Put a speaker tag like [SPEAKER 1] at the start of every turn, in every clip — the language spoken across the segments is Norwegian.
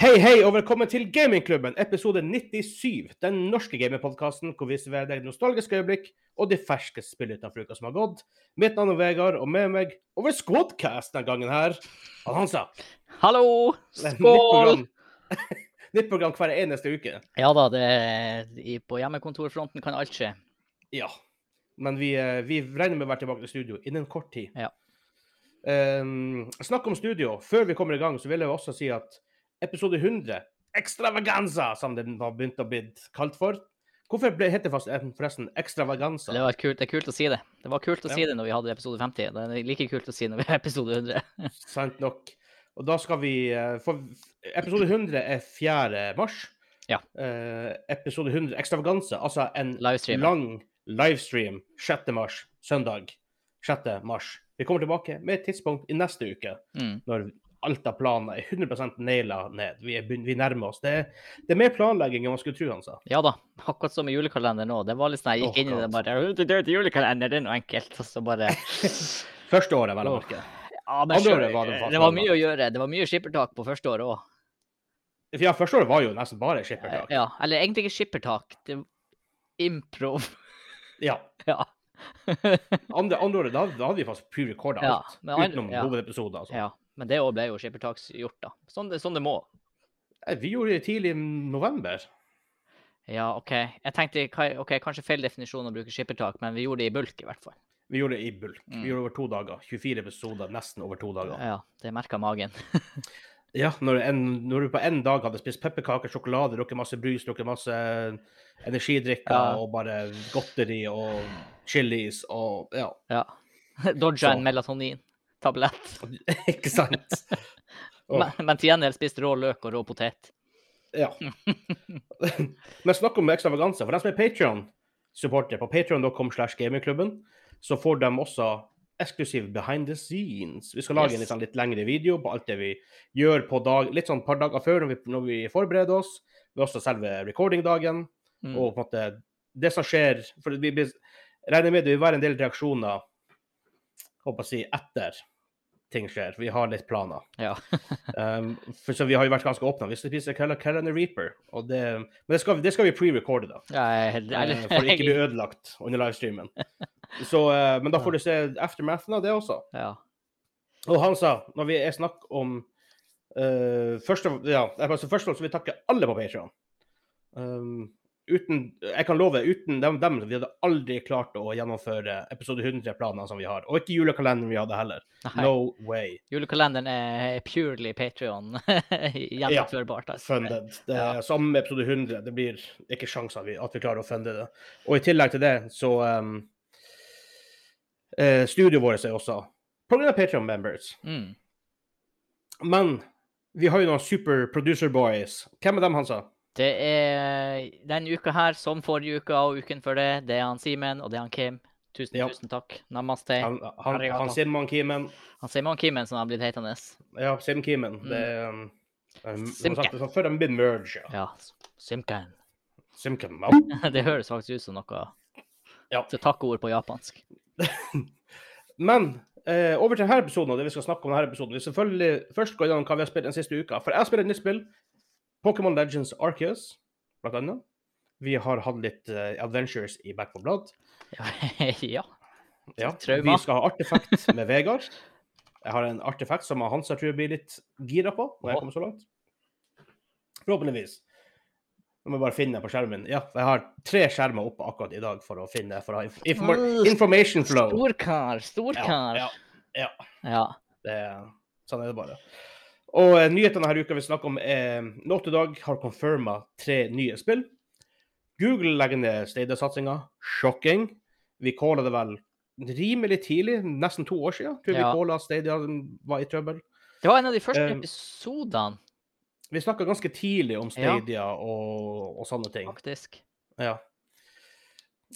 [SPEAKER 1] Hei, hei, og velkommen til Gamingklubben, episode 97. Den norske gamingpodkasten hvor vi serverer deg nostalgiske øyeblikk og de ferske spillene fra uka som har gått. Mitt navn er Vegard, og med meg over Squadcast denne gangen her, han Hansa.
[SPEAKER 2] Hallo!
[SPEAKER 1] Nytt
[SPEAKER 2] Skål!
[SPEAKER 1] program- Nytt program hver eneste uke.
[SPEAKER 2] Ja da, det, i- på hjemmekontorfronten kan alt skje.
[SPEAKER 1] Ja. Men vi, eh, vi regner med å være tilbake til studio innen kort tid.
[SPEAKER 2] Ja.
[SPEAKER 1] Ehm, snakk om studio. Før vi kommer i gang, så vil jeg også si at episode 100, Extravaganza, som den har begynt å bli kalt for Hvorfor ble, heter det fast- eh, forresten Extravaganza?
[SPEAKER 2] Det, var kult, det er kult å si det. Det var kult å
[SPEAKER 1] Ja.
[SPEAKER 2] si det når vi hadde episode 50. Det er like kult å si når vi har episode 100.
[SPEAKER 1] Sant nok. Og da skal vi eh, For episode 100 er 4. mars.
[SPEAKER 2] Ja.
[SPEAKER 1] Eh, episode 100, Extravaganza, altså en
[SPEAKER 2] Livestream.
[SPEAKER 1] lang livestream 6. mars, søndag 6. mars. Vi kommer tilbake med et tidspunkt i neste uke,
[SPEAKER 2] Mm.
[SPEAKER 1] når alt av planer er 100 naila ned. Vi, er, begyn- vi nærmer oss. Det, det er mer planlegging enn man skulle tro, altså. han sa.
[SPEAKER 2] Ja da, akkurat som i julekalender nå. Det var litt sånn, Jeg
[SPEAKER 1] Åh,
[SPEAKER 2] gikk inn i det
[SPEAKER 1] God.
[SPEAKER 2] bare «Å, Det er et julekalender, det er noe enkelt. Og så bare
[SPEAKER 1] Første året, vel å
[SPEAKER 2] Åh.
[SPEAKER 1] merke.
[SPEAKER 2] Ja, men
[SPEAKER 1] Andre
[SPEAKER 2] sjøl,
[SPEAKER 1] året var det faktisk
[SPEAKER 2] det var
[SPEAKER 1] bra.
[SPEAKER 2] mye å gjøre. Det var mye skippertak på første året òg.
[SPEAKER 1] Ja, første året var jo nesten bare skippertak.
[SPEAKER 2] Ja, eller egentlig ikke skippertak. Det improv.
[SPEAKER 1] Ja.
[SPEAKER 2] Ja.
[SPEAKER 1] Andre, andre året, da, da hadde vi faktisk pre-recorda
[SPEAKER 2] Ja,
[SPEAKER 1] alt.
[SPEAKER 2] men andre-
[SPEAKER 1] utenom
[SPEAKER 2] ja.
[SPEAKER 1] hovedepisoder. Altså.
[SPEAKER 2] ja. Men det òg ble jo skippertaksgjort, da. Sånn det, sånn det må.
[SPEAKER 1] Eh, Vi gjorde det tidlig i november.
[SPEAKER 2] Ja, OK. Jeg tenkte ka- ok, kanskje feil definisjon å bruke skippertak, men vi gjorde det i bulk i hvert fall.
[SPEAKER 1] Vi gjorde det i bulk. Vi
[SPEAKER 2] Mm.
[SPEAKER 1] gjorde det over to dager. 24 episoder, nesten over to dager.
[SPEAKER 2] Ja, det merka magen.
[SPEAKER 1] Ja, når, en, når du på en dag hadde spist pepperkaker, sjokolade, drukket masse brus, drukket masse eh, energidrikker
[SPEAKER 2] Ja.
[SPEAKER 1] og bare godteri og chilis og Ja,
[SPEAKER 2] Ja. Dodga
[SPEAKER 1] Så.
[SPEAKER 2] en melatonin-tablett,
[SPEAKER 1] ikke sant? Åh,
[SPEAKER 2] men, men til gjengjeld spiste rå løk og rå potet.
[SPEAKER 1] ja. Men snakk om ekstravaganse. For dem som er Patrion-supportere på patreon.com slash gamingklubben, så får de også eksklusiv behind the scenes. Vi skal lage en
[SPEAKER 2] Yes.
[SPEAKER 1] litt, sånn litt lengre video på alt det vi gjør på dag, litt sånn et par dager før når vi, når vi forbereder oss. Men også selve recording-dagen.
[SPEAKER 2] Mm.
[SPEAKER 1] og på en måte det som skjer For vi blir- regner med det vil være en del reaksjoner håper jeg å si, etter ting skjer. Vi har litt planer.
[SPEAKER 2] Ja.
[SPEAKER 1] um, for, så vi har jo vært ganske åpne. Vi skal spise Cal- Carolina Reaper. Og det, men det skal, vi- det skal vi pre-recorde, da.
[SPEAKER 2] Jeg er helt
[SPEAKER 1] eh,
[SPEAKER 2] ærlig.
[SPEAKER 1] For ikke bli ødelagt under livestreamen. Så, eh, men da får du se aftermathen av det også.
[SPEAKER 2] Ja.
[SPEAKER 1] Og han sa, når vi er snakk om eh, først, av- ja, altså først og fremst vil vi takke alle på Patreon. Um, uten, jeg kan love, uten dem, dem vi hadde aldri klart å gjennomføre episode 100-planene som vi har. Og ikke julekalenderen vi hadde heller.
[SPEAKER 2] Nei,
[SPEAKER 1] No way.
[SPEAKER 2] Julekalenderen er purely Patrion gjennomførbart. altså.
[SPEAKER 1] Funded. Det er
[SPEAKER 2] Ja.
[SPEAKER 1] samme med episode 100. Det blir ikke sjanser vi, at vi klarer å funde det. Og i tillegg til det, så um, eh, Studioet vårt er også På grunn av Patreon members.
[SPEAKER 2] Mm.
[SPEAKER 1] Men vi har jo noen super producer boys. Hvem er dem, Hansa?
[SPEAKER 2] Det er den uka her, som forrige uka og uken før det, det er han Simen og det er han Kim. Tusen,
[SPEAKER 1] Ja.
[SPEAKER 2] tusen takk. Namaste. Han,
[SPEAKER 1] Han, han,
[SPEAKER 2] Arigato.
[SPEAKER 1] han Simon Kimen.
[SPEAKER 2] Simon Kimen, som han har blitt hetende.
[SPEAKER 1] Ja, Sim Kimen. Det er um, um,
[SPEAKER 2] Simke.
[SPEAKER 1] man sagt det sånn Før de blir merge, ja.
[SPEAKER 2] Ja, Simkan.
[SPEAKER 1] Simken. ja.
[SPEAKER 2] Det høres faktisk ut som noe
[SPEAKER 1] Ja.
[SPEAKER 2] Så takkeord på japansk.
[SPEAKER 1] Men eh, over til denne episoden og det vi skal snakke om denne episoden. Vi skal selvfølgelig først gå gjennom hva vi har spilt den siste uka. For jeg spiller et nytt spill. Pokémon Legends Arceus, blant annet. Vi har hatt litt eh, adventures i Back for Blood.
[SPEAKER 2] ja.
[SPEAKER 1] Ja.
[SPEAKER 2] Trauma.
[SPEAKER 1] Vi skal ha artefakt med Vegard. Jeg har en artefakt som Hansa tror jeg blir litt gira på når jeg kommer så langt. Forhåpentligvis. Nå må jeg bare finne den på skjermen. Ja, jeg har tre skjermer oppe akkurat i dag for å finne for å ha inf- informa- information flow.
[SPEAKER 2] Storkar, storkar.
[SPEAKER 1] Ja,
[SPEAKER 2] Ja,
[SPEAKER 1] ja, ja.
[SPEAKER 2] ja.
[SPEAKER 1] Det, er- sånn er det bare. Og eh, nyhetene denne uka vi snakker om, er Notodog har confirma tre nye spill. Google legger ned Stadia-satsinga. Shocking. Vi calla det vel rimelig tidlig, nesten to år siden, tror jeg
[SPEAKER 2] Ja.
[SPEAKER 1] vi calla Stadia var i trøbbel.
[SPEAKER 2] Det var en av de første
[SPEAKER 1] Eh,
[SPEAKER 2] episodene,
[SPEAKER 1] Vi snakka ganske tidlig om
[SPEAKER 2] Ja.
[SPEAKER 1] Stadia og, og sånne ting.
[SPEAKER 2] faktisk.
[SPEAKER 1] Ja.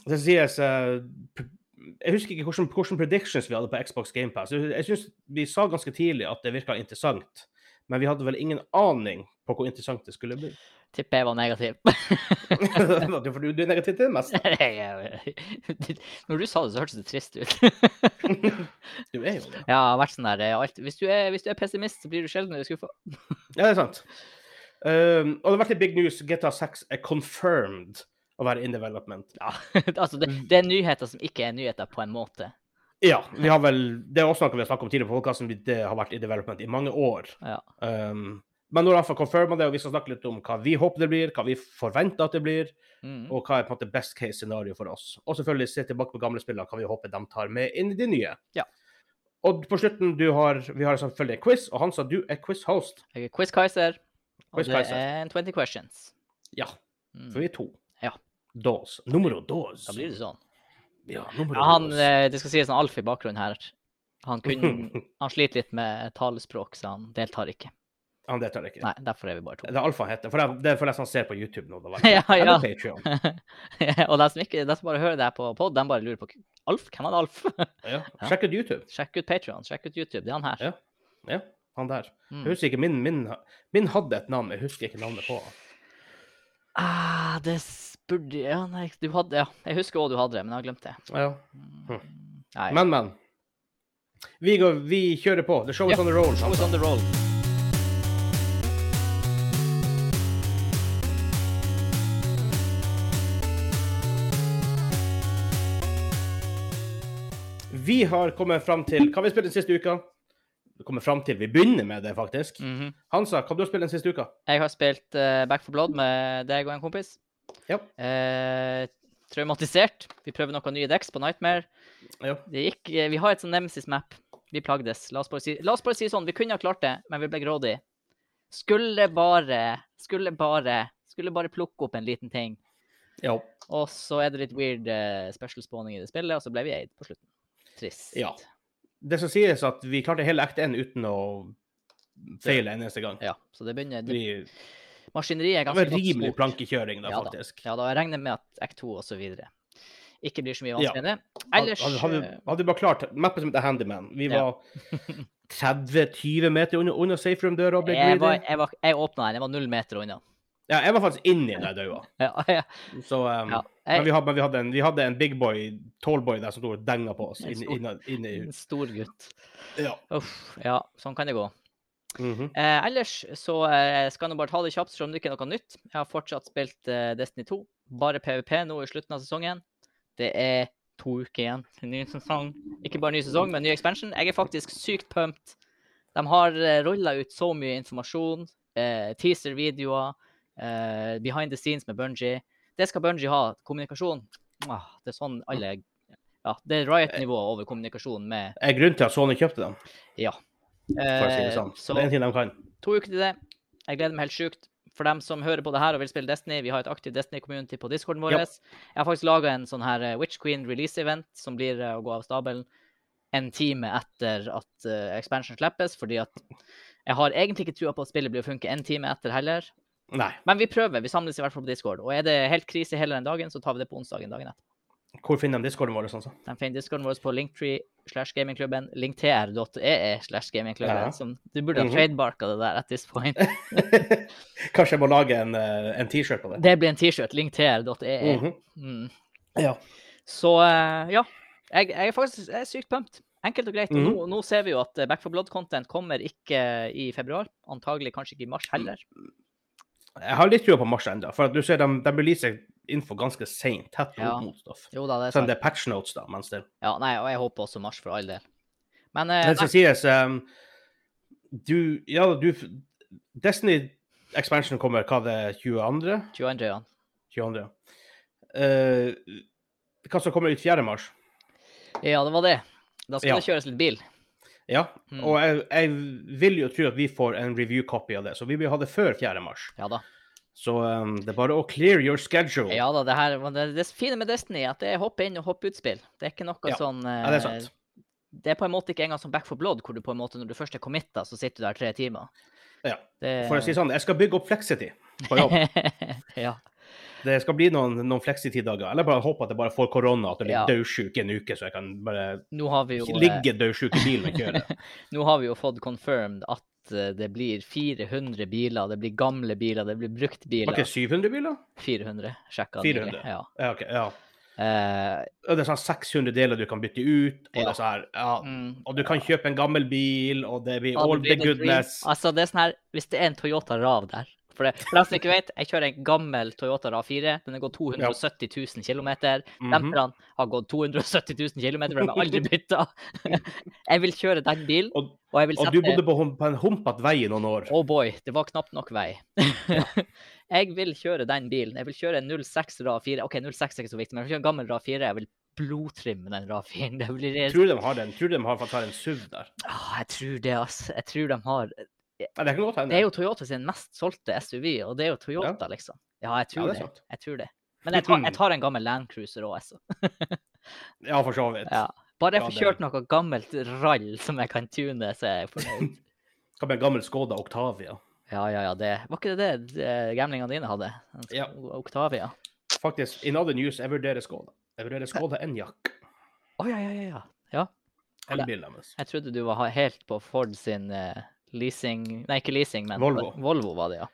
[SPEAKER 1] Det sies eh, p- Jeg husker ikke hvordan, hvordan predictions vi hadde på Xbox GamePass. Jeg syns vi sa ganske tidlig at det virka interessant, men vi hadde vel ingen aning på hvor interessant det skulle bli.
[SPEAKER 2] Tipper jeg var negativ.
[SPEAKER 1] Du- For du, du er negativ til det meste.
[SPEAKER 2] Når du sa det, så hørtes det trist ut.
[SPEAKER 1] Du er jo det.
[SPEAKER 2] ja, vært sånn der eh, alt. Hvis du, er, hvis du er pessimist, så blir du sjeldnere skuffa.
[SPEAKER 1] Ja, det er sant. Um, og det har vært litt big news. GTA 6 er confirmed å være in development.
[SPEAKER 2] altså, det,
[SPEAKER 1] Mm.
[SPEAKER 2] det er nyheter som ikke er nyheter, på en måte.
[SPEAKER 1] Ja, vi har vel, det er også noe vi har snakket om tidligere på podcasten, Det har vært i development i mange år.
[SPEAKER 2] Ja.
[SPEAKER 1] Um, men nå har iallfall confirma det, og vi skal snakke litt om hva vi håper det blir, hva vi forventer at det blir,
[SPEAKER 2] Mm.
[SPEAKER 1] og hva er på en måte best case scenario for oss. Og selvfølgelig se tilbake på gamle spillene, hva vi håper de tar med inn i de nye.
[SPEAKER 2] Ja.
[SPEAKER 1] Og på slutten, du har, vi har selvfølgelig en quiz, og han sa du er quiz-host.
[SPEAKER 2] Jeg er Quiz Kaiser, og
[SPEAKER 1] Quiz
[SPEAKER 2] det
[SPEAKER 1] Kaiser.
[SPEAKER 2] er en 20 questions.
[SPEAKER 1] Ja,
[SPEAKER 2] Mm.
[SPEAKER 1] for vi er to.
[SPEAKER 2] Ja.
[SPEAKER 1] Dos. Numero dos.
[SPEAKER 2] Da blir det sånn.
[SPEAKER 1] Ja, numero
[SPEAKER 2] Ja, han,
[SPEAKER 1] dos.
[SPEAKER 2] eh, det skal sies en Alf i bakgrunnen her. Han, kunne, han sliter litt med talespråk, så han deltar ikke.
[SPEAKER 1] Han deltar ikke.
[SPEAKER 2] Nei, derfor er vi bare to.
[SPEAKER 1] Det er Alfa heter. For det- det er for deg som ser på YouTube nå. Da, vel.
[SPEAKER 2] Ja, ja.
[SPEAKER 1] Eller Patreon.
[SPEAKER 2] og de som, ikke, de som bare hører det her på pod, de bare lurer på Alf? Hvem er Alf?
[SPEAKER 1] Ja. Sjekk ut YouTube.
[SPEAKER 2] sjekk ut Patreon, sjekk ut YouTube. Det er han
[SPEAKER 1] Ja.
[SPEAKER 2] her.
[SPEAKER 1] Ja, han der.
[SPEAKER 2] Mm.
[SPEAKER 1] Jeg husker ikke, min, min, min hadde et navn, jeg husker ikke navnet på han.
[SPEAKER 2] Ah, det s- burde Ja, nei, du hadde Ja, jeg husker òg du hadde det, men jeg har glemt det.
[SPEAKER 1] Ja.
[SPEAKER 2] Nei.
[SPEAKER 1] Men, men. Vi, går, vi kjører på. The show is
[SPEAKER 2] Ja,
[SPEAKER 1] on the roll.
[SPEAKER 2] show is on the roll.
[SPEAKER 1] Vi har kommet fram til Hva har vi spilt den siste uka? Vi kommer fram til Vi begynner med det, faktisk.
[SPEAKER 2] Mhm.
[SPEAKER 1] Hansa, hva har du spilt den siste uka?
[SPEAKER 2] Jeg har spilt eh, Back for Blood med deg og en kompis.
[SPEAKER 1] Ja.
[SPEAKER 2] Eh, traumatisert. Vi prøver noen nye decks på Nightmare.
[SPEAKER 1] Ja.
[SPEAKER 2] Det gikk, eh, vi har et sånn Nemesis-map. Vi plagdes. La oss, bare si, la oss bare si sånn, vi kunne ha klart det, men vi ble grådige. Skulle bare, skulle bare, skulle bare plukke opp en liten ting.
[SPEAKER 1] Ja.
[SPEAKER 2] Og så er det litt weird eh, special spawning i det spillet, og så ble vi eid på slutten. Trist.
[SPEAKER 1] Ja. Det skal sies at vi klarte hele act 1 uten å feile en eneste gang.
[SPEAKER 2] Ja, så det begynner, det,
[SPEAKER 1] Vi,
[SPEAKER 2] maskineriet er
[SPEAKER 1] det
[SPEAKER 2] ganske
[SPEAKER 1] var
[SPEAKER 2] godt
[SPEAKER 1] rimelig
[SPEAKER 2] sport.
[SPEAKER 1] plankekjøring da,
[SPEAKER 2] Ja da.
[SPEAKER 1] faktisk.
[SPEAKER 2] Ja, da jeg regner med at Act 2 og så videre ikke blir så mye
[SPEAKER 1] Ja.
[SPEAKER 2] vanskeligere. Ellers
[SPEAKER 1] Hadde, hadde,
[SPEAKER 2] eh,
[SPEAKER 1] hadde vi bare klart mappet som heter Handyman Vi
[SPEAKER 2] Ja.
[SPEAKER 1] var 30-20 meter under, under safe room-døra og ble
[SPEAKER 2] jeg, var,
[SPEAKER 1] greedy.
[SPEAKER 2] jeg, var, jeg åpna den, jeg var null meter unna.
[SPEAKER 1] Ja, jeg var faktisk inni der daua.
[SPEAKER 2] Ja, ja.
[SPEAKER 1] Så um,
[SPEAKER 2] Ja,
[SPEAKER 1] Men vi
[SPEAKER 2] jeg,
[SPEAKER 1] hadde, men vi hadde, en, vi hadde en big boy, tall boy der som sto og denga på oss.
[SPEAKER 2] En
[SPEAKER 1] Inn,
[SPEAKER 2] stor-
[SPEAKER 1] inn, inn, i-
[SPEAKER 2] en stor gutt.
[SPEAKER 1] ja.
[SPEAKER 2] Uff, ja, sånn kan det gå.
[SPEAKER 1] Mhm.
[SPEAKER 2] Eh, ellers så eh, skal jeg nå bare ta det kjapt, selv om det ikke er noe nytt. Jeg har fortsatt spilt eh, Destiny 2, bare PVP nå i slutten av sesongen. Det er to uker igjen til ny sesong. Ikke bare ny sesong, men ny expansion. Jeg er faktisk sykt pumped. De har eh, rulla ut så mye informasjon. Eh, Teaser-videoer. Eh, behind the scenes med Bungie. Det skal Bungie ha. Kommunikasjon. Mwah, det er sånn alle Ja, det er riot-nivå over kommunikasjon med
[SPEAKER 1] Er Eh, grunnen til at Sony kjøpte dem,
[SPEAKER 2] Ja.
[SPEAKER 1] for å si det
[SPEAKER 2] Eh,
[SPEAKER 1] sånn.
[SPEAKER 2] så-
[SPEAKER 1] Det er en ting de kan.
[SPEAKER 2] To uker til det. Jeg gleder meg helt sjukt. For dem som hører på det her og vil spille Destiny, vi har et aktivt Destiny-community på discorden vår.
[SPEAKER 1] Ja.
[SPEAKER 2] Jeg har faktisk laga en sånn her eh, Witch Queen release-event som blir eh, å gå av stabelen en time etter at eh, expansion slippes, fordi at jeg har egentlig ikke trua på at spillet blir å funke en time etter heller.
[SPEAKER 1] Nei.
[SPEAKER 2] Men vi prøver. Vi samles i hvert fall på discord. Og er det helt krise hele den dagen, så tar vi det på onsdagen dagen etter.
[SPEAKER 1] Hvor finner de discorden vår? Sånn, så?
[SPEAKER 2] De finner discorden vår på linktree slash gamingklubben, linktr.ee e slash gamingklubben.
[SPEAKER 1] Ja.
[SPEAKER 2] Som, du burde ha
[SPEAKER 1] Mhm.
[SPEAKER 2] trademarka det der at this point.
[SPEAKER 1] Kanskje jeg må lage en, eh, en T-shirt på det.
[SPEAKER 2] Det blir en T-shirt. Linktr.ee.
[SPEAKER 1] Mhm.
[SPEAKER 2] Mm.
[SPEAKER 1] Ja.
[SPEAKER 2] Så eh, ja. Jeg, jeg er faktisk jeg er sykt pumped. Enkelt og greit. Og nå,
[SPEAKER 1] Mhm.
[SPEAKER 2] nå ser vi jo at eh, Back for Blood-content kommer ikke i februar. Antagelig kanskje ikke i mars heller.
[SPEAKER 1] Mm. Jeg har litt trua på Mars ennå, for at du ser de, de releaser info ganske seint. Tett
[SPEAKER 2] Ja.
[SPEAKER 1] opp mot stoff.
[SPEAKER 2] Jo da, det er
[SPEAKER 1] Selv om
[SPEAKER 2] sant.
[SPEAKER 1] det er patch notes, da. Mens det,
[SPEAKER 2] Ja, nei, og jeg håper også mars for all del. Men eh,
[SPEAKER 1] det skal sies um, Du Ja, du Destiny Expansion kommer hva det 22.?
[SPEAKER 2] nei, 22. ja.
[SPEAKER 1] 22. Eh, hva som kommer ut 4. mars?
[SPEAKER 2] Ja, det var det. Da skal
[SPEAKER 1] Ja.
[SPEAKER 2] det kjøres litt bil.
[SPEAKER 1] Ja,
[SPEAKER 2] Mm.
[SPEAKER 1] og jeg, jeg vil jo tro at vi får en review-copy av det, så vi vil ha det før 4. mars.
[SPEAKER 2] Ja da.
[SPEAKER 1] Så um, det er bare å clear your schedule.
[SPEAKER 2] Ja da, det her men det, det fine med Destiny er at det er hoppe inn og hoppe ut-spill. Det er ikke noe
[SPEAKER 1] Ja.
[SPEAKER 2] sånn
[SPEAKER 1] Ja, det er
[SPEAKER 2] eh,
[SPEAKER 1] sant.
[SPEAKER 2] det er på en måte ikke engang som Back for Blood, hvor du på en måte når du først er committa, så sitter du der tre timer.
[SPEAKER 1] Ja.
[SPEAKER 2] Det,
[SPEAKER 1] For å si sånn, jeg skal bygge opp flexity på jobb.
[SPEAKER 2] ja.
[SPEAKER 1] Det skal bli noen, noen flexity-dager. Eller bare håpe at jeg bare får korona, at jeg blir
[SPEAKER 2] Ja.
[SPEAKER 1] dødsjuk en uke, så jeg kan bare
[SPEAKER 2] Nå har vi jo eh,
[SPEAKER 1] ligge dødsjuk i bilen og kjøre.
[SPEAKER 2] Nå har vi jo fått confirmed at eh, det blir 400 biler. Det blir gamle biler, det blir brukt
[SPEAKER 1] Var
[SPEAKER 2] biler.
[SPEAKER 1] ikke 700 biler?
[SPEAKER 2] 400, sjekka
[SPEAKER 1] 400.
[SPEAKER 2] Ja.
[SPEAKER 1] Ja, ok, ja.
[SPEAKER 2] Eh,
[SPEAKER 1] Og det er sånn 600 deler du kan bytte ut, og det
[SPEAKER 2] Ja.
[SPEAKER 1] er sånn her, ja,
[SPEAKER 2] mm,
[SPEAKER 1] Og du kan kjøpe en gammel bil, og det blir
[SPEAKER 2] all
[SPEAKER 1] all the
[SPEAKER 2] dream is dream.
[SPEAKER 1] goodness.
[SPEAKER 2] Altså, det er sånn her Hvis det er en Toyota Rav der, For det, for dem som ikke vet, jeg kjører en gammel Toyota RAV4. Den har gått 270 000 km.
[SPEAKER 1] Mhm.
[SPEAKER 2] Demperne har gått 270 000 km, for de har aldri bytta. Jeg vil kjøre den bilen,
[SPEAKER 1] Og-
[SPEAKER 2] og jeg vil
[SPEAKER 1] Og du
[SPEAKER 2] sette
[SPEAKER 1] bodde på, hom- på en humpete vei i noen år.
[SPEAKER 2] Oh boy, det var knapt nok vei. jeg vil kjøre den bilen. Jeg vil kjøre en 06 RAV4. OK, 06 er ikke så viktig, men jeg vil kjøre en gammel RAV4. Jeg vil blodtrimme den RAV4-en. Det blir
[SPEAKER 1] Tror de har den. Tror de har fått ta en SUV der.
[SPEAKER 2] Åh, Jeg tror det, altså. Jeg tror de har
[SPEAKER 1] Nei, det kan godt
[SPEAKER 2] Det er
[SPEAKER 1] hende.
[SPEAKER 2] jo Toyota sin mest solgte SUV, og det er jo Toyota, liksom. Ja, jeg tror
[SPEAKER 1] Ja, det er
[SPEAKER 2] det.
[SPEAKER 1] sant.
[SPEAKER 2] Jeg tror det. Men jeg tar, jeg tar en gammel Land Cruiser òg, altså.
[SPEAKER 1] Ja, for så vidt.
[SPEAKER 2] Ja. Bare jeg
[SPEAKER 1] Ja,
[SPEAKER 2] får
[SPEAKER 1] det-
[SPEAKER 2] kjørt noe gammelt rall som jeg kan tune, så er jeg fornøyd.
[SPEAKER 1] Hva med en gammel Skoda Octavia?
[SPEAKER 2] Ja, ja, ja. Det. Var ikke det det eh, gamlingene dine hadde? En
[SPEAKER 1] Ja.
[SPEAKER 2] Octavia?
[SPEAKER 1] Faktisk, in other news, jeg vurderer Skoda. Jeg vurderer Skoda Enjak.
[SPEAKER 2] Å ja, ja, ja, ja.
[SPEAKER 1] Elbilen deres.
[SPEAKER 2] Jeg trodde du var helt på Ford sin eh, leasing Nei, ikke leasing, men
[SPEAKER 1] Volvo.
[SPEAKER 2] Volvo var det, ja.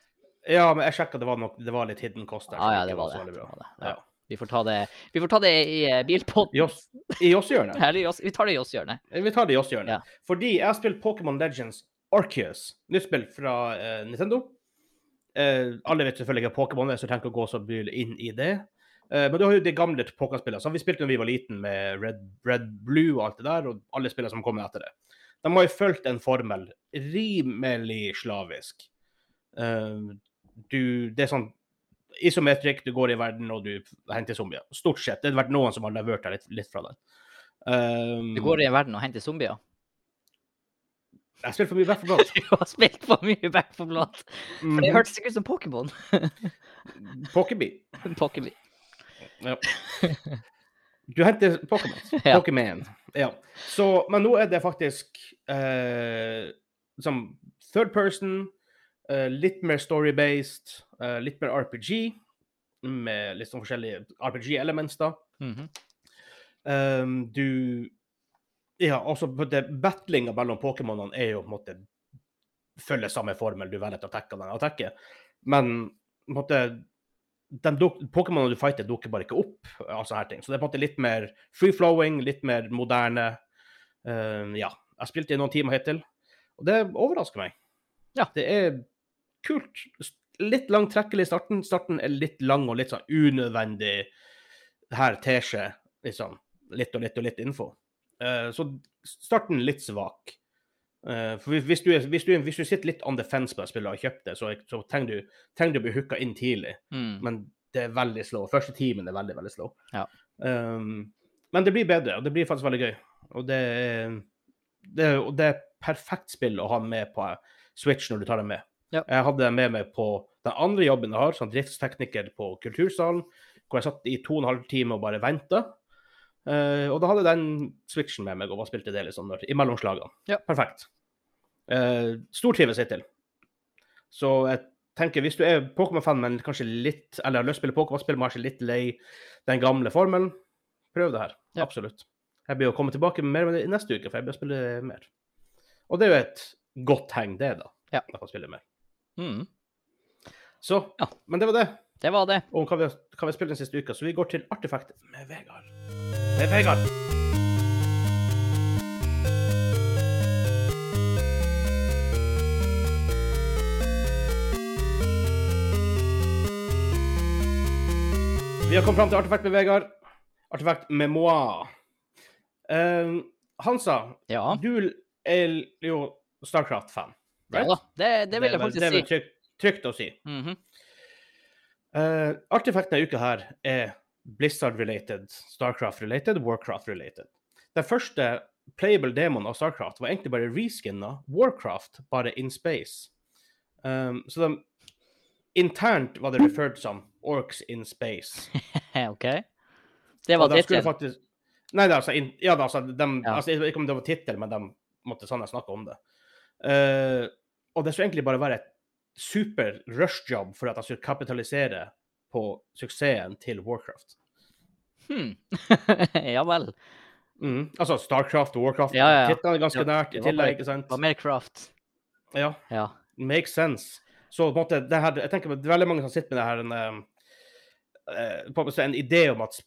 [SPEAKER 1] Ja, men jeg sjekka, det var nok det var litt hidden cost der.
[SPEAKER 2] Ja,
[SPEAKER 1] som
[SPEAKER 2] ja,
[SPEAKER 1] ikke
[SPEAKER 2] det var det.
[SPEAKER 1] så veldig
[SPEAKER 2] det,
[SPEAKER 1] bra.
[SPEAKER 2] var det. Ja.
[SPEAKER 1] Ja.
[SPEAKER 2] Vi får ta det, vi får ta det i eh, bilpodden.
[SPEAKER 1] I oss- I Jåsshjørnet.
[SPEAKER 2] Eller i oss- Vi tar det i Jåsshjørnet.
[SPEAKER 1] Eh, Vi tar det i
[SPEAKER 2] Ja.
[SPEAKER 1] Jåsshjørnet. Fordi jeg har spilt Pokémon Legends Arceus. Nytt spill fra eh, Nintendo. Eh, alle vet selvfølgelig hva Pokémon er, så jeg trenger ikke å gå så mye inn i det. Eh, men du har jo de gamle Pokémon-spillene. som vi spilte da vi var liten med Red, Red Blue og alt det der, og alle spillene som kommer etter det. De har jo fulgt en formel rimelig slavisk. Eh, du, det er sånn isometric, du går i verden og du henter zombier. Stort sett. Det har vært noen som har levert deg litt, litt fra den. Eh,
[SPEAKER 2] Du går i verden og henter zombier.
[SPEAKER 1] jeg spiller for mye Back 4 Blood.
[SPEAKER 2] Du har spilt for mye Back for Blood. For det
[SPEAKER 1] Mm,
[SPEAKER 2] hørtes ikke ut som Pokémon.
[SPEAKER 1] Pokébee.
[SPEAKER 2] Pokémon.
[SPEAKER 1] Ja. Du henter Pokémon.
[SPEAKER 2] Ja.
[SPEAKER 1] Pokémon. Ja. Så, men nå er det faktisk eh, som third person, eh, litt mer story-based, eh, litt mer RPG, med litt sånn forskjellige RPG-elements, da.
[SPEAKER 2] Mhm.
[SPEAKER 1] Ehm, du Ja, også battlinga mellom Pokémonene er jo på en måte følger samme formel. Du velger et attack og den attacker. Men på en måte den duk- Pokémonene du fighter, dukker bare ikke opp. og sånne her ting. Så det er på en måte litt mer free-flowing, litt mer moderne. Ehm, ja. Jeg har spilt i noen timer hittil, og det overrasker meg.
[SPEAKER 2] Ja.
[SPEAKER 1] Det er kult. Litt lang trekkelig i starten. Starten er litt lang og litt sånn unødvendig her ter seg liksom, litt og litt og litt info. Eh, så starten litt svak. Eh, for hvis- hvis du, er- hvis, du, hvis du sitter litt on the fence på et spill og har kjøpt det, så, så trenger, du, trenger du å bli hooka inn tidlig.
[SPEAKER 2] Mm.
[SPEAKER 1] Men det er veldig slow. Første timen er veldig, veldig slow.
[SPEAKER 2] Ja.
[SPEAKER 1] Um, men det blir bedre, og det blir faktisk veldig gøy. Og det er, det er, og det er perfekt spill å ha med på Switch når du tar det med.
[SPEAKER 2] Ja.
[SPEAKER 1] Jeg hadde det med meg på den andre jobben jeg har, som driftstekniker på Kultursalen, hvor jeg satt i to og en halv time og bare venta. Eh, og da hadde jeg den switchen med meg og bare spilte det liksom når, imellom slagene.
[SPEAKER 2] Ja.
[SPEAKER 1] Perfekt. Uh, Stortrives hittil. Så jeg tenker, hvis du er Pokémon-fan, men kanskje litt Eller har lyst til å spille Pokémon-spill, men er kanskje litt lei den gamle formelen, prøv det her.
[SPEAKER 2] Ja.
[SPEAKER 1] Absolutt. Jeg blir å komme tilbake med mer med det i neste uke, for jeg bør spille mer. Og det er jo et godt tegn, det, da.
[SPEAKER 2] Ja.
[SPEAKER 1] At man spiller mer.
[SPEAKER 2] Mm.
[SPEAKER 1] Så
[SPEAKER 2] Ja.
[SPEAKER 1] Men det var det.
[SPEAKER 2] Det var det.
[SPEAKER 1] Om hva vi, hva vi har spilt den siste uka. Så vi går til Artefakt med Vegard. Med Vegard. Vi har kommet fram til Artefakt med Vegard. Artefakt Memoir. Eh, Hansa,
[SPEAKER 2] Ja.
[SPEAKER 1] du er jo Starcraft-fan.
[SPEAKER 2] ja da. Det, det vil jeg
[SPEAKER 1] vel- det
[SPEAKER 2] faktisk
[SPEAKER 1] er vel
[SPEAKER 2] si.
[SPEAKER 1] trygt, trygt å si.
[SPEAKER 2] Mhm.
[SPEAKER 1] Uh, artefakten denne uka her er Blizzard-related, Starcraft-related, Warcraft-related. Den første playable demonen av Starcraft var egentlig bare reskinna Warcraft, bare in space. Um, så de, internt var det referred som Orcs in space.
[SPEAKER 2] OK. Det var
[SPEAKER 1] Og de skulle
[SPEAKER 2] tittelen.
[SPEAKER 1] faktisk... Nei, det er altså, in, ja, det er altså, de,
[SPEAKER 2] Ja.
[SPEAKER 1] altså, jeg vet ikke om det var tittel, men de måtte sånn jeg snakke om det. Eh, og det skulle egentlig bare være et super rush-job for at jeg skulle kapitalisere på suksessen til Warcraft.
[SPEAKER 2] Hmm. ja vel.
[SPEAKER 1] Mm. Altså Starcraft og Warcraft.
[SPEAKER 2] Ja, ja, ja.
[SPEAKER 1] Titlene er ganske
[SPEAKER 2] Ja,
[SPEAKER 1] nært i
[SPEAKER 2] det var bare-
[SPEAKER 1] tillegg, ikke
[SPEAKER 2] Det var
[SPEAKER 1] sant?
[SPEAKER 2] mer craft.
[SPEAKER 1] Ja,
[SPEAKER 2] Ja.
[SPEAKER 1] makes sense. Så på en måte, det her, jeg tenker at det er veldig mange som sitter med det her en, eh, eh, på en, måte en idé om at,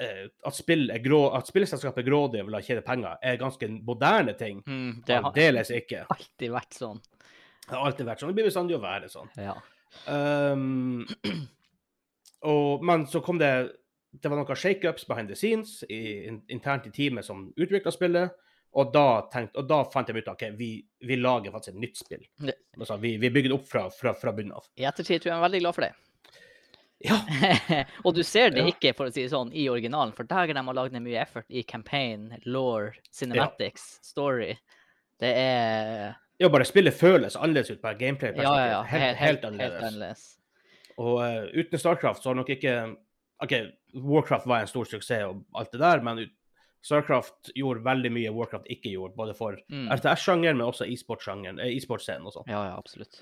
[SPEAKER 1] eh, at, spill er grå, at spillselskap er grådige og vil ha tjene penger, er ganske moderne ting.
[SPEAKER 2] Mm, det har
[SPEAKER 1] Aldeles ikke.
[SPEAKER 2] alltid vært sånn.
[SPEAKER 1] Det har alltid vært sånn. Det blir bestandig å være sånn.
[SPEAKER 2] Ja.
[SPEAKER 1] Ehm, og, men så kom det Det var noen shakeups behind the scenes i, in, internt i teamet som utvikla spillet. Og da, tenkte, og da fant de ut at vi, vi lager faktisk et nytt spill.
[SPEAKER 2] Ja.
[SPEAKER 1] Altså, vi, vi bygger det opp fra, fra, fra bunnen av.
[SPEAKER 2] I ettertid tror jeg jeg er veldig glad for det.
[SPEAKER 1] Ja.
[SPEAKER 2] og du ser det
[SPEAKER 1] Ja.
[SPEAKER 2] ikke, for å si det sånn, i originalen, for der har de lagd ned mye effort i campaign, law, cinematics, story. Det er
[SPEAKER 1] ja, bare spillet føles annerledes ut på gameplay.
[SPEAKER 2] Ja, ja, ja.
[SPEAKER 1] Helt, helt, annerledes.
[SPEAKER 2] Helt annerledes.
[SPEAKER 1] Og eh, uten Starcraft så har nok ikke OK, Warcraft var en stor suksess og alt det der, men ut- Starcraft gjorde veldig mye Warcraft ikke gjorde, både for
[SPEAKER 2] Mm.
[SPEAKER 1] RTS-sjangeren, men også e-sportsjangeren, eh, e-sportscenen og sånn.
[SPEAKER 2] Ja, ja, absolutt.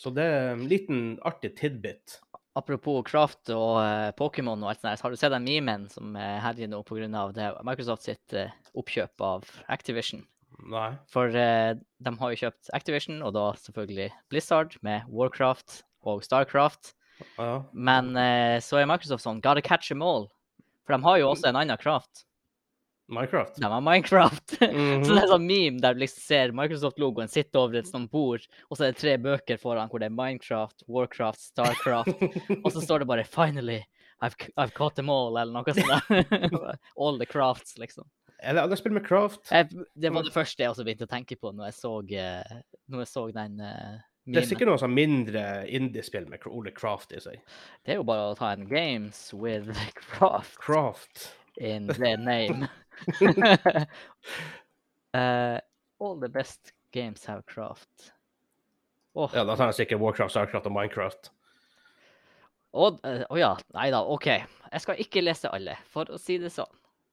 [SPEAKER 1] Så det er en liten artig tidbit.
[SPEAKER 2] Apropos Kraft og eh, Pokémon og alt sånt der, så har du sett den memen som eh, herjer nå pga. Microsoft sitt eh, oppkjøp av Activision?
[SPEAKER 1] Nei.
[SPEAKER 2] For eh, de har jo kjøpt Activision, og da selvfølgelig Blizzard, med Warcraft og Starcraft.
[SPEAKER 1] Ja.
[SPEAKER 2] Men eh, så er Microsoft sånn Gotta catch them all. For de har jo også en annen kraft.
[SPEAKER 1] Minecraft.
[SPEAKER 2] De har Minecraft. Så det
[SPEAKER 1] Mhm.
[SPEAKER 2] er sånn meme der du liksom ser Microsoft-logoen sitte over et sånt bord, og så er det tre bøker foran hvor det er Minecraft, Warcraft, Starcraft, og så står det bare 'Finally, I've, c- I've caught them all', eller noe sånt. der. all the crafts, liksom.
[SPEAKER 1] Er det alle spill med Craft?
[SPEAKER 2] Jeg, det var det første jeg også begynte å tenke på når jeg så, eh, når jeg så den eh,
[SPEAKER 1] Det er
[SPEAKER 2] memen.
[SPEAKER 1] sikkert noe sånn mindre indie-spill med ordet Craft i seg.
[SPEAKER 2] Det er jo bare å ta en 'Games with Craft'.
[SPEAKER 1] Craft.
[SPEAKER 2] in the name. uh, all the best games have craft. Åh,
[SPEAKER 1] Ja, da tar jeg sikkert Warcraft, Starcraft og Minecraft.
[SPEAKER 2] Odd- eh, Å ja, nei da, OK. Jeg skal ikke lese alle, for å si det sånn.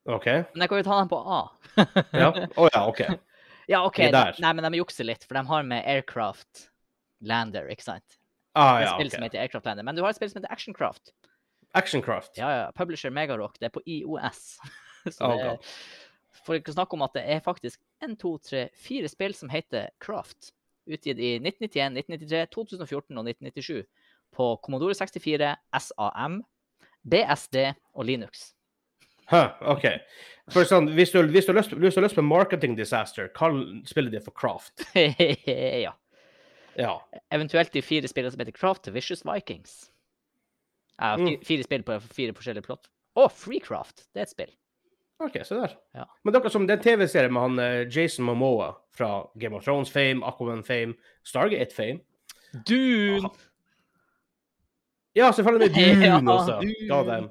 [SPEAKER 1] OK?
[SPEAKER 2] Men jeg kan jo ta dem på A.
[SPEAKER 1] Ja. Å ja, OK.
[SPEAKER 2] ja, OK.
[SPEAKER 1] Vi er
[SPEAKER 2] da-
[SPEAKER 1] der.
[SPEAKER 2] nei, men de jukser litt, for de har med Aircraft Lander, ikke sant?
[SPEAKER 1] Ah,
[SPEAKER 2] Det er
[SPEAKER 1] ja,
[SPEAKER 2] et spill som
[SPEAKER 1] ok.
[SPEAKER 2] heter Aircraft Lander. Men du har et spill som heter Actioncraft.
[SPEAKER 1] Actioncraft.
[SPEAKER 2] Ja, ja. Publisher Megarock. Det er på IOS. Så
[SPEAKER 1] Oh,
[SPEAKER 2] det
[SPEAKER 1] God.
[SPEAKER 2] er, for ikke å snakke om at det er faktisk en, to, tre, fire spill som heter Craft. Utgitt i 1991, 1993, 2014 og 1997 på Commodore 64, SAM, BSD og Linux.
[SPEAKER 1] Hæ, OK. For sånn, hvis du, hvis du har lyst hvis du har lyst på marketing disaster, kall spillet ditt for Craft.
[SPEAKER 2] ja.
[SPEAKER 1] Ja.
[SPEAKER 2] Eventuelt de fire spillene som heter Craft til Vicious Vikings. Ja, fi-
[SPEAKER 1] Mm.
[SPEAKER 2] fire spill på fire forskjellige plott. Å, Freecraft! Det er et spill.
[SPEAKER 1] OK, se der.
[SPEAKER 2] Ja.
[SPEAKER 1] Men det er akkurat som den TV-serien med han eh, Jason Momoa fra Game of Thrones fame, Aquaman fame, Stargate fame.
[SPEAKER 2] Dune!
[SPEAKER 1] Ja, selvfølgelig med Dune
[SPEAKER 2] Ja,
[SPEAKER 1] også.
[SPEAKER 2] Dune.
[SPEAKER 1] God damn.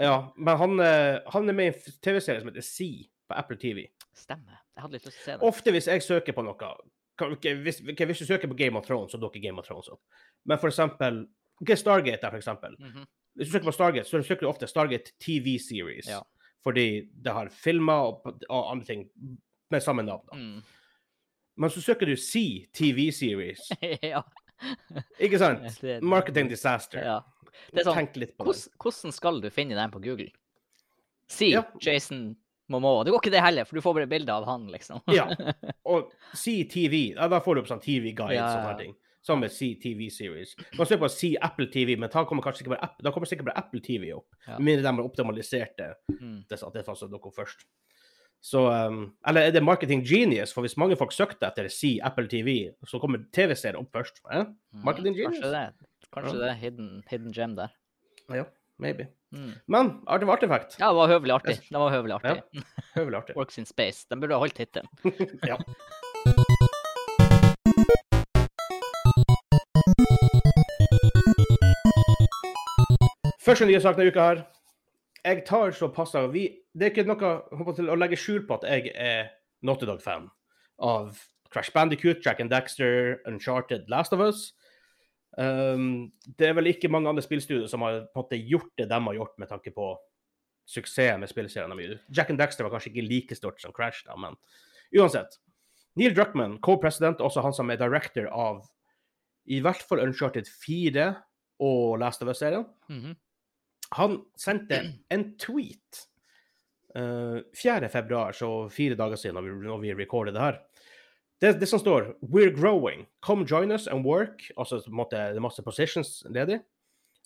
[SPEAKER 1] Ja, men han, eh, han er med i en f- TV-serie som heter Sea på Apple TV.
[SPEAKER 2] Stemmer. Jeg hadde litt lyst til å se den.
[SPEAKER 1] Ofte hvis jeg søker på noe kan- ok, hvis, ok, hvis du søker på Game of Thrones, så dukker Game of Thrones opp. Men for eksempel ok, Stargate der, for eksempel.
[SPEAKER 2] Mhm.
[SPEAKER 1] Hvis du søker på Stargate, så søker du ofte Stargate TV Series.
[SPEAKER 2] Ja.
[SPEAKER 1] Fordi det har filmer og, og andre ting med samme navn. Da.
[SPEAKER 2] Mm.
[SPEAKER 1] Men så søker du Sea TV Series.
[SPEAKER 2] ja.
[SPEAKER 1] Ikke sant?
[SPEAKER 2] Det,
[SPEAKER 1] Marketing disaster.
[SPEAKER 2] ja. Det er sånn,
[SPEAKER 1] Tenk litt på det.
[SPEAKER 2] Hvordan, hvordan skal du finne den på Google? Si
[SPEAKER 1] Ja.
[SPEAKER 2] Jason Momoa. Det går ikke det heller, for du får bare bilde av han, liksom.
[SPEAKER 1] Ja. Og CTV, ja, da får du opp sånn TV Guide og
[SPEAKER 2] Ja, ja, ja.
[SPEAKER 1] sånne ting. Sammen med CTV Series. Man ser på C Apple TV, men da kommer kanskje ikke bare Apple, da kommer sikkert bare Apple TV opp.
[SPEAKER 2] Ja.
[SPEAKER 1] Med mindre de har optimalisert det,
[SPEAKER 2] Mm.
[SPEAKER 1] det at det fantes noe først. Så um, Eller er det Marketing Genius? For hvis mange folk søkte etter C Apple TV, så kommer TV-serier opp først. Eh? Marketing genius.
[SPEAKER 2] Mm. Kanskje det. Kanskje
[SPEAKER 1] Ja.
[SPEAKER 2] det er hidden, hidden gem der.
[SPEAKER 1] Ja, maybe.
[SPEAKER 2] Mm.
[SPEAKER 1] Men artig var artefakt.
[SPEAKER 2] Ja, det var høvelig artig. Det var høvelig artig. Mm.
[SPEAKER 1] Høvelig artig.
[SPEAKER 2] Works in space. De burde ha holdt tittelen.
[SPEAKER 1] Ja. Første nye sak denne uka her. Jeg tar så pass av vi, Det er ikke noe håper til å legge skjul på at jeg er Naughty Dog-fan av Crash Bandicoot, Jack and Daxter, Uncharted, Last of Us. Um, det er vel ikke mange andre spillstudier som har på en måte gjort det de har gjort, med tanke på suksessen med spillserien de har gitt ut. Jack and Daxter var kanskje ikke like stort som Crash, da, men uansett. Neil Druckman, co-president, også han som er director av i hvert fall Uncharted 4 og Last of Us-serien
[SPEAKER 2] Mhm.
[SPEAKER 1] han sendte en tweet eh, 4. februar, så fire dager siden når vi, når vi recordet det her. Det, det som står 'We're growing. Come join us and work', altså på en måte, det er masse positions ledig.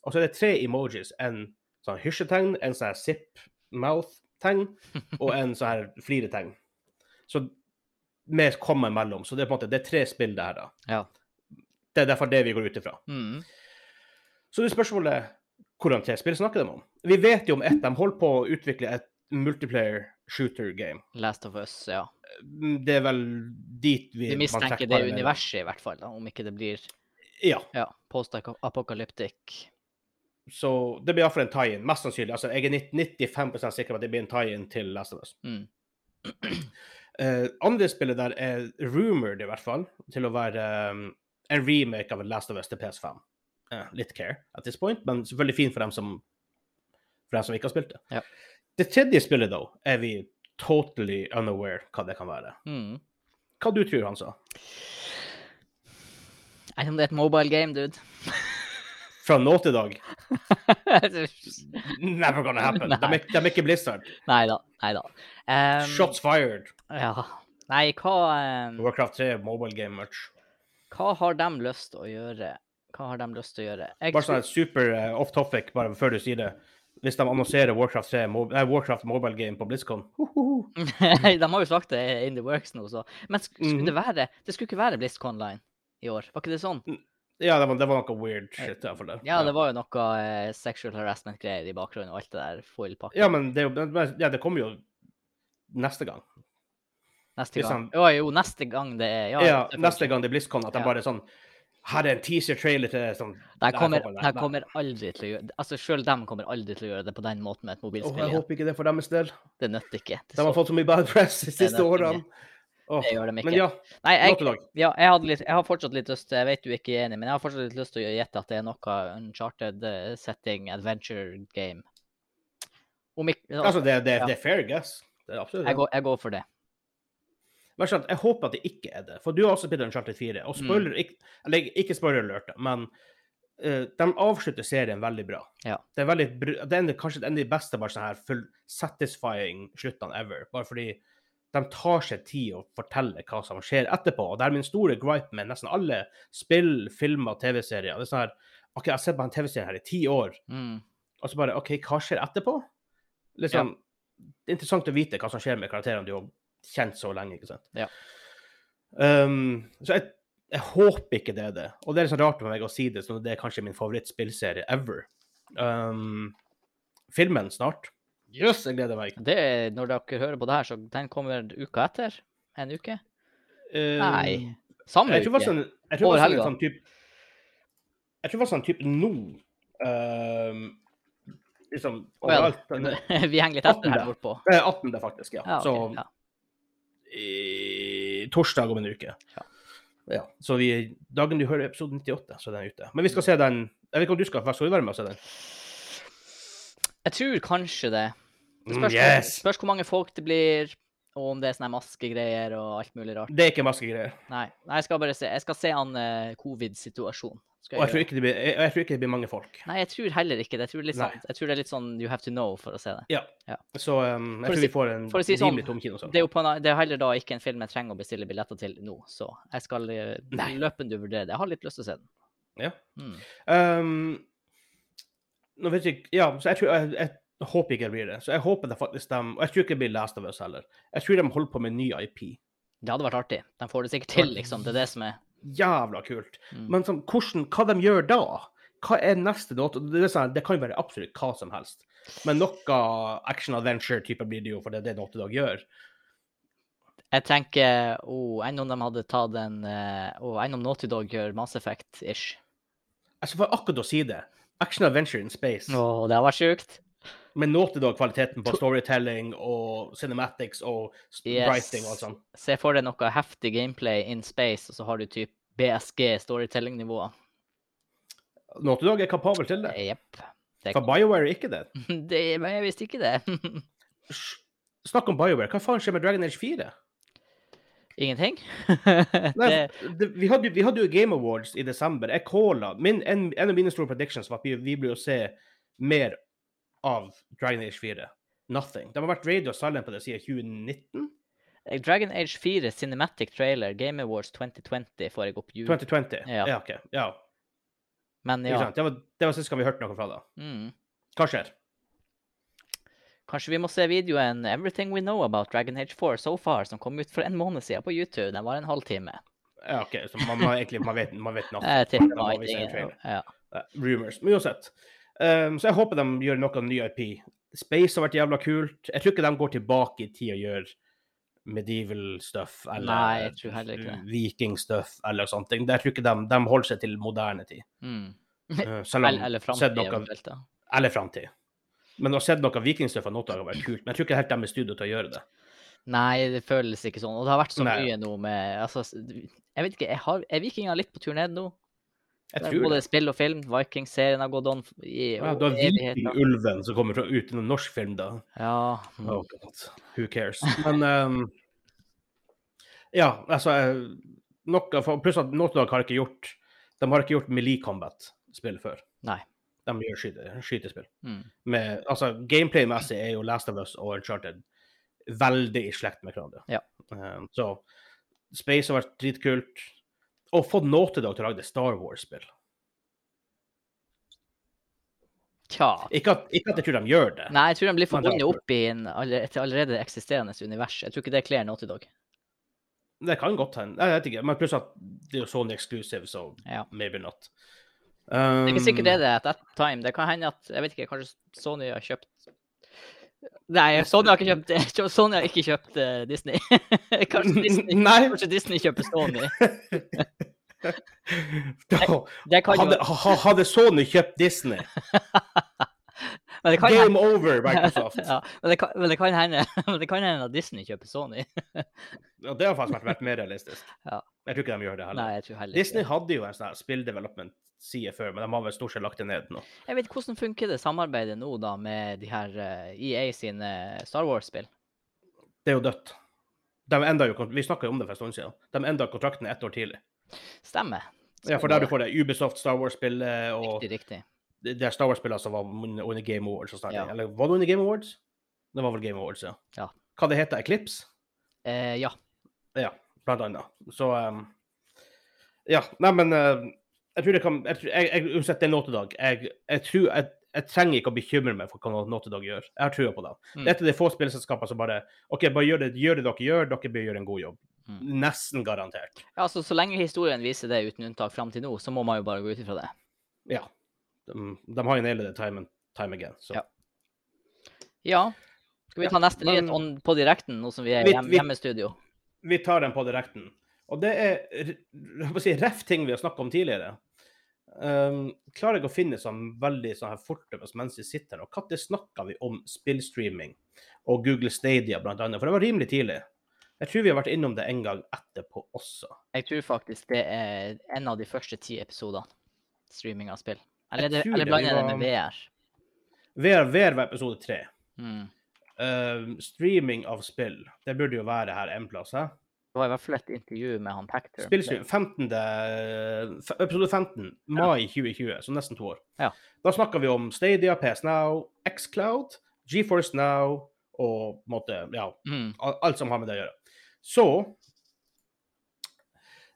[SPEAKER 1] Og så er det tre emojis. En sånn hysjetegn, en sånn her zip-mouth-tegn og en sånn her fliretegn. Så med komma imellom. Så det er på en måte det er tre spill det her, da.
[SPEAKER 2] Ja.
[SPEAKER 1] Det er derfor det vi går ut ifra.
[SPEAKER 2] Mm.
[SPEAKER 1] Så det er spørsmålet hvordan tre spill snakker de om? Vi vet jo om ett. De holder på å utvikle et multiplayer shooter game.
[SPEAKER 2] Last of Us, ja.
[SPEAKER 1] Det er vel dit vi
[SPEAKER 2] Vi
[SPEAKER 1] man
[SPEAKER 2] mistenker
[SPEAKER 1] trekker
[SPEAKER 2] det
[SPEAKER 1] parallellen.
[SPEAKER 2] universet, i hvert fall. da, Om ikke det blir
[SPEAKER 1] Ja.
[SPEAKER 2] ja, post-apocalyptic.
[SPEAKER 1] Så det blir iallfall en tie-in, mest sannsynlig. Altså, jeg er nitt- 95 sikker på at det blir en tie-in til Last of Us.
[SPEAKER 2] Mm.
[SPEAKER 1] Eh, andre spillet der er rumored, i hvert fall, til å være eh, en remake av Last of Us til PS5. Eh, litt care at this point, men selvfølgelig fin for dem som, for dem som ikke har spilt det.
[SPEAKER 2] Ja.
[SPEAKER 1] Det tredje spillet, though, er vi totally unaware hva det kan være.
[SPEAKER 2] Mm.
[SPEAKER 1] Hva du tror han sa?
[SPEAKER 2] Jeg vet ikke om det er et mobile game, dude.
[SPEAKER 1] Fra nå til dag?
[SPEAKER 2] Nei
[SPEAKER 1] Never gonna happen.
[SPEAKER 2] Nei.
[SPEAKER 1] De er, de er ikke Blizzard.
[SPEAKER 2] da. Nei Um, da. Ehm, Em,
[SPEAKER 1] Shots fired.
[SPEAKER 2] Ja. Nei, hva, em,
[SPEAKER 1] Warcraft 3, mobile game much.
[SPEAKER 2] hva har de lyst til å gjøre? Hva har de lyst til å gjøre? Jeg
[SPEAKER 1] Bare sånn
[SPEAKER 2] tror-
[SPEAKER 1] et super eh, off topic, bare før du sier det. Hvis de annonserer Warcraft, 3, mo nei, Warcraft mobile game på BlizzCon hohoho.
[SPEAKER 2] de har jo sagt det er in the works nå, så. Men sk skulle
[SPEAKER 1] Mhm.
[SPEAKER 2] det være Det skulle ikke være BlizzCon Line i år, var ikke det sånn?
[SPEAKER 1] Ja, det var, det var noe weird shit. i hvert fall der.
[SPEAKER 2] Ja, det var jo noe eh, sexual harassment-greier i bakgrunnen og alt det der foil-pakket
[SPEAKER 1] ja, men det, er jo- men- men- ja, det kommer jo neste gang.
[SPEAKER 2] neste
[SPEAKER 1] hvis han-
[SPEAKER 2] gang. Jo, jo, neste gang det er Ja,
[SPEAKER 1] Ja,
[SPEAKER 2] selvfølgelig.
[SPEAKER 1] Neste gang det er BlizzCon, at de
[SPEAKER 2] Ja.
[SPEAKER 1] bare er sånn Her er en teaser-trailer til sånn
[SPEAKER 2] Det
[SPEAKER 1] Nei,
[SPEAKER 2] kommer,
[SPEAKER 1] jeg håper det.
[SPEAKER 2] det
[SPEAKER 1] Nei.
[SPEAKER 2] kommer aldri til å gjøre Altså, sjøl dem kommer aldri til å gjøre det på den måten med et
[SPEAKER 1] Åh,
[SPEAKER 2] mobilspill.
[SPEAKER 1] jeg
[SPEAKER 2] igjen.
[SPEAKER 1] håper ikke det er for deres del.
[SPEAKER 2] Det nytter ikke. Det,
[SPEAKER 1] De har
[SPEAKER 2] så,
[SPEAKER 1] fått så mye bad press de siste
[SPEAKER 2] det er
[SPEAKER 1] årene.
[SPEAKER 2] ikke-
[SPEAKER 1] Åh,
[SPEAKER 2] det gjør de ikke.
[SPEAKER 1] Men ja,
[SPEAKER 2] Nei,
[SPEAKER 1] nå
[SPEAKER 2] jeg,
[SPEAKER 1] til dag.
[SPEAKER 2] ja, jeg, hadde litt, jeg har fortsatt litt lyst til Jeg vet du er ikke er enig, men jeg har fortsatt litt lyst til å gjette at det er noe uncharted eh, setting, adventure game. Om ikke
[SPEAKER 1] Altså, det, det,
[SPEAKER 2] Ja.
[SPEAKER 1] det er fair guess. Det er absolutt det.
[SPEAKER 2] jeg, går, jeg går for det.
[SPEAKER 1] Men skjønt, jeg håper sånn at det ikke er det, for du har også spilt Uncharted 4. Og spoiler, ikke, eller ikke spoiler alert, men eh, de avslutter serien veldig bra.
[SPEAKER 2] Ja.
[SPEAKER 1] Det er, veldig, br- det er en- kanskje en av de beste bare sånn her full satisfying sluttene ever. Bare fordi de tar seg tid å fortelle hva som skjer etterpå. Og det er min store gripe med nesten alle spill, filmer, TV-serier. Det er sånn her OK, jeg har sett på den TV-serien her i ti år,
[SPEAKER 2] Mm.
[SPEAKER 1] og så bare OK, hva skjer etterpå? Liksom, Det er interessant å vite hva som skjer med karakterene du har kjent så lenge, ikke sant?
[SPEAKER 2] Ja.
[SPEAKER 1] Um, så jeg, jeg håper ikke det er det. Og det er liksom rart for meg å si det, så det er kanskje min favorittspillserie ever. Um, filmen snart. Jøss, jeg gleder meg.
[SPEAKER 2] Det, er- når dere hører på det her, så den kommer uka etter? En uke?
[SPEAKER 1] Um,
[SPEAKER 2] Nei. Samme
[SPEAKER 1] Jeg tror
[SPEAKER 2] uke?
[SPEAKER 1] faktisk en, jeg tror
[SPEAKER 2] Over
[SPEAKER 1] faktisk en
[SPEAKER 2] helga.
[SPEAKER 1] sånn type Jeg tror faktisk en type nå um, Liksom
[SPEAKER 2] Well,
[SPEAKER 1] overalt. Den er-
[SPEAKER 2] vi henger litt etter her
[SPEAKER 1] 18.
[SPEAKER 2] bortpå.
[SPEAKER 1] det er 18. faktisk, ja.
[SPEAKER 2] Ja, ok,
[SPEAKER 1] så
[SPEAKER 2] ja.
[SPEAKER 1] i torsdag om en uke.
[SPEAKER 2] Ja.
[SPEAKER 1] Ja, så vi, dagen du hører episode 98, så er den ute. Men vi skal se den Jeg vet ikke om du skal, for skal du være med og se den?
[SPEAKER 2] Jeg tror kanskje det. Det
[SPEAKER 1] Mm,
[SPEAKER 2] spørs,
[SPEAKER 1] yes!
[SPEAKER 2] spørs hvor mange folk det blir, og om det er sånne her maskegreier og alt mulig rart.
[SPEAKER 1] Det er ikke maskegreier.
[SPEAKER 2] Nei, nei jeg skal bare se. Jeg skal se an eh, covid-situasjonen. Skal
[SPEAKER 1] Og jeg tror,
[SPEAKER 2] gjøre.
[SPEAKER 1] ikke det blir, jeg, jeg tror ikke det blir mange folk.
[SPEAKER 2] Nei, jeg tror heller ikke det. Jeg tror, litt
[SPEAKER 1] Nei.
[SPEAKER 2] sånn, jeg tror det er litt sånn you have to know for å se det.
[SPEAKER 1] Så um,
[SPEAKER 2] For å
[SPEAKER 1] jeg tror
[SPEAKER 2] si-
[SPEAKER 1] vi får en
[SPEAKER 2] for å si sånn,
[SPEAKER 1] rimelig tom kinosal.
[SPEAKER 2] Det er jo på en, annen- det er heller da ikke en film jeg trenger å bestille billetter til nå, så jeg skal eh,
[SPEAKER 1] Nei.
[SPEAKER 2] løpende vurdere det. Jeg har litt lyst til å se den.
[SPEAKER 1] Ja.
[SPEAKER 2] Mm.
[SPEAKER 1] Um, nå vet jeg ikke Ja, så jeg tror jeg, jeg håper ikke det blir det. Så jeg håper det faktisk dem Og jeg tror ikke det blir Last of Us heller. Jeg tror de holder på med ny IP.
[SPEAKER 2] Det hadde vært artig. De får det sikkert
[SPEAKER 1] Det
[SPEAKER 2] til,
[SPEAKER 1] hadde vært
[SPEAKER 2] liksom. Det er det som er
[SPEAKER 1] Jævla kult.
[SPEAKER 2] mm.
[SPEAKER 1] Men sånn, hvordan, hva de gjør da? Hva er neste låt? Det, er sånn, det kan jo være absolutt hva som helst. Men noe action adventure-type blir det jo, for det er det Naughty Dog gjør.
[SPEAKER 2] Jeg tenker oh, Enn om de hadde tatt en eh, oh, Enn om Naughty Dog gjør Mass Effect-ish?
[SPEAKER 1] Altså, for akkurat å si det, action adventure in space,
[SPEAKER 2] Å, det hadde vært sjukt.
[SPEAKER 1] med Naughty Dog-kvaliteten på storytelling og cinematics og s-
[SPEAKER 2] Yes.
[SPEAKER 1] writing og sånn. alt sånt.
[SPEAKER 2] Se for deg noe heftig gameplay in space, og så har du typ BSG storytelling-nivåer.
[SPEAKER 1] Naughty Dog er kapabel til det.
[SPEAKER 2] Jepp. Det,
[SPEAKER 1] For BioWare er ikke det.
[SPEAKER 2] det, men jeg visste ikke det.
[SPEAKER 1] Sj- Snakk om BioWare. Hva faen skjer med Dragon Age 4?
[SPEAKER 2] Ingenting?
[SPEAKER 1] Nei,
[SPEAKER 2] det,
[SPEAKER 1] det, vi, hadde, jo- vi hadde jo Game Awards i desember. Jeg calla min, en, en av mine store predictions var at vi, vi blir å se mer av Dragon Age 4. Nothing. De har vært radio silent på det siden 2019?
[SPEAKER 2] Dragon Age 4 Cinematic Trailer Game Awards 2020 får jeg opp jul.
[SPEAKER 1] 2020?
[SPEAKER 2] Ja.
[SPEAKER 1] ja OK. Ja.
[SPEAKER 2] Men
[SPEAKER 1] Ikke
[SPEAKER 2] ja.
[SPEAKER 1] sant? Det var, det var sist gang vi hørte noe fra det.
[SPEAKER 2] Mm.
[SPEAKER 1] Hva skjer?
[SPEAKER 2] Kanskje vi må se videoen 'Everything We Know About Dragon Age 4 So Far', som kom ut for en måned siden på YouTube. Den var en halvtime. Eh,
[SPEAKER 1] Ja, OK, så man, man, egentlig, man vet, man vet nothing.
[SPEAKER 2] Jeg tipper
[SPEAKER 1] Da må vi se en
[SPEAKER 2] Nightingale.
[SPEAKER 1] trailer.
[SPEAKER 2] Ja.
[SPEAKER 1] Nei, eh, Rumors. Men uansett. Ehm, så jeg håper de gjør noe ny IP. Space har vært jævla kult. Jeg tror ikke de går tilbake i tid og gjør medieval stuff eller
[SPEAKER 2] Nei, jeg tror heller ikke det.
[SPEAKER 1] viking stuff eller sånne ting. Jeg tror ikke de, de holder seg til moderne tid.
[SPEAKER 2] Mm.
[SPEAKER 1] Eh, selv om
[SPEAKER 2] Eller, eller
[SPEAKER 1] sett
[SPEAKER 2] framtid,
[SPEAKER 1] noe-
[SPEAKER 2] eventuelt. da.
[SPEAKER 1] Eller framtid. Men å ha sett noe vikingstuff har noe av det har vært kult. Men jeg tror ikke helt de er i studio til å gjøre det.
[SPEAKER 2] Nei, det føles ikke sånn. Og det har vært så
[SPEAKER 1] Nei.
[SPEAKER 2] mye nå med altså, s- Jeg vet ikke, jeg har, er vikinger litt på tur ned nå?
[SPEAKER 1] Jeg
[SPEAKER 2] Det er
[SPEAKER 1] tror
[SPEAKER 2] Både
[SPEAKER 1] det.
[SPEAKER 2] spill og film. Vikingserien har gått on f- i
[SPEAKER 1] Ja, du har
[SPEAKER 2] evigheter.
[SPEAKER 1] Vikingulven som kommer fra, ut i en norsk film, da.
[SPEAKER 2] Ja. mm,
[SPEAKER 1] Oh god, who cares? Men ehm, Ja, altså eh, nok av, Pluss at Northug har ikke gjort De har ikke gjort Melee Combat-spill før.
[SPEAKER 2] Nei.
[SPEAKER 1] De gjør skyte, skytespill.
[SPEAKER 2] Mm.
[SPEAKER 1] Med, altså, Gameplay-messig er jo Last of Us og Uncharted veldig i slekt med hverandre.
[SPEAKER 2] Ja.
[SPEAKER 1] Ehm, så Space har vært dritkult. Og fått Naughty Dog til å lage Star Wars-spill.
[SPEAKER 2] Tja.
[SPEAKER 1] Ikke, at- ikke at jeg tror de gjør det.
[SPEAKER 2] Nei, jeg tror de
[SPEAKER 1] Men det
[SPEAKER 2] blir
[SPEAKER 1] er
[SPEAKER 2] forbundet opp i en, alle- et allerede eksisterende univers. Jeg tror ikke det kler Naughty Dog.
[SPEAKER 1] Det kan godt hende. Jeg vet ikke. Men pluss at det er jo Sony Exclusive, så
[SPEAKER 2] Ja.
[SPEAKER 1] maybe not.
[SPEAKER 2] Det er ikke sikkert
[SPEAKER 1] Um,
[SPEAKER 2] det er det at that time. Det kan hende at Jeg vet ikke, kanskje Sony har kjøpt Nei, Sony har ikke kjøpt Sony har ikke kjøpt eh, Disney. kanskje Disney.
[SPEAKER 1] Nei.
[SPEAKER 2] Kanskje Disney kjøper Sony.
[SPEAKER 1] Da,
[SPEAKER 2] Det kan jo
[SPEAKER 1] Um, hadde, ha- hadde Sony kjøpt Disney?
[SPEAKER 2] Men det kan, hende-
[SPEAKER 1] Game over, Microsoft.
[SPEAKER 2] ja, men det kan, men det kan, hende, men det kan hende at Disney kjøper Sony.
[SPEAKER 1] Ja, det har faktisk vært, vært mer realistisk.
[SPEAKER 2] Ja.
[SPEAKER 1] Jeg tror ikke de gjør det heller.
[SPEAKER 2] Nei, jeg tror heller
[SPEAKER 1] Disney
[SPEAKER 2] ikke.
[SPEAKER 1] hadde jo en sånn her spill development-side før, men de har vel stort sett lagt det ned nå.
[SPEAKER 2] Jeg vet hvordan funker det samarbeidet nå da med de her eh, EA sine eh, Star Wars-spill?
[SPEAKER 1] Det er jo dødt. De enda jo, kont- vi snakka jo om det for en stund siden. De enda kontrakten ett år tidlig.
[SPEAKER 2] Stemmer.
[SPEAKER 1] Ja, For der du får det Ubisoft Star Wars-spillet og
[SPEAKER 2] Riktig, riktig.
[SPEAKER 1] det det er Star Wars-spillene som var under under Game Awards. og sånne ting.
[SPEAKER 2] Ja.
[SPEAKER 1] Eller var det under Game Awards? Det var vel Game Awards, ja.
[SPEAKER 2] Ja.
[SPEAKER 1] Hva det heter Eclipse?
[SPEAKER 2] Eh, ja.
[SPEAKER 1] Ja, blant annet. Så ehm, Ja, nei, men eh, jeg tror det kan jeg, tror- jeg, jeg, Uansett, det er Naughty Dog. Jeg, jeg tror jeg, jeg trenger ikke å bekymre meg for hva Naughty Dog gjør. Jeg har trua på dem.
[SPEAKER 2] Mm.
[SPEAKER 1] Dette er de få spillselskapene som bare OK, bare gjør det, gjør det dere gjør, dere bør gjøre en god jobb.
[SPEAKER 2] Mm.
[SPEAKER 1] Nesten garantert.
[SPEAKER 2] ja altså, så lenge historien viser det uten unntak fram til nå, så må man jo bare gå ut ifra det.
[SPEAKER 1] Ja. De, de har jo nailet det time and time again. Så.
[SPEAKER 2] Ja. Ja. Skal vi
[SPEAKER 1] Ja,
[SPEAKER 2] ta neste
[SPEAKER 1] men-
[SPEAKER 2] nyhet on, på direkten, nå som vi er
[SPEAKER 1] Vi-
[SPEAKER 2] hjem,
[SPEAKER 1] vi-
[SPEAKER 2] hjemmestudio?
[SPEAKER 1] vi tar den på direkten. Og det er r- jeg må si, ref ting vi har snakka om tidligere. Um, klarer jeg å finne sånn veldig sånn her fortløpende mens vi sitter her, og når snakka vi om spillstreaming og Google Stadia blant annet? For det var rimelig tidlig. Jeg tror vi har vært innom det en gang etterpå også.
[SPEAKER 2] Jeg tror faktisk det er en av de første ti episodene streaming av spill. Eller,
[SPEAKER 1] Jeg
[SPEAKER 2] det-
[SPEAKER 1] tror
[SPEAKER 2] eller
[SPEAKER 1] det,
[SPEAKER 2] blander
[SPEAKER 1] vi
[SPEAKER 2] jeg det
[SPEAKER 1] var-
[SPEAKER 2] med VR.
[SPEAKER 1] VR, VR var episode tre.
[SPEAKER 2] Mm.
[SPEAKER 1] Um, streaming av spill, det burde jo være her en plass, hæ?
[SPEAKER 2] Det var i hvert fall et intervju med han Pactor.
[SPEAKER 1] Spillstream 15. f- Episode 15. Mai 2020, så nesten to år.
[SPEAKER 2] Ja.
[SPEAKER 1] Da snakka vi om Stadia, PS Now, Xcloud, GeForce Now og på en måte, ja,
[SPEAKER 2] Mm.
[SPEAKER 1] al- alt som har med det å gjøre. Så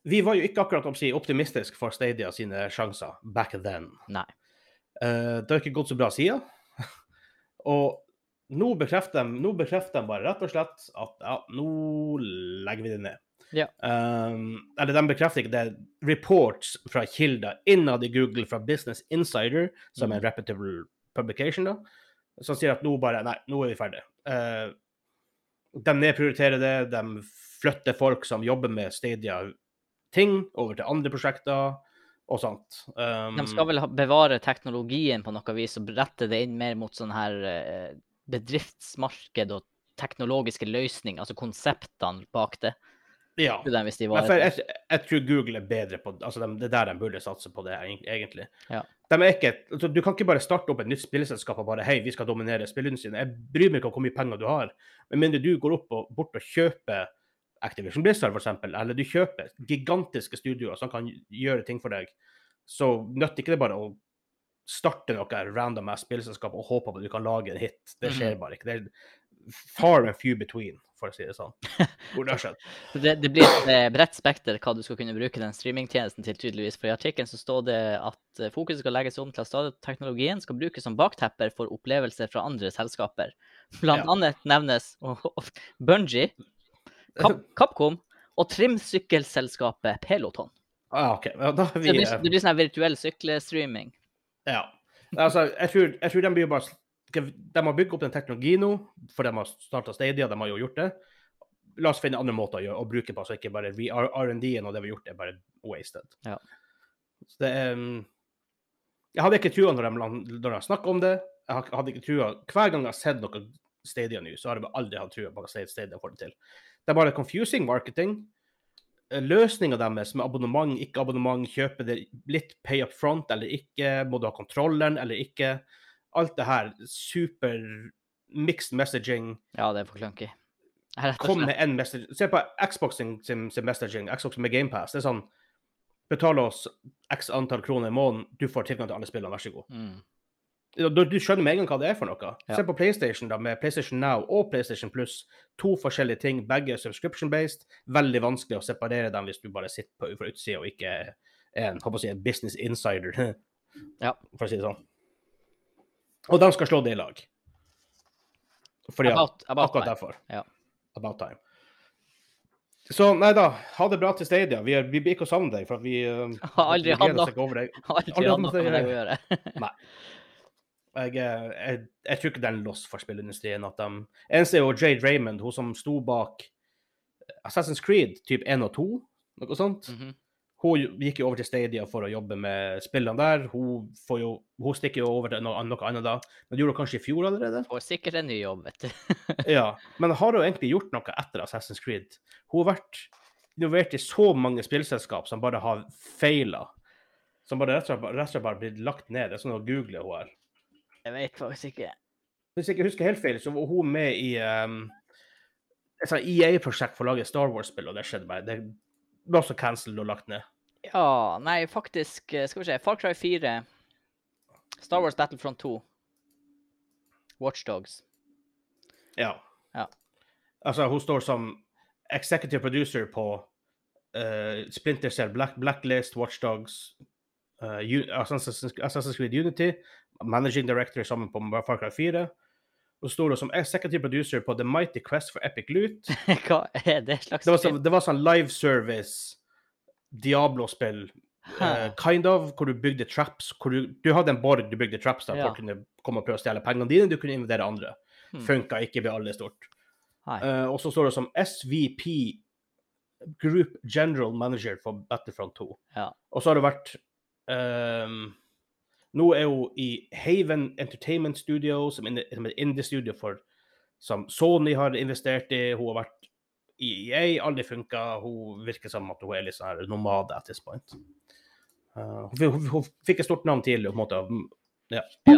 [SPEAKER 1] Vi var jo ikke akkurat om å si, optimistisk for Stadia sine sjanser back then.
[SPEAKER 2] Nei.
[SPEAKER 1] Eh, det har ikke gått så bra siden. og nå bekrefter, de, nå bekrefter de bare rett og slett at ja, nå legger vi det ned.
[SPEAKER 2] Ja.
[SPEAKER 1] Um, eller de bekrefter ikke det. Reports fra kilder innad i Google fra Business Insider, som er
[SPEAKER 2] Mm.
[SPEAKER 1] en reputable publication, da, som sier at nå bare Nei, nå er vi ferdig. Eh, de nedprioriterer det. De flytter folk som jobber med Stadia-ting, over til andre prosjekter og sånt. Um,
[SPEAKER 2] De skal vel ha- bevare teknologien på noe vis og rette det inn mer mot sånn her eh, bedriftsmarked og teknologiske løsninger, altså konseptene bak det.
[SPEAKER 1] Um, ja.
[SPEAKER 2] Tror de hvis de
[SPEAKER 1] Men for
[SPEAKER 2] var
[SPEAKER 1] jeg, jeg tror Google er bedre på altså dem- Det er der de burde satse på det, egen- egentlig.
[SPEAKER 2] Ja.
[SPEAKER 1] De er ikke, altså, du kan ikke bare starte opp et nytt spillselskap og bare Hei, vi skal dominere spillindustrien. Jeg bryr meg ikke om hvor mye penger du har. Med mindre du går opp og, bort og kjøper Activision Blizzard, f.eks., eller du kjøper gigantiske studioer som kan gjøre ting for deg, så nytter ikke det bare å starte noe random ass spillselskap og håpe på at du kan lage en hit. Det skjer
[SPEAKER 2] Mhm.
[SPEAKER 1] bare ikke. Det er far and few between, for å si det sånn. Hvor det har skjedd.
[SPEAKER 2] Så det, det blir et eh, bredt spekter hva du skal kunne bruke den streamingtjenesten til, tydeligvis. For i artikkelen så står det at eh, fokuset skal legges om til at stadig teknologien skal brukes som baktepper for opplevelser fra andre selskaper. Blant
[SPEAKER 1] Ja.
[SPEAKER 2] annet nevnes Bunji, Cap Capcom og og trimsykkelselskapet Peloton.
[SPEAKER 1] Ah, OK. Ja, da er
[SPEAKER 2] Så Det
[SPEAKER 1] vi
[SPEAKER 2] blir, det blir sånn her virtuell syklestreaming.
[SPEAKER 1] Ja. Altså, jeg tror, jeg tror de blir bare De har bygd opp den teknologien nå, for de har starta Stadia, de har jo gjort det. La oss finne andre måter å, gjøre, å bruke den på, så ikke bare vi- R- R&D-en og det vi har gjort, er bare wasted.
[SPEAKER 2] Ja.
[SPEAKER 1] Så det er um, Jeg hadde ikke trua når de, lan- når de snakka om det. Jeg har- hadde ikke trua Hver gang jeg har sett noe Stadia nå, så har jeg bare aldri hatt trua på hva Stadia- Stadia får det til. Det er bare confusing marketing. Løsninga eh, deres med abonnement, ikke abonnement, kjøpe det litt pay up front eller ikke, må du ha kontrolleren eller ikke Alt det her super mixed messaging.
[SPEAKER 2] Ja, det er for clunky. Jeg er Rett og
[SPEAKER 1] Kom
[SPEAKER 2] slett.
[SPEAKER 1] med en message. Se på Xbox sin, sin, sin messaging, Xbox med GamePass. Det er sånn Betal oss x antall kroner i måneden, du får tilgang til alle spillene, vær så god.
[SPEAKER 2] Mm.
[SPEAKER 1] Du, du skjønner med en gang hva det er for noe.
[SPEAKER 2] Ja.
[SPEAKER 1] Se på PlayStation, da, med PlayStation Now og PlayStation Plus. To forskjellige ting, begge er subscription-based. Veldig vanskelig å separere dem hvis du bare sitter på, fra utsida og ikke er en, håper å si, en business insider,
[SPEAKER 2] Ja.
[SPEAKER 1] for å si det sånn. Og de skal slå det i lag. Fordi at
[SPEAKER 2] About, about
[SPEAKER 1] Akkurat
[SPEAKER 2] time.
[SPEAKER 1] derfor.
[SPEAKER 2] Ja.
[SPEAKER 1] About time. Så nei da, ha det bra til Stadia. Vi, er, vi blir ikke å savne deg, for at vi eh,
[SPEAKER 2] Har aldri
[SPEAKER 1] vi
[SPEAKER 2] hatt
[SPEAKER 1] gleder
[SPEAKER 2] nok-
[SPEAKER 1] oss ikke over deg.
[SPEAKER 2] Har aldri
[SPEAKER 1] Aldri
[SPEAKER 2] hatt
[SPEAKER 1] hatt
[SPEAKER 2] noe med det å gjøre.
[SPEAKER 1] Jeg, eh, jeg, jeg tror ikke det er en loss for spillindustrien. At de, eneste er jo Jade Raymond, hun som sto bak eh, Assassin's Creed typ 1 og 2, noe sånt.
[SPEAKER 2] Mhm.
[SPEAKER 1] Hun gikk jo over til Stadia for å jobbe med spillene der. Hun, får jo, hun stikker jo over til noe, noe annet da. Men det gjorde hun kanskje i fjor allerede?
[SPEAKER 2] Får sikkert en ny jobb, vet du.
[SPEAKER 1] Ja, men har hun egentlig gjort noe etter Assassin's Creed? Hun har vært involvert i så mange spillselskap som bare har feila. Som bare rett og slett, rett og slett bare blitt lagt ned. Det er sånn å google hun her.
[SPEAKER 2] Jeg vet faktisk ikke.
[SPEAKER 1] Hvis jeg ikke husker helt feil, så var hun med i ehm, et sånt EA-prosjekt for å lage Star Wars-spill, og det skjedde bare. Det ble også cancelled og lagt ned.
[SPEAKER 2] Ja, nei, faktisk eh, Skal vi se. Far Cry 4, Star Wars Battlefront 2, Watchdogs.
[SPEAKER 1] Ja.
[SPEAKER 2] Ja.
[SPEAKER 1] Altså, hun står som executive producer på eh, Splinter Cell, Black, Blacklist, Watchdogs, uh, Assassin's, Assassin's Creed Unity, managing director sammen på Far Cry 4. Hun står da som executive producer på The Mighty Quest for Epic Loot.
[SPEAKER 2] Hva er det slags
[SPEAKER 1] Det var,
[SPEAKER 2] spill?
[SPEAKER 1] sånn- det var sånn live service Diablo-spill, eh,
[SPEAKER 2] Hæ?
[SPEAKER 1] kind of, hvor du bygde traps. Hvor du, du hadde en borg du bygde traps der
[SPEAKER 2] Ja.
[SPEAKER 1] folk kunne komme og prøve å stjele pengene dine. Du kunne invitere andre.
[SPEAKER 2] Hmm.
[SPEAKER 1] Funka ikke ved alle stort.
[SPEAKER 2] Nei.
[SPEAKER 1] Eh, og så står det som SVP, Group General Manager for Battlefront 2.
[SPEAKER 2] Ja.
[SPEAKER 1] Og så har det vært ehm, Nå er hun i Haven Entertainment Studio, som er som er et indie-studio for som Sony har investert i. Hun har vært i EA, aldri funka. Hun virker som at hun er litt sånn her nomade at this point. Eh, hun, fi- hun, hun fikk et stort navn tidlig, på en måte.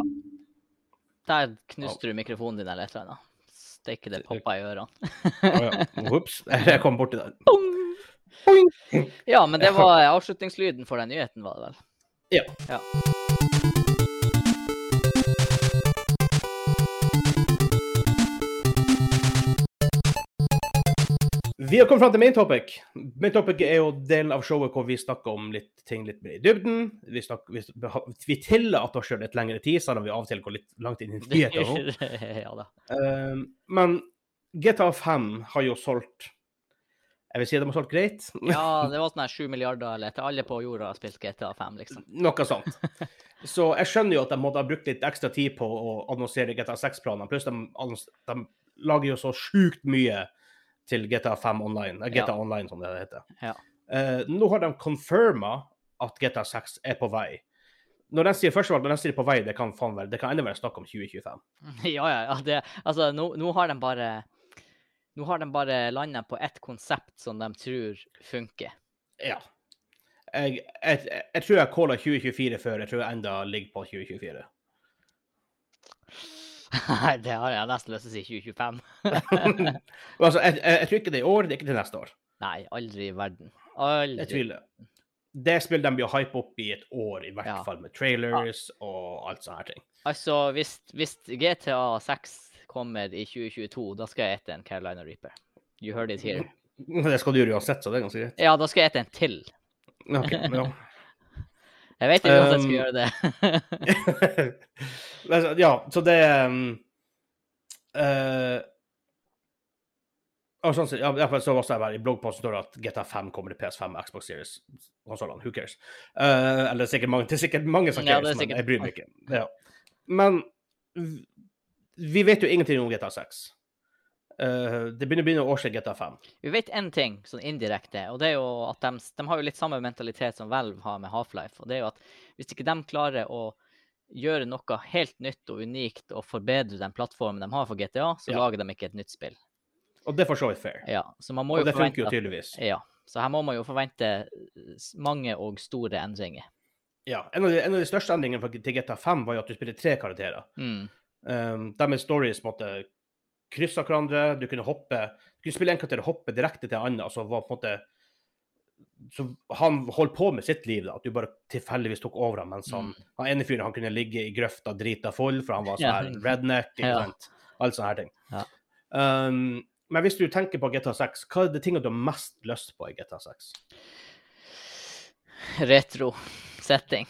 [SPEAKER 2] Der knuste du mikrofonen din eller et eller annet. Steike, det poppa i ørene.
[SPEAKER 1] Oh, ja. Ops. Jeg kom borti den.
[SPEAKER 2] Ja, men det
[SPEAKER 1] Ja.
[SPEAKER 2] var avslutningslyden for den nyheten, var det vel?
[SPEAKER 1] Ja.
[SPEAKER 2] Ja.
[SPEAKER 1] Vi har kommet fram til main topic. Main topic er jo delen av showet hvor vi snakker om litt ting litt mer i dybden. Vi, snakker, vi, vi tillater oss selv litt lengre tid, selv om vi av og til går litt langt inn i nyhetene. nå.
[SPEAKER 2] ja da.
[SPEAKER 1] Eh, men GTA 5 har jo solgt Jeg vil si de har solgt greit.
[SPEAKER 2] Ja, det var sånn her sju milliarder eller etter alle på jorda har spilt GTA 5, liksom.
[SPEAKER 1] Noe sånt. Så jeg skjønner jo at de måtte ha brukt litt ekstra tid på å annonsere GTA 6-planene. Pluss de, annons- de lager jo så sjukt mye til GTA 5 online, eh, GTA
[SPEAKER 2] Ja.
[SPEAKER 1] Online som det heter.
[SPEAKER 2] Ja.
[SPEAKER 1] Eh, nå har de confirma at GTA 6 er på vei. Når de sier først og fremst, når de sier på vei, det kan faen være, det kan enda være snakk om 2025.
[SPEAKER 2] Ja, ja, ja. Det, altså, nå, nå har de bare Nå har de bare landa på ett konsept som de tror funker.
[SPEAKER 1] Ja. Jeg, jeg, jeg, jeg tror jeg calla 2024 før. Jeg tror jeg enda ligger på 2024.
[SPEAKER 2] Nei, det har jeg nesten lyst til å si 2025.
[SPEAKER 1] altså, jeg, jeg, jeg tror ikke det er i år, det er ikke til neste år.
[SPEAKER 2] Nei, aldri i verden.
[SPEAKER 1] Jeg
[SPEAKER 2] Aldri.
[SPEAKER 1] tviler. Det spillet de blir hype opp i et år, i hvert
[SPEAKER 2] Ja.
[SPEAKER 1] fall med trailers og alt sånne her ting.
[SPEAKER 2] Altså, hvis, hvis GTA 6 kommer i 2022, da skal jeg ete en Carolina Reaper. You heard it here.
[SPEAKER 1] Det skal du gjøre uansett, så det er ganske greit.
[SPEAKER 2] Ja, da skal jeg ete en til.
[SPEAKER 1] Ok, ja.
[SPEAKER 2] Jeg vet ikke hvordan jeg skal
[SPEAKER 1] Um,
[SPEAKER 2] gjøre det.
[SPEAKER 1] Altså, ja, så det um, eh, Og sånn, sett, ja, i hvert fall så også jeg bare i bloggposten står det at GTA5 kommer til PS5 og Xbox Series. Konsolene, who cares? Eh, eller sikkert mange, det er sikkert mange som
[SPEAKER 2] Ja,
[SPEAKER 1] cares,
[SPEAKER 2] det er
[SPEAKER 1] men
[SPEAKER 2] sikkert-
[SPEAKER 1] jeg bryr meg ikke. Ja. Men v- vi vet jo ingenting om GTA6. Eh, det begynner å bli noen år siden GTA5.
[SPEAKER 2] Vi vet én ting sånn indirekte, og det er jo at de, de har jo litt samme mentalitet som Valve har med Half-Life. Og det er jo at hvis ikke de klarer å gjøre noe helt nytt og unikt og forbedre den plattformen de har for GTA, så
[SPEAKER 1] Ja.
[SPEAKER 2] lager de ikke et nytt spill.
[SPEAKER 1] Og det er for så vidt fair.
[SPEAKER 2] Ja, så man må
[SPEAKER 1] Og
[SPEAKER 2] jo
[SPEAKER 1] det funker jo
[SPEAKER 2] forvente at,
[SPEAKER 1] tydeligvis.
[SPEAKER 2] Ja, så her må man jo forvente eh, s- mange og store endringer.
[SPEAKER 1] Ja, en, av de, en av de største endringene fra- til GTA5 var jo at du spiller tre karakterer.
[SPEAKER 2] Mm.
[SPEAKER 1] Um, Deres stories på en måte kryssa hverandre. Du kunne hoppe Du kunne spille en karakter og hoppe direkte til en annen. Altså var på en måte Så han holdt på med sitt liv, da. At du bare tilfeldigvis tok over ham mens han
[SPEAKER 2] Mm.
[SPEAKER 1] Han ene fyren han kunne ligge i grøfta drita full, for han var sånn
[SPEAKER 2] Ja.
[SPEAKER 1] her redneck, ikke
[SPEAKER 2] Ja.
[SPEAKER 1] sant. Alle sånne her ting.
[SPEAKER 2] Ja.
[SPEAKER 1] Um, men hvis du tenker på GTA 6, hva er det tingene du har mest lyst på i GTA 6?
[SPEAKER 2] Retro-setting.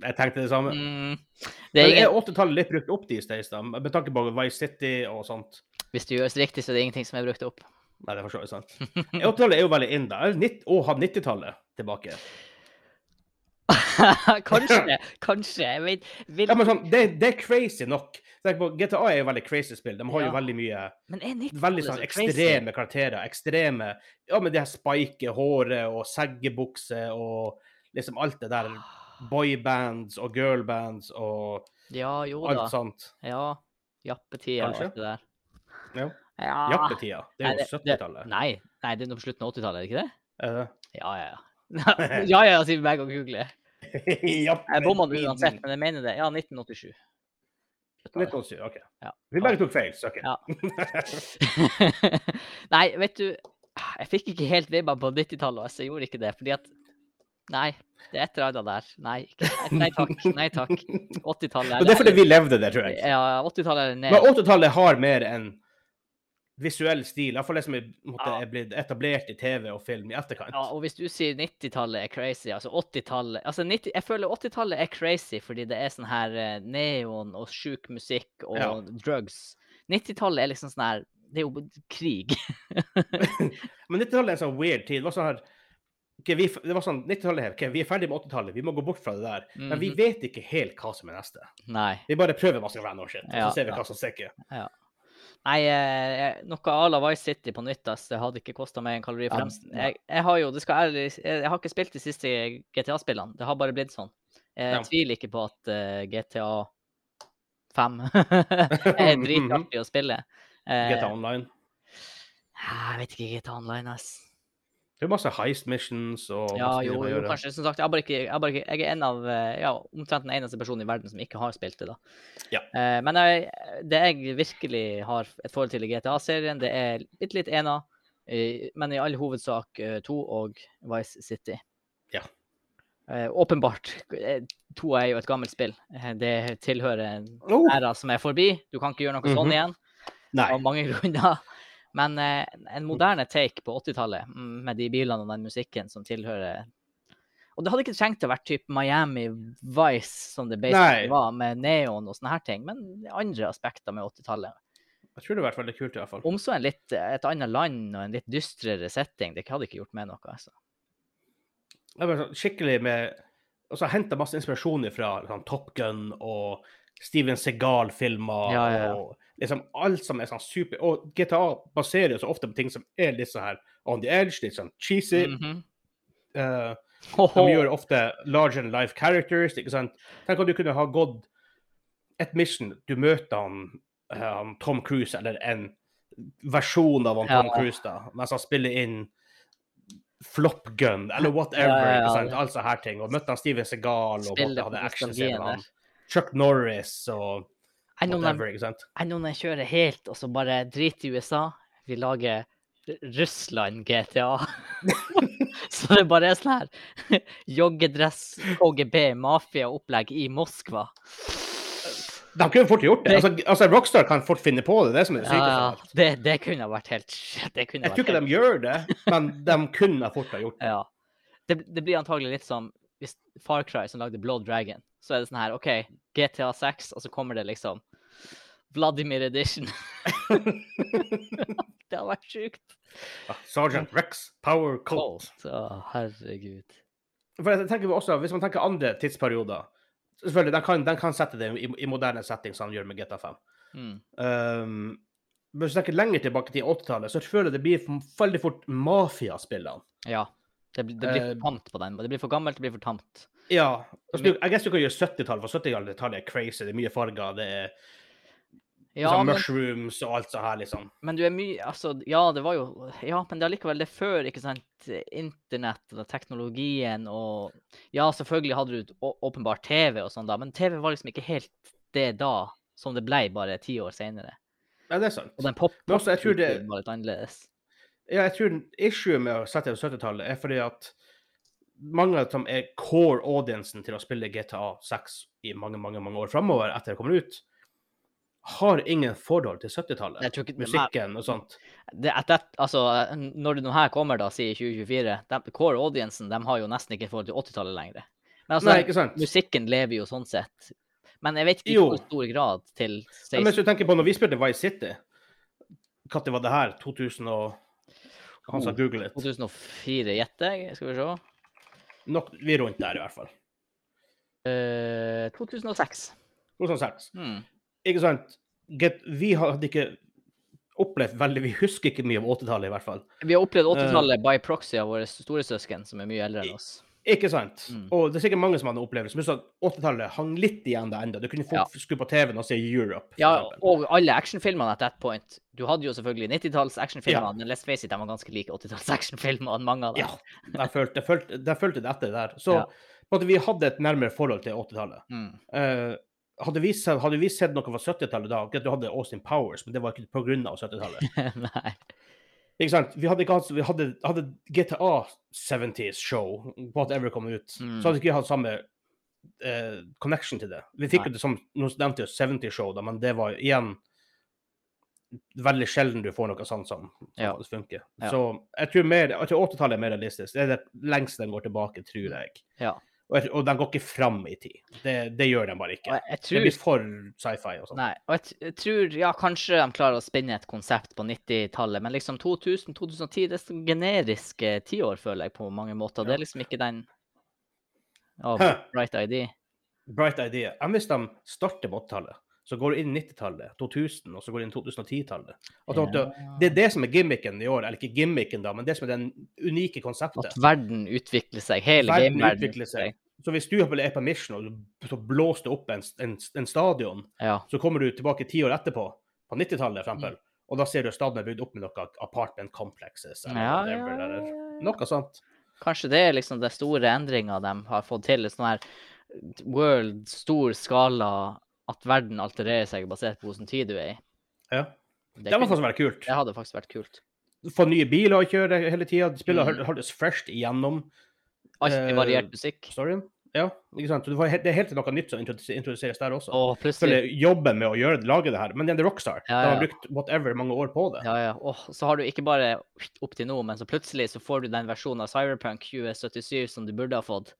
[SPEAKER 1] Jeg tenkte det samme.
[SPEAKER 2] Mm. Det
[SPEAKER 1] Men
[SPEAKER 2] er
[SPEAKER 1] er
[SPEAKER 2] ingen,
[SPEAKER 1] 80-tallet litt brukt opp these days, da? Med tanke på Vice City og sånt?
[SPEAKER 2] hvis det gjøres riktig, så er det ingenting som er brukt opp.
[SPEAKER 1] Nei, det er for så vidt sant. 80-tallet er jo veldig in da. Nitt- Og ha 90-tallet tilbake.
[SPEAKER 2] kanskje, kanskje. Jeg vet, vil,
[SPEAKER 1] Ja, men sånn, det, det er crazy nok. Tenk på, GTA er jo veldig crazy spill. De har jo
[SPEAKER 2] Ja.
[SPEAKER 1] veldig mye
[SPEAKER 2] men er 90-tallet
[SPEAKER 1] veldig sånn
[SPEAKER 2] så crazy?
[SPEAKER 1] ekstreme karakterer. Ekstreme Ja, med det her spike håret og seggebukse og liksom alt det der.
[SPEAKER 2] Ah.
[SPEAKER 1] Boybands og girlbands og
[SPEAKER 2] Ja, jo da.
[SPEAKER 1] alt sånt.
[SPEAKER 2] Ja. Jappetida og
[SPEAKER 1] Altså. Kanskje.
[SPEAKER 2] alt det der.
[SPEAKER 1] Ja.
[SPEAKER 2] Ja.
[SPEAKER 1] Jappetida. Det
[SPEAKER 2] Ah. Nei,
[SPEAKER 1] er jo
[SPEAKER 2] det- det-
[SPEAKER 1] 70-tallet.
[SPEAKER 2] Nei, nei, det er nå på slutten av 80-tallet, er det ikke det?
[SPEAKER 1] Eh,
[SPEAKER 2] Ja, ja, ja. ja, ja, ja, sier meg og Google. Jeg bomma det uansett, men jeg mener det. Ja, 1987.
[SPEAKER 1] 1987, OK.
[SPEAKER 2] Ja.
[SPEAKER 1] Vi begge tok feil, søkker.
[SPEAKER 2] Ja. nei, vet du Jeg fikk ikke helt vibba på 90-tallet, altså. Jeg gjorde ikke det, fordi at Nei. Det er et eller annet der. Nei, ikke. nei takk. Nei takk. 80-tallet
[SPEAKER 1] Og det er fordi vi levde det, tror jeg.
[SPEAKER 2] Ja, 80-tallet er ned.
[SPEAKER 1] Men 80-tallet har mer en visuell stil, iallfall det som er, på en måte,
[SPEAKER 2] Ja.
[SPEAKER 1] er blitt etablert i TV og film i etterkant.
[SPEAKER 2] Ja, og hvis du sier 90-tallet er crazy, altså 80-tallet altså 90, Jeg føler 80-tallet er crazy fordi det er sånn her eh, neon og sjuk musikk og
[SPEAKER 1] Ja.
[SPEAKER 2] drugs. 90-tallet er liksom sånn her Det er jo b- krig.
[SPEAKER 1] Men 90-tallet er en sånn weird tid. Det var sånn her ok, vi, det var sånn, 90-tallet her, ok, Vi er ferdig med 80-tallet, vi må gå bort fra det der. Men vi
[SPEAKER 2] Mhm.
[SPEAKER 1] vet ikke helt hva som er neste.
[SPEAKER 2] Nei.
[SPEAKER 1] Vi bare prøver masse random shit, og
[SPEAKER 2] Ja,
[SPEAKER 1] så ser vi
[SPEAKER 2] ja.
[SPEAKER 1] hva som stikker.
[SPEAKER 2] Nei, eh, noe à la Vice City på nytt, ass. Det hadde ikke kosta meg en kalori for
[SPEAKER 1] Ja,
[SPEAKER 2] fremst.
[SPEAKER 1] nei.
[SPEAKER 2] Jeg, jeg har jo, det skal ærlig s- Jeg jeg har ikke spilt de siste GTA-spillene. Det har bare blitt sånn. Jeg
[SPEAKER 1] Ja.
[SPEAKER 2] tviler ikke på at eh, GTA 5 er
[SPEAKER 1] Mhm.
[SPEAKER 2] dritartig å spille. Eh,
[SPEAKER 1] GTA Online.
[SPEAKER 2] Ah, Jeg vet ikke, GTA Online, ass.
[SPEAKER 1] Det er masse heist missions og
[SPEAKER 2] Ja,
[SPEAKER 1] masse ting
[SPEAKER 2] jo,
[SPEAKER 1] man
[SPEAKER 2] jo,
[SPEAKER 1] gjør.
[SPEAKER 2] kanskje. Som sagt, jeg, har bare ikke, jeg, har bare ikke, jeg er en av, eh, ja, omtrent den eneste personen i verden som ikke har spilt det, da.
[SPEAKER 1] Ja.
[SPEAKER 2] Eh, men jeg, det jeg virkelig har et forhold til i GTA-serien, det er litt, litt ena, eh, men i all hovedsak eh, to og Vice City.
[SPEAKER 1] Ja.
[SPEAKER 2] Eh, åpenbart. eh, To er jo et gammelt spill. Eh, Det tilhører en
[SPEAKER 1] Oh,
[SPEAKER 2] æra som er forbi. Du kan ikke gjøre noe sånn
[SPEAKER 1] Mhm.
[SPEAKER 2] igjen
[SPEAKER 1] nei.
[SPEAKER 2] av mange grunner. Men eh, en moderne take på 80-tallet, mm, med de bilene og den musikken som tilhører Og det hadde ikke trengt å være type Miami Vice, som det
[SPEAKER 1] Nei.
[SPEAKER 2] basically var, med neon og sånne her ting, men andre aspekter med 80-tallet.
[SPEAKER 1] Jeg tror det hadde vært veldig kult, i hvert fall.
[SPEAKER 2] Om så en litt, eh, et annet land og en litt dystrere setting, det hadde ikke gjort meg noe. altså.
[SPEAKER 1] Jeg var sånn skikkelig med Og så henta masse inspirasjon fra sånn, Top Gun og Steven Segal-filmer.
[SPEAKER 2] Ja, ja, ja.
[SPEAKER 1] Og liksom alt som er sånn super Og GTA baserer jo så ofte på ting som er litt sånn her on the edge, litt sånn cheesy.
[SPEAKER 2] Mhm.
[SPEAKER 1] Eh,
[SPEAKER 2] Hoho.
[SPEAKER 1] de gjør ofte large and life characters, ikke sant. Tenk om du kunne ha gått et mission, du møter han, eh, han Tom Cruise, eller en versjon av han Tom
[SPEAKER 2] Ja.
[SPEAKER 1] Cruise, da, mens han spiller inn Flop Gun, eller whatever,
[SPEAKER 2] Ja, ja, ja.
[SPEAKER 1] ikke sant. Alt sånne her ting. Og møtte han Steven Segal, og måtte
[SPEAKER 2] Spiller på
[SPEAKER 1] ha
[SPEAKER 2] nostalgien
[SPEAKER 1] actionscenen med han.
[SPEAKER 2] der.
[SPEAKER 1] Chuck Norris og
[SPEAKER 2] Enn om de-
[SPEAKER 1] whatever, ikke sant.
[SPEAKER 2] enn om de kjører helt, og så bare driter i USA. Vi lager R- Russland GTA. så det bare er sånn her. Joggedress, KGB, mafiaopplegg i Moskva.
[SPEAKER 1] De kunne fort gjort det. Altså, altså Rockstar kan fort finne på det, det er som er det
[SPEAKER 2] Ja,
[SPEAKER 1] sykeste.
[SPEAKER 2] ja, det, det kunne ha vært helt Det kunne
[SPEAKER 1] Jeg
[SPEAKER 2] ha
[SPEAKER 1] tror
[SPEAKER 2] vært
[SPEAKER 1] ikke
[SPEAKER 2] helt,
[SPEAKER 1] de gjør det, men de kunne fort ha gjort det.
[SPEAKER 2] ja. det, det blir antagelig litt som hvis Far Cry som lagde Blood Dragon. Så er det sånn her, OK, GTA 6, og så kommer det liksom Vladimir Edition. det har vært sjukt.
[SPEAKER 1] Ah, Sergeant Rex Power Colt.
[SPEAKER 2] Å, herregud.
[SPEAKER 1] For jeg tenker også, Hvis man tenker andre tidsperioder Selvfølgelig, den kan, den kan sette det i, i moderne setting, som han gjør med GTA5.
[SPEAKER 2] Mm.
[SPEAKER 1] Um, men hvis du tenker lenger tilbake til 80-tallet, så føler jeg det blir for, veldig fort mafiaspillene.
[SPEAKER 2] Ja. Det, blir- det blir
[SPEAKER 1] Eh,
[SPEAKER 2] for tamt på den. Det blir for gammelt, det blir for tamt.
[SPEAKER 1] Ja. Altså, du, jeg guess du kan gjøre 70-tallet, for 70-tallet er crazy. Det er mye farger. Det er
[SPEAKER 2] Ja,
[SPEAKER 1] sånn
[SPEAKER 2] men,
[SPEAKER 1] mushrooms og alt sånt her, liksom.
[SPEAKER 2] men du er mye Altså, ja, det var jo Ja, men det er allikevel det er før, ikke sant, internett og teknologien og Ja, selvfølgelig hadde du å- åpenbart TV og sånn da, men TV var liksom ikke helt det da som det blei bare ti år seinere.
[SPEAKER 1] Ja, det er sant.
[SPEAKER 2] Og den pop
[SPEAKER 1] Men også, jeg tror det,
[SPEAKER 2] var litt annerledes.
[SPEAKER 1] ja, jeg tror issue med å sette det på 70-tallet er fordi at mange av dem er core audiencen til å spille GTA 6 i mange, mange mange år framover etter det kommer ut, har ingen forhold til 70-tallet.
[SPEAKER 2] Jeg tror ikke, men-
[SPEAKER 1] Musikken og sånt.
[SPEAKER 2] det, at det, altså, n- når det nå her kommer, da, sier 2024 de, Core audiencen de har jo nesten ikke forhold til 80-tallet lenger. Men altså,
[SPEAKER 1] Nei, ikke sant?
[SPEAKER 2] musikken lever jo sånn sett. Men jeg vet ikke i
[SPEAKER 1] Jo.
[SPEAKER 2] hvor stor grad til
[SPEAKER 1] Ja, Men
[SPEAKER 2] 16.
[SPEAKER 1] hvis du tenker på når vi spilte Vice City Når var det her? 2000 og Han sa
[SPEAKER 2] Oh.
[SPEAKER 1] google it.
[SPEAKER 2] 2004, gjetter jeg. Skal vi se.
[SPEAKER 1] Nok, vi er rundt der, i hvert fall.
[SPEAKER 2] Eh, 2006.
[SPEAKER 1] 2006.
[SPEAKER 2] Hmm.
[SPEAKER 1] Ikke sant? Get, vi hadde ikke opplevd veldig Vi husker ikke mye om 80-tallet, i hvert fall.
[SPEAKER 2] Vi har
[SPEAKER 1] Eh.
[SPEAKER 2] opplevd 80-tallet by proxy av våre storesøsken, som er mye eldre enn oss.
[SPEAKER 1] Ikke sant?
[SPEAKER 2] Mm.
[SPEAKER 1] Og det er sikkert mange som hadde opplevd det. 80-tallet hang litt igjen der ennå. Du kunne fort skru på TV-en og se Europe. for
[SPEAKER 2] Ja,
[SPEAKER 1] eksempel.
[SPEAKER 2] og alle actionfilmene at that point. Du hadde jo selvfølgelig 90-talls actionfilmer, men let's face it, de var ganske like 80-talls actionfilmer, mange av dem.
[SPEAKER 1] ja. Jeg følte, jeg følte, jeg følte det etter det der. Så
[SPEAKER 2] Ja.
[SPEAKER 1] på en måte, vi hadde et nærmere forhold til 80-tallet.
[SPEAKER 2] Hmm.
[SPEAKER 1] Eh, hadde, vi sett- hadde vi sett noe fra 70-tallet da, greit, du hadde Austin Powers, men det var ikke på grunn av 70-tallet.
[SPEAKER 2] Nei.
[SPEAKER 1] Ikke sant? Vi hadde, ikke hatt, vi hadde, hadde GTA 70s show, whatever kom ut,
[SPEAKER 2] Mm.
[SPEAKER 1] så hadde ikke vi hatt samme eh, connection til det. Vi
[SPEAKER 2] Nei.
[SPEAKER 1] fikk jo det som noen nevnte, 70 show, da, men det var jo igjen veldig sjelden du får noe sånt som, som
[SPEAKER 2] Ja.
[SPEAKER 1] faktisk funker.
[SPEAKER 2] Ja.
[SPEAKER 1] Så jeg tror, mer- jeg tror 80-tallet er mer realistisk. Det er det lengste den går tilbake, tror jeg.
[SPEAKER 2] Ja.
[SPEAKER 1] Og, jeg, og den går ikke fram i tid. Det, det gjør den bare
[SPEAKER 2] Og
[SPEAKER 1] ikke.
[SPEAKER 2] jeg, jeg
[SPEAKER 1] Det
[SPEAKER 2] tror
[SPEAKER 1] blir for sci-fi og sånn.
[SPEAKER 2] Nei, og jeg, t- jeg tror ja, kanskje de klarer å spinne et konsept på 90-tallet, men liksom 2000-2010 det er så generiske tiår, føler jeg, på mange måter. Det
[SPEAKER 1] Ja.
[SPEAKER 2] er liksom ikke den Å,
[SPEAKER 1] Hæ.
[SPEAKER 2] Bright ID.
[SPEAKER 1] Bright idea. Enn hvis de starter på 80-tallet, så går du inn 90-tallet, 2000, og så går du inn 2010-tallet. At du-
[SPEAKER 2] Ja.
[SPEAKER 1] Det er det som er gimmicken i år, eller ikke gimmicken, da, men det som er den unike konseptet.
[SPEAKER 2] At verden utvikler seg, hele
[SPEAKER 1] Verden
[SPEAKER 2] gameverden
[SPEAKER 1] utvikler seg. Så hvis du er på mission og du- så blåser du opp en, en, en stadion,
[SPEAKER 2] Ja.
[SPEAKER 1] så kommer du tilbake ti år etterpå, på 90-tallet for
[SPEAKER 2] Mm.
[SPEAKER 1] eksempel, og da ser du at stadion er bygd opp med noe apartment complexes
[SPEAKER 2] Ja,
[SPEAKER 1] eller
[SPEAKER 2] ja, ja,
[SPEAKER 1] whatever,
[SPEAKER 2] ja,
[SPEAKER 1] eller
[SPEAKER 2] ja.
[SPEAKER 1] noe sånt.
[SPEAKER 2] Kanskje det er liksom den store endringa de har fått til. Sånn her world, stor skala, at verden altererer seg basert på hvilken tid du er i.
[SPEAKER 1] Ja.
[SPEAKER 2] Det,
[SPEAKER 1] Det må
[SPEAKER 2] kunne-
[SPEAKER 1] faktisk være kult.
[SPEAKER 2] det hadde faktisk vært kult.
[SPEAKER 1] Få nye biler å kjøre hele tida, spille
[SPEAKER 2] Mm.
[SPEAKER 1] mm. holdes fresht igjennom. Eh,
[SPEAKER 2] Alltid variert musikk.
[SPEAKER 1] storyen. Ja, ikke sant? Så Det var helt- det er helt noe nytt som introduse- introduseres der også.
[SPEAKER 2] Og plutselig
[SPEAKER 1] Selvfølgelig jobben med å gjøre, lage det her, men det er Rockstar.
[SPEAKER 2] Ja,
[SPEAKER 1] De har
[SPEAKER 2] ja.
[SPEAKER 1] brukt whatever mange år på det.
[SPEAKER 2] Ja, ja. Åh, så har du ikke bare opp til nå, men så plutselig så får du den versjonen av Cyberpunk 2077 som du burde ha fått.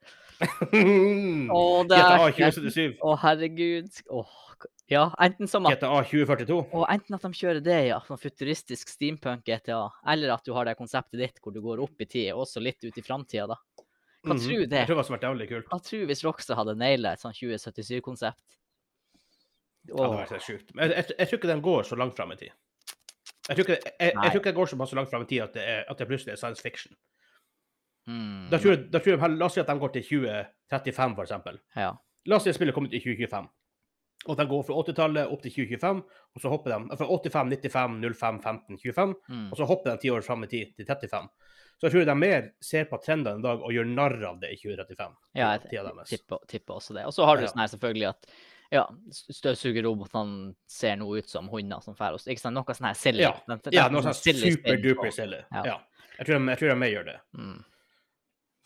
[SPEAKER 1] Hmm.
[SPEAKER 2] Å, det
[SPEAKER 1] GTA
[SPEAKER 2] er så-
[SPEAKER 1] 2077.
[SPEAKER 2] Å, herregud. Åh, k- ja, enten som at
[SPEAKER 1] GTA 2042.
[SPEAKER 2] og enten at de kjører det, ja, sånn futuristisk steampunk GTA, eller at du har det konseptet ditt hvor du går opp i tid, også litt ut i framtida, da. Hva
[SPEAKER 1] Mhm.
[SPEAKER 2] tror du
[SPEAKER 1] Jeg
[SPEAKER 2] det?
[SPEAKER 1] tror det hadde vært jævlig kult.
[SPEAKER 2] Hva tror du hvis Rockstar hadde naila et sånn 2077-konsept?
[SPEAKER 1] Det hadde vært helt sjukt. Men jeg, jeg, jeg tror ikke den går så langt fram i tid. Jeg tror ikke, jeg, jeg,
[SPEAKER 2] Nei.
[SPEAKER 1] jeg tror ikke den går såpass langt fram i tid at det, er, at det plutselig er science fiction. Da
[SPEAKER 2] Mm,
[SPEAKER 1] tror jeg, da tror jeg, la oss si at de går til 2035, for eksempel.
[SPEAKER 2] ja.
[SPEAKER 1] La oss si at spillet kommer ut i 2025. Og at de går fra 80-tallet opp til 2025, og så hopper de eh, fra 85, 95, 05, 15, 25,
[SPEAKER 2] Mm.
[SPEAKER 1] og så hopper de ti år fram i tid til 35. Så jeg tror de mer ser på trendene i dag og gjør narr av det i 2035.
[SPEAKER 2] Ja, jeg
[SPEAKER 1] tida deres.
[SPEAKER 2] tipper, tipper også det. Og så har du
[SPEAKER 1] Ja.
[SPEAKER 2] sånn her selvfølgelig at ja, s- støvsugerrobotene ser nå ut som hunder som fær oss. Ikke sant? Noe sånn her silly.
[SPEAKER 1] Ja.
[SPEAKER 2] Den- den-
[SPEAKER 1] Ja,
[SPEAKER 2] den-
[SPEAKER 1] noe
[SPEAKER 2] den
[SPEAKER 1] sånn
[SPEAKER 2] silly spin
[SPEAKER 1] superduper
[SPEAKER 2] på-
[SPEAKER 1] silly.
[SPEAKER 2] Ja.
[SPEAKER 1] Ja. Jeg tror de, jeg tror de mer gjør det,
[SPEAKER 2] Mm.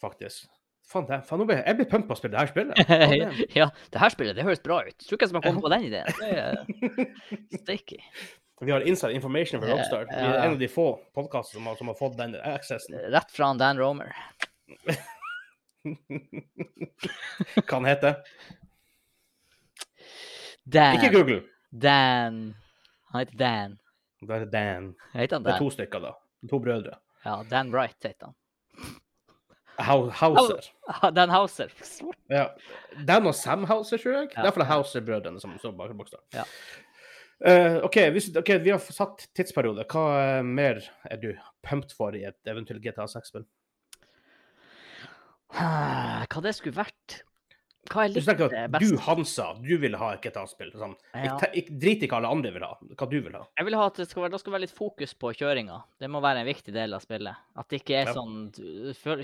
[SPEAKER 1] faktisk. Faen, det, faen nå ble jeg, jeg blir pumpa av å spille det her spillet. Faen, det-
[SPEAKER 2] ja, det her spillet, det høres bra ut. Tror ikke jeg som har kommet på den ideen. Det er Sticky.
[SPEAKER 1] Vi har inside information fra
[SPEAKER 2] Ja,
[SPEAKER 1] Rockstar. Vi
[SPEAKER 2] ja.
[SPEAKER 1] er en av de få podkastene som, har- som har fått den accessen.
[SPEAKER 2] Rett fra han Dan Romer.
[SPEAKER 1] Hva han heter
[SPEAKER 2] Dan,
[SPEAKER 1] Ikke Google.
[SPEAKER 2] Dan. Han heter Dan.
[SPEAKER 1] Det er Dan.
[SPEAKER 2] Heter han
[SPEAKER 1] Det er
[SPEAKER 2] Dan?
[SPEAKER 1] to stykker, da. To brødre.
[SPEAKER 2] Ja, Dan Wright heter han.
[SPEAKER 1] Hau- Hauser.
[SPEAKER 2] Ah, Dan Hauser. Svart.
[SPEAKER 1] Ja. Dan og Sam Hauser, tror jeg.
[SPEAKER 2] Ja.
[SPEAKER 1] Derfor er Hauser-brødrene som står bak bokstav.
[SPEAKER 2] Ja.
[SPEAKER 1] Eh, OK, hvis, ok, vi har satt tidsperiode. Hva eh, mer er du pumped for i et eventuelt GTA 6-spill?
[SPEAKER 2] Ah, Hva det skulle vært? Hva
[SPEAKER 1] Du
[SPEAKER 2] jeg likte
[SPEAKER 1] tenker at
[SPEAKER 2] eh, best?
[SPEAKER 1] du, Hansa, du ville ha et GTA-spill. Sånn.
[SPEAKER 2] Ja.
[SPEAKER 1] Ikke te- ikke- Drit i hva alle andre vil ha, hva du vil ha.
[SPEAKER 2] Jeg vil ha at det skal være, det skal være litt fokus på kjøringa. Det må være en viktig del av spillet. At det ikke er
[SPEAKER 1] Ja.
[SPEAKER 2] sånn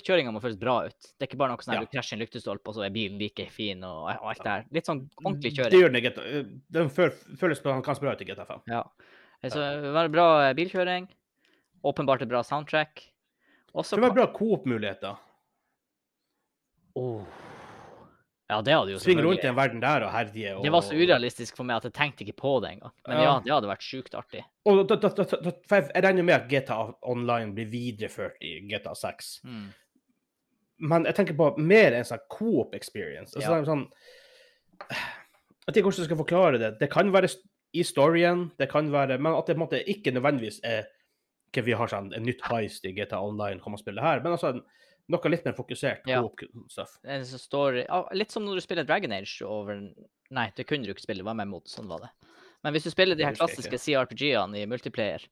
[SPEAKER 2] Kjøringa må føles bra ut. Det er ikke bare noe sånn at
[SPEAKER 1] Ja.
[SPEAKER 2] du krasjer i en lyktestolpe, og så er bilen like fin og, og alt det her. Litt sånn
[SPEAKER 1] Mm,
[SPEAKER 2] ordentlig
[SPEAKER 1] Det
[SPEAKER 2] kjøring.
[SPEAKER 1] gjør den i GTA. eh, Den føl- føles på, ganske bra ut i GTA 5.
[SPEAKER 2] Ja. Så det vil være bra eh, bilkjøring. Åpenbart et bra soundtrack. Og så
[SPEAKER 1] Det var bra coop-muligheter.
[SPEAKER 2] Åh. Ja, det hadde jo
[SPEAKER 1] Svinge rundt i
[SPEAKER 2] selvfølgelig
[SPEAKER 1] den verden der og herje. Og...
[SPEAKER 2] Det var så urealistisk for meg at jeg tenkte ikke på det engang. Men ja,
[SPEAKER 1] Ja.
[SPEAKER 2] det hadde vært sjukt artig.
[SPEAKER 1] Og da, da, da, da, da, for jeg jeg regner med at GTA Online blir videreført i GTA 6.
[SPEAKER 2] Mm.
[SPEAKER 1] Men jeg tenker på mer en sånn coop experience. Altså,
[SPEAKER 2] Ja.
[SPEAKER 1] det er sånn, jeg vet ikke hvordan jeg skal forklare det. Det kan være st- i storyen, det kan være, men at det på en måte ikke nødvendigvis er ikke vi har sånn en nytt heist i GTA Online, kom og spill det her, men altså en- noe litt mer fokusert
[SPEAKER 2] Ja.
[SPEAKER 1] coop-stuff.
[SPEAKER 2] En som står ja, Litt som når du spiller Dragon Age over Nei, det kunne du ikke spille, det var med mod, sånn var det. Men hvis du spiller de
[SPEAKER 1] Det
[SPEAKER 2] her
[SPEAKER 1] husker jeg ikke.
[SPEAKER 2] klassiske CRPG-ene i multiplayer,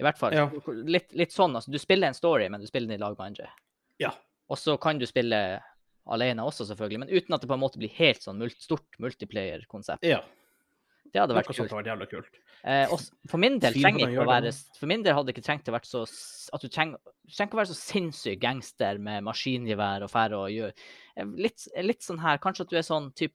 [SPEAKER 2] i hvert fall
[SPEAKER 1] Ja.
[SPEAKER 2] litt, litt sånn, altså. Du spiller en story, men du spiller den i lag med andre.
[SPEAKER 1] Ja.
[SPEAKER 2] Og så kan du spille alene også, selvfølgelig, men uten at det på en måte blir helt sånn mult, stort multiplayer-konsept.
[SPEAKER 1] Ja,
[SPEAKER 2] Det hadde
[SPEAKER 1] noe
[SPEAKER 2] vært
[SPEAKER 1] sånt
[SPEAKER 2] kult.
[SPEAKER 1] har vært jævla kult.
[SPEAKER 2] Eh, og s- for min del
[SPEAKER 1] Fy,
[SPEAKER 2] trenger
[SPEAKER 1] hvordan
[SPEAKER 2] ikke å
[SPEAKER 1] gjør du
[SPEAKER 2] være For min del hadde det ikke trengt å være så s- At du trenger, du trenger ikke å være så sinnssyk gangster med maskingevær og fære og gjøre Eh, litt, litt sånn her Kanskje at du er sånn type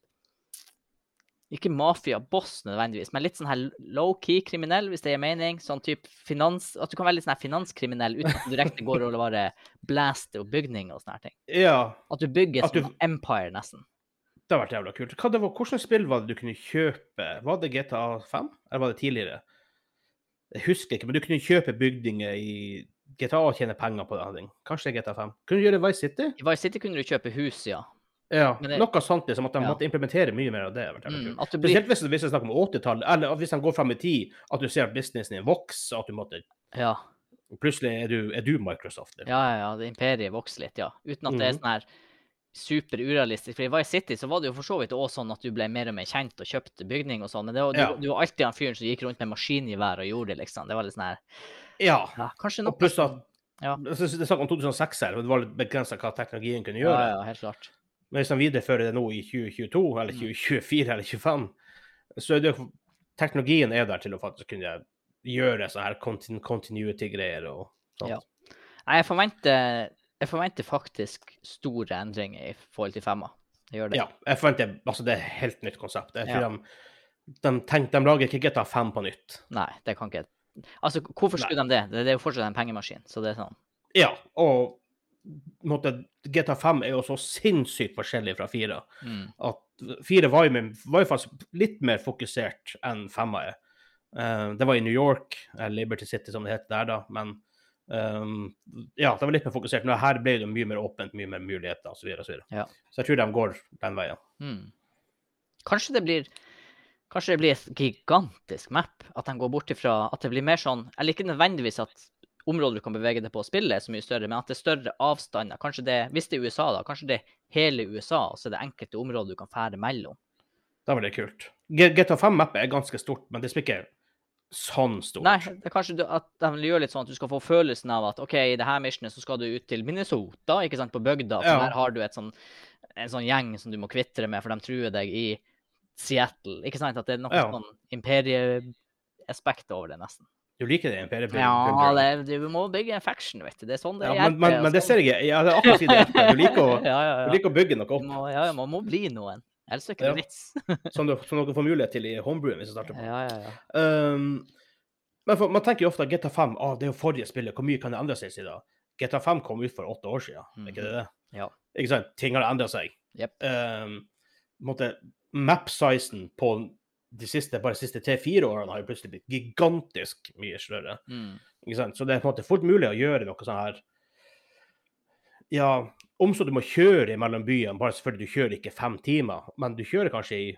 [SPEAKER 2] Ikke mafia-boss nødvendigvis, men litt sånn her low-key kriminell, hvis det gir mening. Sånn type finans At du kan være litt sånn her finanskriminell uten at du direkte går og bare blaster og bygninger og sånne her ting.
[SPEAKER 1] Ja,
[SPEAKER 2] At du bygger
[SPEAKER 1] At
[SPEAKER 2] et
[SPEAKER 1] du-
[SPEAKER 2] sånt empire, nesten.
[SPEAKER 1] det har vært jævla kult. Hva det var, hvordan spill var det du kunne kjøpe? Var det GTA 5, eller var det tidligere? Jeg husker ikke, men du kunne kjøpe bygninger i GTA og tjene penger på det. Henning. Kanskje det er GTA 5. Kunne du gjøre Vice City?
[SPEAKER 2] I Vice City kunne du kjøpe hus, ja.
[SPEAKER 1] Ja,
[SPEAKER 2] Men det-
[SPEAKER 1] noe sånt liksom, at de
[SPEAKER 2] Ja.
[SPEAKER 1] måtte implementere mye mer av det. har vært jævla
[SPEAKER 2] Mm,
[SPEAKER 1] kult.
[SPEAKER 2] at du blir
[SPEAKER 1] Spesielt hvis hvis det er snakk om 80-tallet, eller at hvis de går fram i tid, at du ser at businessen din vokser, at du måtte
[SPEAKER 2] Ja.
[SPEAKER 1] Plutselig er du, er du Microsoft. Liksom.
[SPEAKER 2] Ja, ja, ja, det imperiet vokser litt, ja. Uten at det er
[SPEAKER 1] Mhm.
[SPEAKER 2] sånn her super urealistisk. For i Vice City så var det jo for så vidt òg sånn at du ble mer og mer kjent og kjøpte bygning og sånn. Men det var,
[SPEAKER 1] Ja.
[SPEAKER 2] du, du var alltid han fyren som gikk rundt med maskingevær og gjorde det, liksom. Det var litt sånn her
[SPEAKER 1] Ja.
[SPEAKER 2] ja, Kanskje
[SPEAKER 1] Og
[SPEAKER 2] noe
[SPEAKER 1] pluss at
[SPEAKER 2] Ja.
[SPEAKER 1] Det er snakk om 2006 her, men det var litt begrensa hva teknologien kunne
[SPEAKER 2] Ja,
[SPEAKER 1] gjøre.
[SPEAKER 2] ja, helt klart.
[SPEAKER 1] Men hvis de viderefører det nå i 2022, eller
[SPEAKER 2] Mm.
[SPEAKER 1] 2024, eller 25, så er det jo Teknologien er der til å faktisk kunne gjøre sånne her contin- continuity-greier og sånt.
[SPEAKER 2] Ja. Nei, jeg forventer, jeg forventer faktisk store endringer i forhold til femma. Jeg gjør det.
[SPEAKER 1] Ja, jeg forventer Altså, det er et helt nytt konsept. Jeg tror
[SPEAKER 2] Ja.
[SPEAKER 1] de, de, tenk, de lager ikke GTA 5 på nytt.
[SPEAKER 2] Nei, det kan ikke Altså, hvorfor
[SPEAKER 1] Nei.
[SPEAKER 2] skulle de det? Det det er jo fortsatt en pengemaskin, så det er sånn.
[SPEAKER 1] Ja, og på en måte, GTA 5 er jo så sinnssykt forskjellig fra 4.
[SPEAKER 2] Mm.
[SPEAKER 1] At 4 var jo, mer- var jo faktisk litt mer fokusert enn 5 er. Eh, det var i New York, eh, Liberty City som det heter der, da. Men eh, ja, det var litt mer fokusert. Nå, her ble det mye mer åpent, mye mer muligheter osv. Så, videre, og så, videre.
[SPEAKER 2] Ja.
[SPEAKER 1] så jeg tror de går den veien.
[SPEAKER 2] Mm. Kanskje det blir Kanskje det blir et gigantisk map? At de går bort ifra At det blir mer sånn Eller ikke nødvendigvis at området du kan bevege deg på og spille, er så mye større, men at det er større avstander. Kanskje det Hvis det er USA, da. Kanskje det er hele USA, og så er det enkelte områder du kan fære mellom.
[SPEAKER 1] Det var veldig kult. G- GTA 5-mappet er ganske stort, men det er ikke sånn stort.
[SPEAKER 2] Nei, det er kanskje du, at de vil gjøre litt sånn at du skal få følelsen av at OK, i det her missionet så skal du ut til Minnesota, ikke sant, på bygda. For
[SPEAKER 1] Ja.
[SPEAKER 2] der har du et sånn, en sånn gjeng som du må kvitre med, for de truer deg i Seattle. Ikke sant? At det er noe
[SPEAKER 1] Ja.
[SPEAKER 2] sånn imperieaspekt over det, nesten.
[SPEAKER 1] Du liker det imperiet?
[SPEAKER 2] Ja, det, du må bygge en faction, vet du. Det er sånn det
[SPEAKER 1] Ja,
[SPEAKER 2] er.
[SPEAKER 1] men, men, men det ser jeg ja, det er akkurat i det. Du liker å,
[SPEAKER 2] ja, ja,
[SPEAKER 1] du
[SPEAKER 2] ja.
[SPEAKER 1] liker å bygge noe
[SPEAKER 2] Du
[SPEAKER 1] opp,
[SPEAKER 2] må, ja, ja, man må bli noen. Ellers er det ikke
[SPEAKER 1] Ja.
[SPEAKER 2] noe vits.
[SPEAKER 1] som, du, som dere får mulighet til i homebrewen hvis du starter på.
[SPEAKER 2] Ja, ja, ja.
[SPEAKER 1] Um, men for, man tenker jo ofte at GTA 5 ah, det er jo forrige spillet, hvor mye kan det endre seg siden? da? GTA 5 kom ut for åtte år siden,
[SPEAKER 2] Mm,
[SPEAKER 1] er ikke det det?
[SPEAKER 2] Ja.
[SPEAKER 1] Ikke sant? Ting har endra seg.
[SPEAKER 2] Jep.
[SPEAKER 1] Um, på en måte, Map-sizen på de siste, bare de siste tre-fire årene har jo plutselig blitt gigantisk mye større.
[SPEAKER 2] Mm.
[SPEAKER 1] Ikke sant? Så det er på en måte fort mulig å gjøre noe sånn her Ja, om så du må kjøre mellom byene, bare selvfølgelig du kjører ikke fem timer, men du kjører kanskje i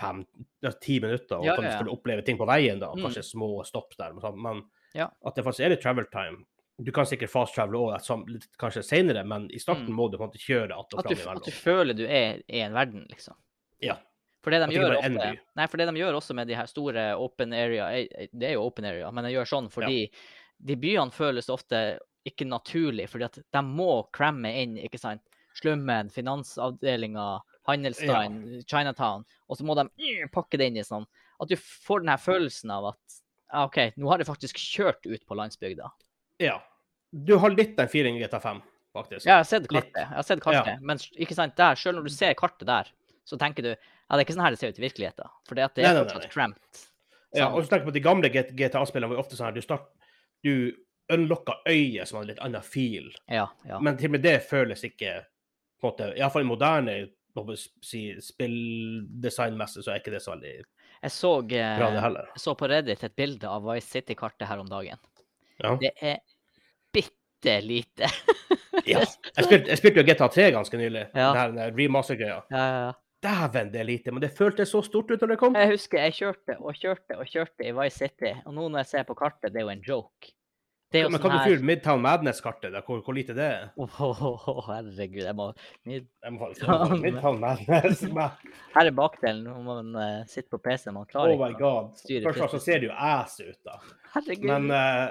[SPEAKER 1] fem, ja, ti minutter og
[SPEAKER 2] Ja,
[SPEAKER 1] kan
[SPEAKER 2] ja, ja.
[SPEAKER 1] selvfølgelig oppleve ting på veien, da,
[SPEAKER 2] Mm.
[SPEAKER 1] kanskje små stopp der, men sånn, men
[SPEAKER 2] Ja.
[SPEAKER 1] at det faktisk er litt travel time. Du kan sikkert fast travele òg, kanskje senere, men i starten
[SPEAKER 2] Mm.
[SPEAKER 1] må du på en måte kjøre att og
[SPEAKER 2] At du,
[SPEAKER 1] fram
[SPEAKER 2] at du
[SPEAKER 1] imellom.
[SPEAKER 2] føler du er i en verden, liksom.
[SPEAKER 1] Ja.
[SPEAKER 2] For det
[SPEAKER 1] At
[SPEAKER 2] de,
[SPEAKER 1] det ikke
[SPEAKER 2] gjør
[SPEAKER 1] bare er en
[SPEAKER 2] ofte,
[SPEAKER 1] by.
[SPEAKER 2] nei, for det de gjør også med de her store open area eh, eh, Det er jo open area, men jeg gjør sånn fordi de byene føles ofte ikke naturlig, fordi at de må cramme inn, ikke sant. Slummen, finansavdelinga, handelsstanden, Chinatown. Og så må de eh, pakke det inn i sånn. At du får den her følelsen av at ah, OK, nå har jeg faktisk kjørt ut på landsbygda.
[SPEAKER 1] Ja. Du har litt den feelingen i GTA 5, faktisk.
[SPEAKER 2] Ja, jeg har sett
[SPEAKER 1] Litt.
[SPEAKER 2] kartet, jeg har sett kartet. men s- ikke sant, der, selv når du ser kartet der, så tenker du ja, det er ikke sånn her det ser ut i virkeligheten. For det, at det
[SPEAKER 1] Nei,
[SPEAKER 2] er
[SPEAKER 1] nei, nei,
[SPEAKER 2] fortsatt
[SPEAKER 1] nei.
[SPEAKER 2] cramped.
[SPEAKER 1] Ja,
[SPEAKER 2] Sånn.
[SPEAKER 1] og så tenker jeg på de gamle GTA-spillene var jo ofte sånn her du start, du unlocka øyet som hadde litt annen feel,
[SPEAKER 2] Ja, ja.
[SPEAKER 1] men til og med det føles ikke på en måte, Iallfall moderne hva skal jeg si, spilldesignmessig, så er ikke det så veldig
[SPEAKER 2] Jeg så,
[SPEAKER 1] bra, det
[SPEAKER 2] eh,
[SPEAKER 1] heller.
[SPEAKER 2] jeg så på Reddit et bilde av Vice City-kartet her om dagen.
[SPEAKER 1] Ja.
[SPEAKER 2] Det er bitte lite.
[SPEAKER 1] ja. Jeg, spilte, jeg spilte jo GTA 3 ganske nylig,
[SPEAKER 2] Ja.
[SPEAKER 1] den her remaster-greia.
[SPEAKER 2] Ja, ja, ja.
[SPEAKER 1] Dæven, det er lite, men det føltes så stort ut når det kom.
[SPEAKER 2] Jeg husker jeg kjørte og kjørte og kjørte i Vice City, og nå når jeg ser på kartet, det er jo en joke. Det er jo
[SPEAKER 1] Men
[SPEAKER 2] sånn
[SPEAKER 1] kan du
[SPEAKER 2] her
[SPEAKER 1] fyre Midtown Madness-kartet? da? Hvor, hvor lite det er?
[SPEAKER 2] Åh, herregud, jeg må
[SPEAKER 1] Jeg må faktisk-
[SPEAKER 2] Midtown-
[SPEAKER 1] Midtown Madness. men-
[SPEAKER 2] Her er bakdelen når man eh, sitter på PC, man klarer
[SPEAKER 1] Oh my
[SPEAKER 2] ikke å
[SPEAKER 1] god.
[SPEAKER 2] styre
[SPEAKER 1] Først og fremst så ser det jo ass ut, da.
[SPEAKER 2] Herregud.
[SPEAKER 1] Men eh,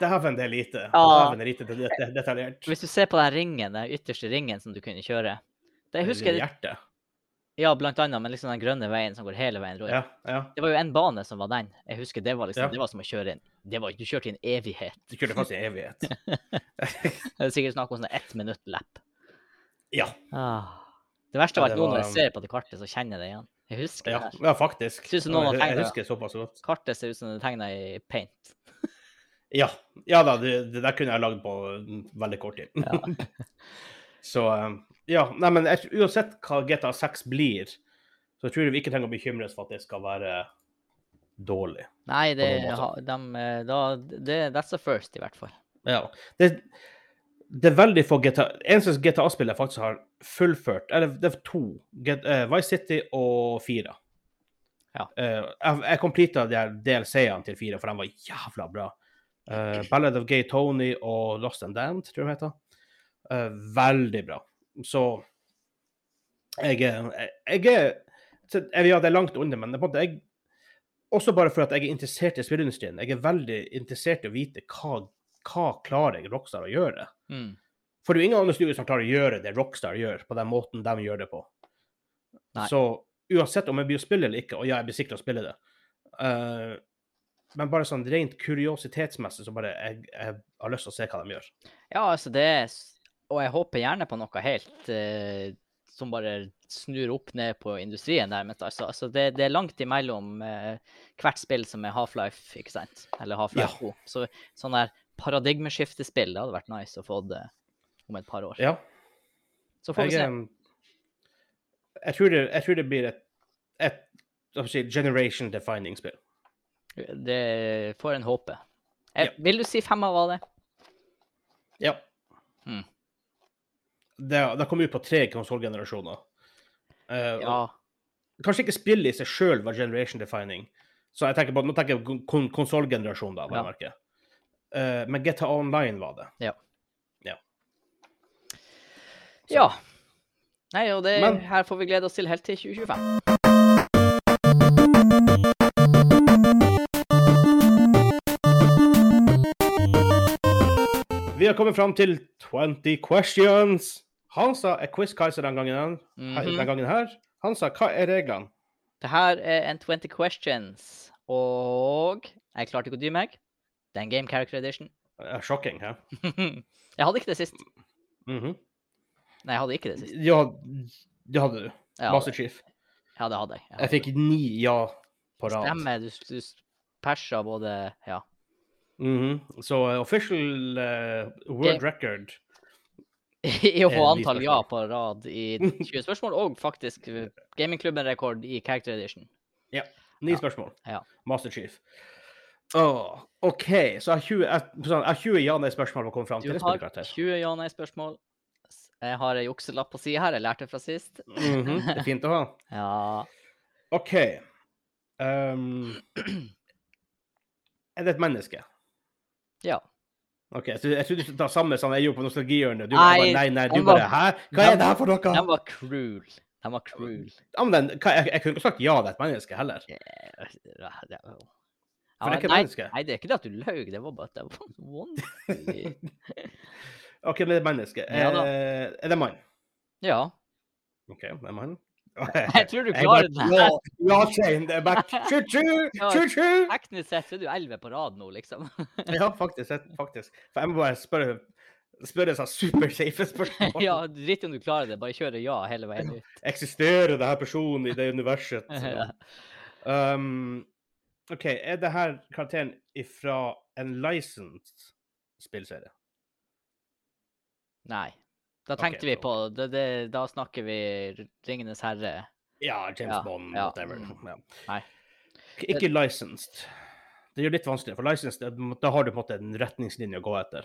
[SPEAKER 1] dæven, det er lite.
[SPEAKER 2] Ja.
[SPEAKER 1] Dæven, det er lite det- det- det- detaljert.
[SPEAKER 2] Hvis du ser på den ringen, den ytterste ringen som du kunne kjøre det, Jeg husker det,
[SPEAKER 1] Hjertet.
[SPEAKER 2] ja, blant annet, men liksom den grønne veien som går hele veien rundt.
[SPEAKER 1] Ja, ja.
[SPEAKER 2] Det var jo en bane som var den. Jeg husker det var liksom,
[SPEAKER 1] Ja.
[SPEAKER 2] det var som å kjøre inn. Det var, du kjørte i en evighet.
[SPEAKER 1] Du kjørte fast i en evighet.
[SPEAKER 2] Det er sikkert snakk om sånn ett minutt lapp.
[SPEAKER 1] Ja,
[SPEAKER 2] Ah. Det verste
[SPEAKER 1] Ja,
[SPEAKER 2] av alt
[SPEAKER 1] det
[SPEAKER 2] nå når
[SPEAKER 1] var,
[SPEAKER 2] jeg ser på det kartet, så kjenner jeg det igjen. Jeg husker
[SPEAKER 1] ja,
[SPEAKER 2] det her.
[SPEAKER 1] ja faktisk.
[SPEAKER 2] Synes du noen har
[SPEAKER 1] jeg,
[SPEAKER 2] tenkt
[SPEAKER 1] jeg
[SPEAKER 2] det?
[SPEAKER 1] husker såpass godt.
[SPEAKER 2] Kartet ser ut som det er tegna i paint.
[SPEAKER 1] Ja, ja da, det, det der kunne jeg lagd på mm, veldig kort tid.
[SPEAKER 2] Ja.
[SPEAKER 1] Så eh, ja, nei, men jeg, uansett hva GTA 6 blir, så tror jeg vi ikke trenger å bekymre oss for at det skal være dårlig.
[SPEAKER 2] Nei, det,
[SPEAKER 1] noen måte.
[SPEAKER 2] ha- dem, eh, da, det, that's a first, i hvert fall.
[SPEAKER 1] Ja. Det, det er veldig få GTA Eneste GTA-spill jeg faktisk har fullført, eller det er to. Get, eh, Vice City og fire.
[SPEAKER 2] Ja.
[SPEAKER 1] Eh, jeg jeg completa de her DLC-ene til fire, for de var jævla bra. Eh, Ballad of Gay Tony og Lost and Damned, tror jeg de heter. Eh, veldig bra. Så jeg er Jeg, jeg er så jeg, Ja, det er langt under, men det er på en måte jeg Også bare for at jeg er interessert i spillindustrien. Jeg er veldig interessert i å vite hva, hva klarer Rockstar å gjøre.
[SPEAKER 2] Mm.
[SPEAKER 1] For det er jo ingen andre studier som klarer å gjøre det Rockstar gjør, på den måten de gjør det på.
[SPEAKER 2] Nei.
[SPEAKER 1] Så uansett om jeg blir å spille eller ikke, og ja, jeg blir sikker til å spille det eh, Men bare sånn rent kuriositetsmessig så bare jeg, jeg har lyst til å se hva de gjør.
[SPEAKER 2] Ja, altså det er s- Og jeg håper gjerne på noe helt eh, som bare snur opp ned på industrien, nærmest. Altså, altså det, det er langt imellom eh, hvert spill som er Half-Life, ikke sant? Eller Half-Life
[SPEAKER 1] Ja.
[SPEAKER 2] 2. Så sånn der paradigmeskiftespill, det hadde vært nice å få det om et par år.
[SPEAKER 1] Ja.
[SPEAKER 2] Så får vi se.
[SPEAKER 1] Jeg, em, jeg, tror, det, jeg tror det blir et, et hva skal jeg si, generation defining spill.
[SPEAKER 2] Det får en håpe. Jeg, Vil du si fem av det?
[SPEAKER 1] Ja.
[SPEAKER 2] Mm.
[SPEAKER 1] Det, det kom ut på tre konsollgenerasjoner. Eh,
[SPEAKER 2] Ja.
[SPEAKER 1] Kanskje ikke spillet i seg sjøl var generation defining. Så jeg tenker på, Nå tenker jeg på kon konsollgenerasjonen, da.
[SPEAKER 2] Ja.
[SPEAKER 1] Ja. Merke. Eh, men GTA Online var det. Så.
[SPEAKER 2] Ja. Nei, og det,
[SPEAKER 1] Men-
[SPEAKER 2] her får vi glede oss til helt til 2025.
[SPEAKER 1] Vi har kommet fram til 20 questions. Hansa er quiz-keiser den gangen, her-
[SPEAKER 2] Mhm.
[SPEAKER 1] den gangen her. Hansa, hva er reglene?
[SPEAKER 2] Det her er en 20 questions, og jeg klarte ikke å dy meg. Det er en Game Character Edition.
[SPEAKER 1] Eh, Sjokking, hæ?
[SPEAKER 2] jeg hadde ikke det sist.
[SPEAKER 1] Mhm.
[SPEAKER 2] Nei, jeg hadde ikke det sist.
[SPEAKER 1] Ja, det hadde du.
[SPEAKER 2] Ja,
[SPEAKER 1] Master Chief.
[SPEAKER 2] ja det hadde jeg. jeg.
[SPEAKER 1] Jeg
[SPEAKER 2] hadde det.
[SPEAKER 1] fikk ni ja på rad.
[SPEAKER 2] Stemmer, du, s- du s- persa både Ja.
[SPEAKER 1] Mhm. Så eh, official eh, world record
[SPEAKER 2] I å få
[SPEAKER 1] Eh, ni
[SPEAKER 2] antall ja
[SPEAKER 1] spørsmål.
[SPEAKER 2] på rad i 20 spørsmål, og faktisk eh, gamingklubben-rekord i Character Edition.
[SPEAKER 1] Ni
[SPEAKER 2] Ja.
[SPEAKER 1] spørsmål.
[SPEAKER 2] Ja.
[SPEAKER 1] Master Chief. Åh, OK, så jeg har 20, jeg, sånn, jeg har 20 ja-nei-spørsmål å komme fram
[SPEAKER 2] Du
[SPEAKER 1] til. en
[SPEAKER 2] har
[SPEAKER 1] spillkarakter.
[SPEAKER 2] 20 ja-nei-spørsmål. Jeg har ei jukselapp på sida her, jeg lærte det fra sist.
[SPEAKER 1] Mhm, Det er fint å ha.
[SPEAKER 2] Ja.
[SPEAKER 1] OK. Ehm, er det et menneske?
[SPEAKER 2] Ja.
[SPEAKER 1] OK, jeg trodde jeg trodde du skulle ta samme som jeg gjorde på nostalgihjørnet. Du
[SPEAKER 2] Nei,
[SPEAKER 1] bare nei, nei, du
[SPEAKER 2] den var-
[SPEAKER 1] bare hæ? Hva er det her for noe?
[SPEAKER 2] De var cruel. De var cruel.
[SPEAKER 1] Ja, men den, hva, jeg, jeg kunne ikke sagt ja det er et menneske heller.
[SPEAKER 2] Eh, ja, det- ja.
[SPEAKER 1] For det er ikke et
[SPEAKER 2] nei,
[SPEAKER 1] menneske.
[SPEAKER 2] nei, det er ikke det at du løy, det var bare at det var vanskelig.
[SPEAKER 1] OK, men det er et menneske.
[SPEAKER 2] Ja da.
[SPEAKER 1] Eh, er det en mann?
[SPEAKER 2] Ja.
[SPEAKER 1] OK, det er en mann.
[SPEAKER 2] Jeg tror du
[SPEAKER 1] Jeg bare-
[SPEAKER 2] klarer det. her.
[SPEAKER 1] Ja, ja, Shane, det er back. Tju, tju,
[SPEAKER 2] Ja.
[SPEAKER 1] tju, tju.
[SPEAKER 2] Teknisk sett så er du elleve på rad nå, liksom.
[SPEAKER 1] Ja, faktisk. jeg- faktisk. For jeg må bare spørre spørre sånn supersafe spørsmål.
[SPEAKER 2] Ja, Drit i om du klarer det, bare kjøre ja hele veien ut.
[SPEAKER 1] Eksisterer det her personen i det universet?
[SPEAKER 2] Ja.
[SPEAKER 1] Um, OK, er det her karakteren ifra en licensed spillserie?
[SPEAKER 2] Nei. Da
[SPEAKER 1] Ok,
[SPEAKER 2] tenkte vi
[SPEAKER 1] så-
[SPEAKER 2] på det, det, Da snakker vi Ringenes herre.
[SPEAKER 1] Ja, James
[SPEAKER 2] Ja,
[SPEAKER 1] Bond,
[SPEAKER 2] ja,
[SPEAKER 1] whatever.
[SPEAKER 2] mm.
[SPEAKER 1] Ja.
[SPEAKER 2] Nei.
[SPEAKER 1] Ik- Ikke licensed. Det gjør det litt vanskeligere, for licensed, det- da har du på en måte en retningslinje å gå etter.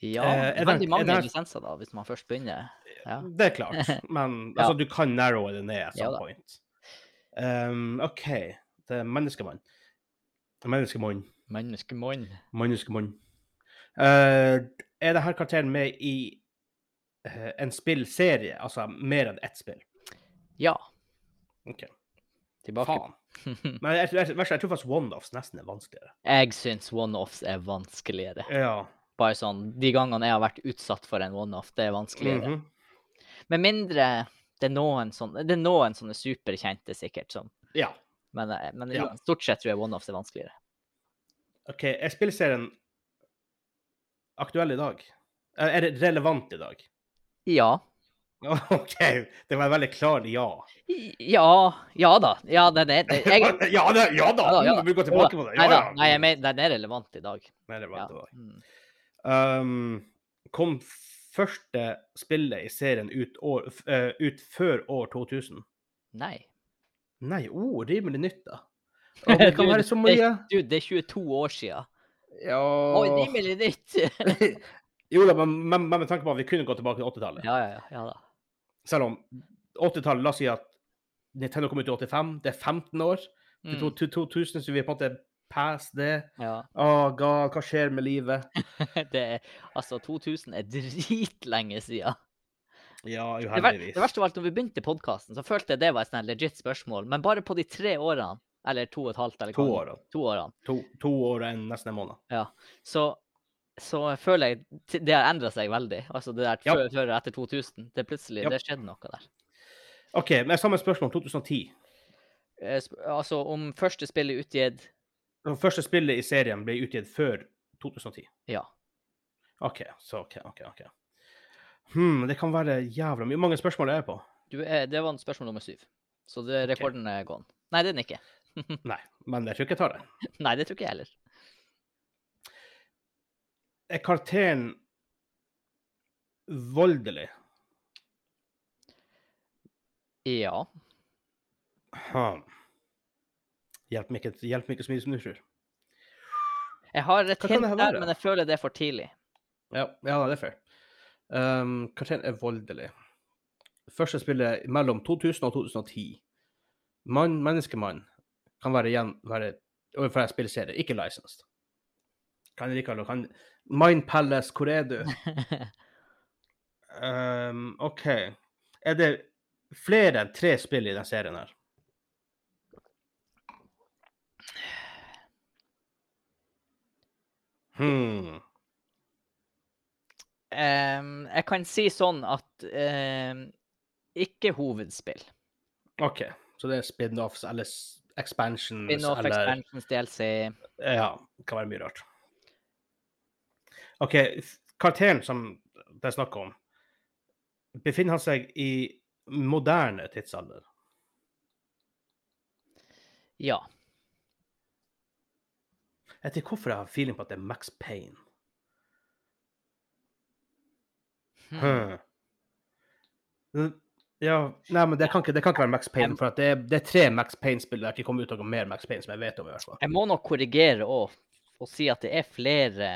[SPEAKER 2] Ja,
[SPEAKER 1] Eh, er det-
[SPEAKER 2] veldig
[SPEAKER 1] er
[SPEAKER 2] mange
[SPEAKER 1] det-
[SPEAKER 2] lisenser, da, hvis man først begynner. Ja.
[SPEAKER 1] Det er klart, men altså, du kan narrowe det ned at
[SPEAKER 2] Ja
[SPEAKER 1] some
[SPEAKER 2] da.
[SPEAKER 1] point. Um, OK, det er menneskemann. Menneskemann.
[SPEAKER 2] Menneskemann.
[SPEAKER 1] Menneskemann. Eh, er det her karakteren med i eh, en spillserie, altså mer enn ett spill?
[SPEAKER 2] Ja.
[SPEAKER 1] Ok.
[SPEAKER 2] Tilbake.
[SPEAKER 1] Faen. Men jeg, jeg, jeg, jeg tror faktisk one-offs nesten er vanskeligere.
[SPEAKER 2] Jeg syns one-offs er vanskeligere.
[SPEAKER 1] Ja.
[SPEAKER 2] Bare sånn, De gangene jeg har vært utsatt for en one-off, det er vanskeligere.
[SPEAKER 1] Mhm.
[SPEAKER 2] Med mindre det er noen sånne, det er noen sånne superkjente, sikkert. Som,
[SPEAKER 1] ja.
[SPEAKER 2] men eh, men
[SPEAKER 1] Ja.
[SPEAKER 2] stort sett tror jeg one-offs er vanskeligere.
[SPEAKER 1] OK, er spillserien aktuell i dag? Eh, Er det relevant i dag?
[SPEAKER 2] Ja.
[SPEAKER 1] OK, det var et veldig klart ja.
[SPEAKER 2] I- Ja. Ja da. Ja, den er det, jeg,
[SPEAKER 1] ja, det, ja da!
[SPEAKER 2] Ja da, ja
[SPEAKER 1] Mm, Vi går
[SPEAKER 2] da.
[SPEAKER 1] tilbake på det.
[SPEAKER 2] Nei
[SPEAKER 1] Ja,
[SPEAKER 2] da.
[SPEAKER 1] ja.
[SPEAKER 2] Nei, jeg mener, den er relevant i dag.
[SPEAKER 1] Nei, det var
[SPEAKER 2] Ja.
[SPEAKER 1] det var.
[SPEAKER 2] Mm.
[SPEAKER 1] Um, kom første spillet i serien ut, år, f- eh, ut før år 2000?
[SPEAKER 2] Nei.
[SPEAKER 1] Nei, oh, rimelig nytt, da. Og det kan
[SPEAKER 2] Du,
[SPEAKER 1] være så
[SPEAKER 2] det-
[SPEAKER 1] mye
[SPEAKER 2] Du, det er 22 år sia.
[SPEAKER 1] ja.
[SPEAKER 2] Oi, rimelig nytt! ja,
[SPEAKER 1] Jo da, men, men, men med tanke på at vi kunne gå tilbake til 80-tallet.
[SPEAKER 2] ja, ja, ja da.
[SPEAKER 1] Selv om 80-tallet, la oss si at Nintendo kom ut i 85, det er 15 år. Til
[SPEAKER 2] Mm,
[SPEAKER 1] to- til 2000 så vi er på en måte past det.
[SPEAKER 2] ja.
[SPEAKER 1] Å, god, hva skjer med livet?
[SPEAKER 2] Det er, altså, 2000 er dritlenge sia.
[SPEAKER 1] Ja,
[SPEAKER 2] Det, ver
[SPEAKER 1] uheldigvis.
[SPEAKER 2] det verste var at når vi begynte podkasten, så følte jeg det var et sånn her legit spørsmål. Men bare på de tre årene, eller to og et halvt, eller
[SPEAKER 1] To
[SPEAKER 2] hva-
[SPEAKER 1] år, altså. da.
[SPEAKER 2] to årene,
[SPEAKER 1] to, to år og en, nesten en måned.
[SPEAKER 2] så, så føler jeg t- det har endra seg veldig. Altså det der
[SPEAKER 1] Ja.
[SPEAKER 2] før, før og etter 2000. Det er plutselig
[SPEAKER 1] Ja.
[SPEAKER 2] det skjedde noe der.
[SPEAKER 1] OK, men samme spørsmål 2010.
[SPEAKER 2] Eh, sp- Altså om første spillet utgitt
[SPEAKER 1] Det første spillet i serien ble utgitt før 2010.
[SPEAKER 2] Ja.
[SPEAKER 1] OK, så OK, OK. ok. Hmm, det kan være jævla mye. Hvor mange spørsmål er jeg på?
[SPEAKER 2] du, er- Det var spørsmål nummer syv. Så det, rekorden er gone. Nei, det er den ikke.
[SPEAKER 1] Nei, men jeg tror ikke jeg tar det.
[SPEAKER 2] Nei, det tror ikke jeg heller.
[SPEAKER 1] Er karakteren voldelig?
[SPEAKER 2] Ja.
[SPEAKER 1] Hmm. Hjelp meg ikke, hjelp meg ikke så mye som du tror.
[SPEAKER 2] Jeg har et
[SPEAKER 1] Hva kan
[SPEAKER 2] hint
[SPEAKER 1] det her
[SPEAKER 2] der,
[SPEAKER 1] være?
[SPEAKER 2] men jeg føler det er for tidlig.
[SPEAKER 1] Ja, ja det er fair. Um, karakteren er voldelig. Første spillet mellom 2000 og 2010. Mann, menneskemann, kan være igjen være, overfor en spillserie, ikke licensed. Kan jeg likevel kan Mind Palace, hvor er du? Um, OK. Er det flere enn tre spill i den serien her? Hmm.
[SPEAKER 2] Ehm, jeg kan si sånn at ehm, ikke hovedspill.
[SPEAKER 1] OK. Så det er spin-offs eller s- expansions
[SPEAKER 2] Spin-off,
[SPEAKER 1] Mm, eller
[SPEAKER 2] expansions, DLC.
[SPEAKER 1] Ja, det kan være mye rart. OK, f- karakteren som det er snakk om, befinner han seg i moderne tidsalder?
[SPEAKER 2] Ja.
[SPEAKER 1] Jeg vet ikke hvorfor jeg har feeling på at det er Max Payne.
[SPEAKER 2] Hmm.
[SPEAKER 1] Hmm. Ja, nei, men det kan ikke, det kan ikke være Max Payne, for at det, er, det er tre Max Payne-spill der til det kommer ut noe mer Max Payne som jeg vet om. i hvert fall.
[SPEAKER 2] Jeg må nok korrigere òg, og si at det er flere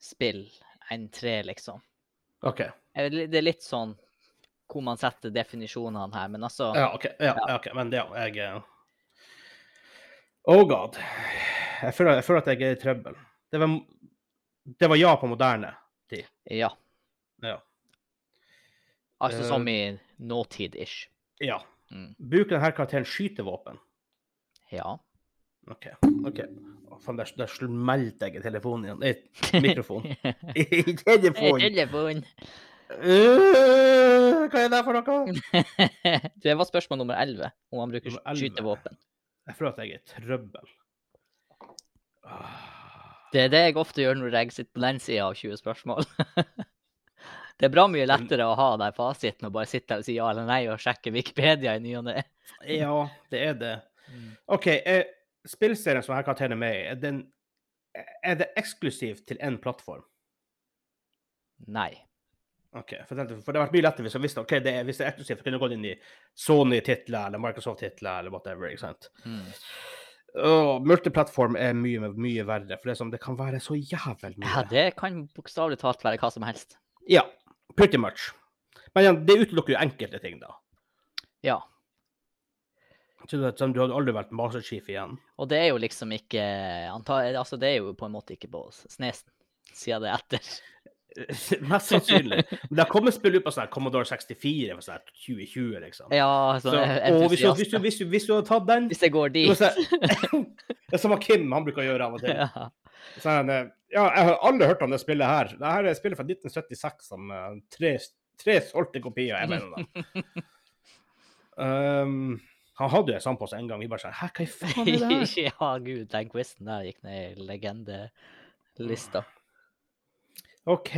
[SPEAKER 2] spill enn tre, liksom.
[SPEAKER 1] OK.
[SPEAKER 2] Jeg vil- Det er litt sånn hvor man setter definisjonene her, men altså
[SPEAKER 1] Ja, OK. Ja, ja, ok, Men ja, jeg eh, Oh god. Jeg føler, jeg føler at jeg er i trøbbel. Det var, det var ja på moderne.
[SPEAKER 2] Ja.
[SPEAKER 1] Ja.
[SPEAKER 2] Altså
[SPEAKER 1] Eh.
[SPEAKER 2] som i nåtid-ish.
[SPEAKER 1] Ja.
[SPEAKER 2] Mm.
[SPEAKER 1] Bruker denne karakteren skytevåpen?
[SPEAKER 2] Ja.
[SPEAKER 1] OK. ok. Å, Faen, der, der smelte jeg i telefonen igjen. Nei, mikrofonen. I telefonen!
[SPEAKER 2] Telefon.
[SPEAKER 1] Øh, hva er det for noe?
[SPEAKER 2] det var spørsmål nummer 11, om han bruker
[SPEAKER 1] Nummer 11.
[SPEAKER 2] skytevåpen.
[SPEAKER 1] Jeg føler at jeg er i trøbbel. Ah.
[SPEAKER 2] Det er det jeg ofte gjør når jeg sitter på den sida av 20 spørsmål. det er bra mye lettere å ha den fasiten og bare sitte her og si ja eller nei og sjekke Wikipedia i ny og ne.
[SPEAKER 1] Ja, det er det. OK, eh, spillserien som denne karakteren er med i, er, den, er det eksklusiv til én plattform?
[SPEAKER 2] Nei.
[SPEAKER 1] Ok, for, den, for det hadde vært mye lettere hvis jeg visste ok, det er, hvis det er eksklusivt, så kunne jeg gått inn i Sony-titler eller Microsoft-titler eller whatever. ikke sant? Åh, multiplattform er mye, mye verre, for det, er sånn, det kan være så jævlig
[SPEAKER 2] Ja,
[SPEAKER 1] mye.
[SPEAKER 2] det kan bokstavelig talt være hva som helst.
[SPEAKER 1] Ja, pretty much. Men igjen, det utelukker jo enkelte ting, da.
[SPEAKER 2] Ja.
[SPEAKER 1] Så du, vet, sånn, du hadde aldri vært Master Chief igjen.
[SPEAKER 2] Og det er jo liksom ikke anta, Altså, det er jo på en måte ikke på snesen, siden det er etter.
[SPEAKER 1] Mest sannsynlig. Men det har kommet spill ut på sånn her Commodore 64 for sånn her 2020, liksom.
[SPEAKER 2] Ja, så,
[SPEAKER 1] Så, og hvis du,
[SPEAKER 2] Sånn entusiast.
[SPEAKER 1] hvis, du, hvis, du, hvis du hadde tatt den
[SPEAKER 2] Hvis jeg går
[SPEAKER 1] det var
[SPEAKER 2] dit.
[SPEAKER 1] sånn- Det er som han Kim han bruker å gjøre av og til.
[SPEAKER 2] Ja.
[SPEAKER 1] Sånn, eh, ja, jeg har alle hørt om det spillet her. Det her er spillet fra 1976 som eh, tre, tre solgte kopier. jeg mener da. Um, han hadde jo en sånn på seg en gang. Vi bare sånn Hæ, hva i faen er det her?
[SPEAKER 2] ja, gud, den quizen der gikk ned i legendelista.
[SPEAKER 1] OK.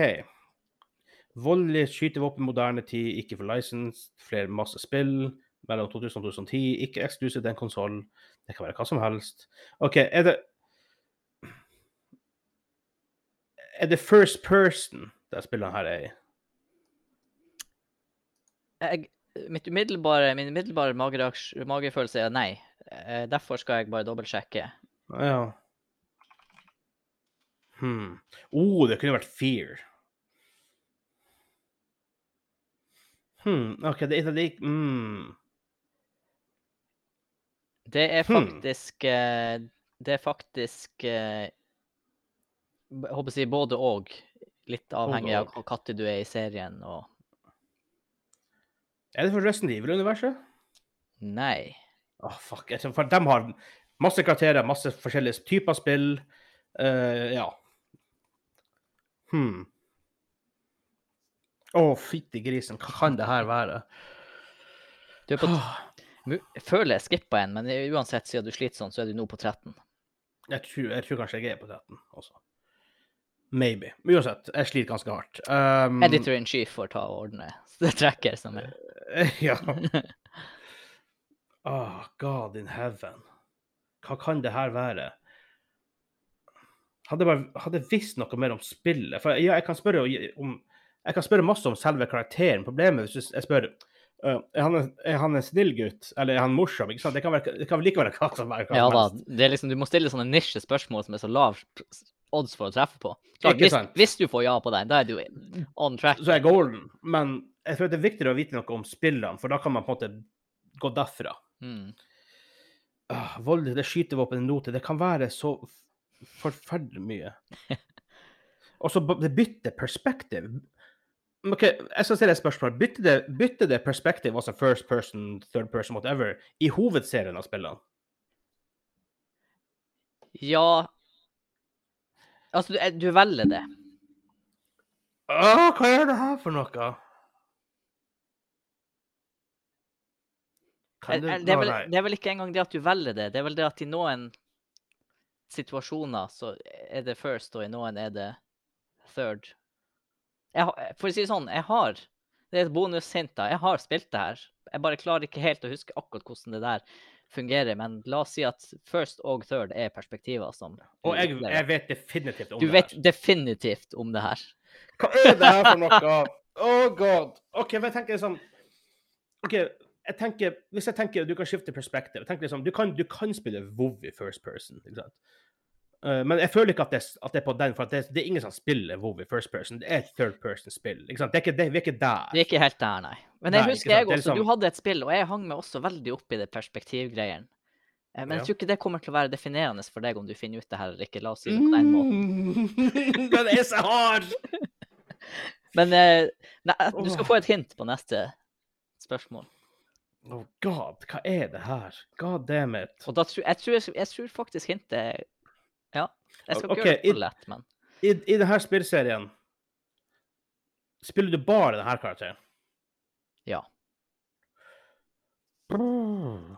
[SPEAKER 1] Voldelig skytevåpen, moderne tid, ikke for lisens, flere masse spill. Mellom 2000 og 2010, ikke eksklusivt en konsoll. Det kan være hva som helst. OK, er det Er det first person det spillet her er i?
[SPEAKER 2] Jeg, mitt umiddelbare, min umiddelbare magereaks- magefølelse er nei. Eh, Derfor skal jeg bare dobbeltsjekke.
[SPEAKER 1] Ja. Hmm. Oh, det kunne vært Fear. Hmm, OK, det er ikke mm.
[SPEAKER 2] Det er
[SPEAKER 1] Hmm.
[SPEAKER 2] faktisk eh, Det er faktisk eh, b- Jeg håper å si både og. Litt avhengig av
[SPEAKER 1] og.
[SPEAKER 2] hvor når du er i serien og
[SPEAKER 1] Er det for Resident Evil-universet?
[SPEAKER 2] Nei.
[SPEAKER 1] Åh, fuck. jeg tror- For de har masse karakterer, masse forskjellige typer spill. Eh, ja. Hmm. Å, fytti grisen, hva kan det her være?
[SPEAKER 2] Du er på t- mu- jeg føler jeg skippa en, men uansett, siden du sliter sånn, så er du nå på 13.
[SPEAKER 1] Jeg tror, jeg tror kanskje jeg er på 13 også. Maybe. Men Uansett, jeg sliter ganske hardt. Um,
[SPEAKER 2] Editor in chief får ta og ordne det trekker som er
[SPEAKER 1] Ja. Ah, God in heaven. Hva kan det her være? Hadde jeg bare hadde jeg visst noe mer om spillet For ja, jeg kan spørre om Jeg kan spørre masse om selve karakteren. Problemet hvis jeg spør øh, er, han en, er han en snill gutt, eller er han morsom? Ikke sant? Det kan, være, det kan likevel være hva som være hva
[SPEAKER 2] Ja
[SPEAKER 1] som
[SPEAKER 2] da.
[SPEAKER 1] helst.
[SPEAKER 2] Det er liksom, du må stille sånne nisjespørsmål som er så lav odds for å treffe på. Klart,
[SPEAKER 1] Ikke
[SPEAKER 2] hvis,
[SPEAKER 1] sant?
[SPEAKER 2] hvis du får ja på den, da er du on track.
[SPEAKER 1] Så er jeg golden. Men jeg tror det er viktigere å vite noe om spillene, for da kan man på en måte gå derfra.
[SPEAKER 2] Mm.
[SPEAKER 1] Ah, voldelig, det skytevåpenet nå til Det kan være så f- forferdelig mye. Og så b- det bytter perspektiv. Men OK, jeg skal stille et spørsmål. Bytter det, bytter det perspektiv, altså first person, third person, whatever, i hovedserien av spillene?
[SPEAKER 2] Ja Altså, du, eh, du velger det.
[SPEAKER 1] Åh, hva er det her for noe?
[SPEAKER 2] Eh,
[SPEAKER 1] Kan
[SPEAKER 2] eh,
[SPEAKER 1] du
[SPEAKER 2] Det er, vel,
[SPEAKER 1] Nei, nei.
[SPEAKER 2] det er vel ikke engang det at du velger det, det er vel det at i noen situasjoner så er det first, og i noen er det third. Jeg, har- for å si det sånn, jeg har Det er et bonushint, da. Jeg har spilt det her. Jeg bare klarer ikke helt å huske akkurat hvordan det der fungerer, men la oss si at first og third er perspektiver som du
[SPEAKER 1] Og jeg,
[SPEAKER 2] opplever.
[SPEAKER 1] jeg vet definitivt om
[SPEAKER 2] Du
[SPEAKER 1] det
[SPEAKER 2] vet
[SPEAKER 1] her.
[SPEAKER 2] definitivt om det her.
[SPEAKER 1] Hva er det her for noe? Oh god. OK, men jeg tenker sånn OK, jeg tenker Hvis jeg tenker du kan skifte perspektiv jeg tenker liksom, du, kan, du kan spille WoW i first person, ikke sant? Eh, men jeg føler ikke at det, er s- at det er på den, for at det, det er ingen som spiller WoW i first person. Det er et third person-spill. ikke sant? Det er ikke, det, vi er ikke der.
[SPEAKER 2] Vi er ikke helt der, nei. Men jeg
[SPEAKER 1] Nei, ikke
[SPEAKER 2] husker jeg
[SPEAKER 1] sant, det er
[SPEAKER 2] også, du
[SPEAKER 1] liksom-
[SPEAKER 2] hadde et spill, og jeg hang meg også veldig opp i det perspektivgreiene. Eh, Men
[SPEAKER 1] Ja.
[SPEAKER 2] jeg tror ikke det kommer til å være definerende for deg om du finner ut det her eller ikke. La oss si det på den måten.
[SPEAKER 1] Mm, den er så hard!
[SPEAKER 2] Men eh, nei, du skal
[SPEAKER 1] Åh.
[SPEAKER 2] få et hint på neste spørsmål.
[SPEAKER 1] Oh god, hva er det her? God damn it.
[SPEAKER 2] Og da tror, jeg, tror, jeg tror faktisk hintet Ja. Jeg skal ikke
[SPEAKER 1] Ok,
[SPEAKER 2] gjøre det
[SPEAKER 1] i-
[SPEAKER 2] for lett, men
[SPEAKER 1] I, i denne spillserien spiller du bare denne karakteren?
[SPEAKER 2] Ja.
[SPEAKER 1] Brr.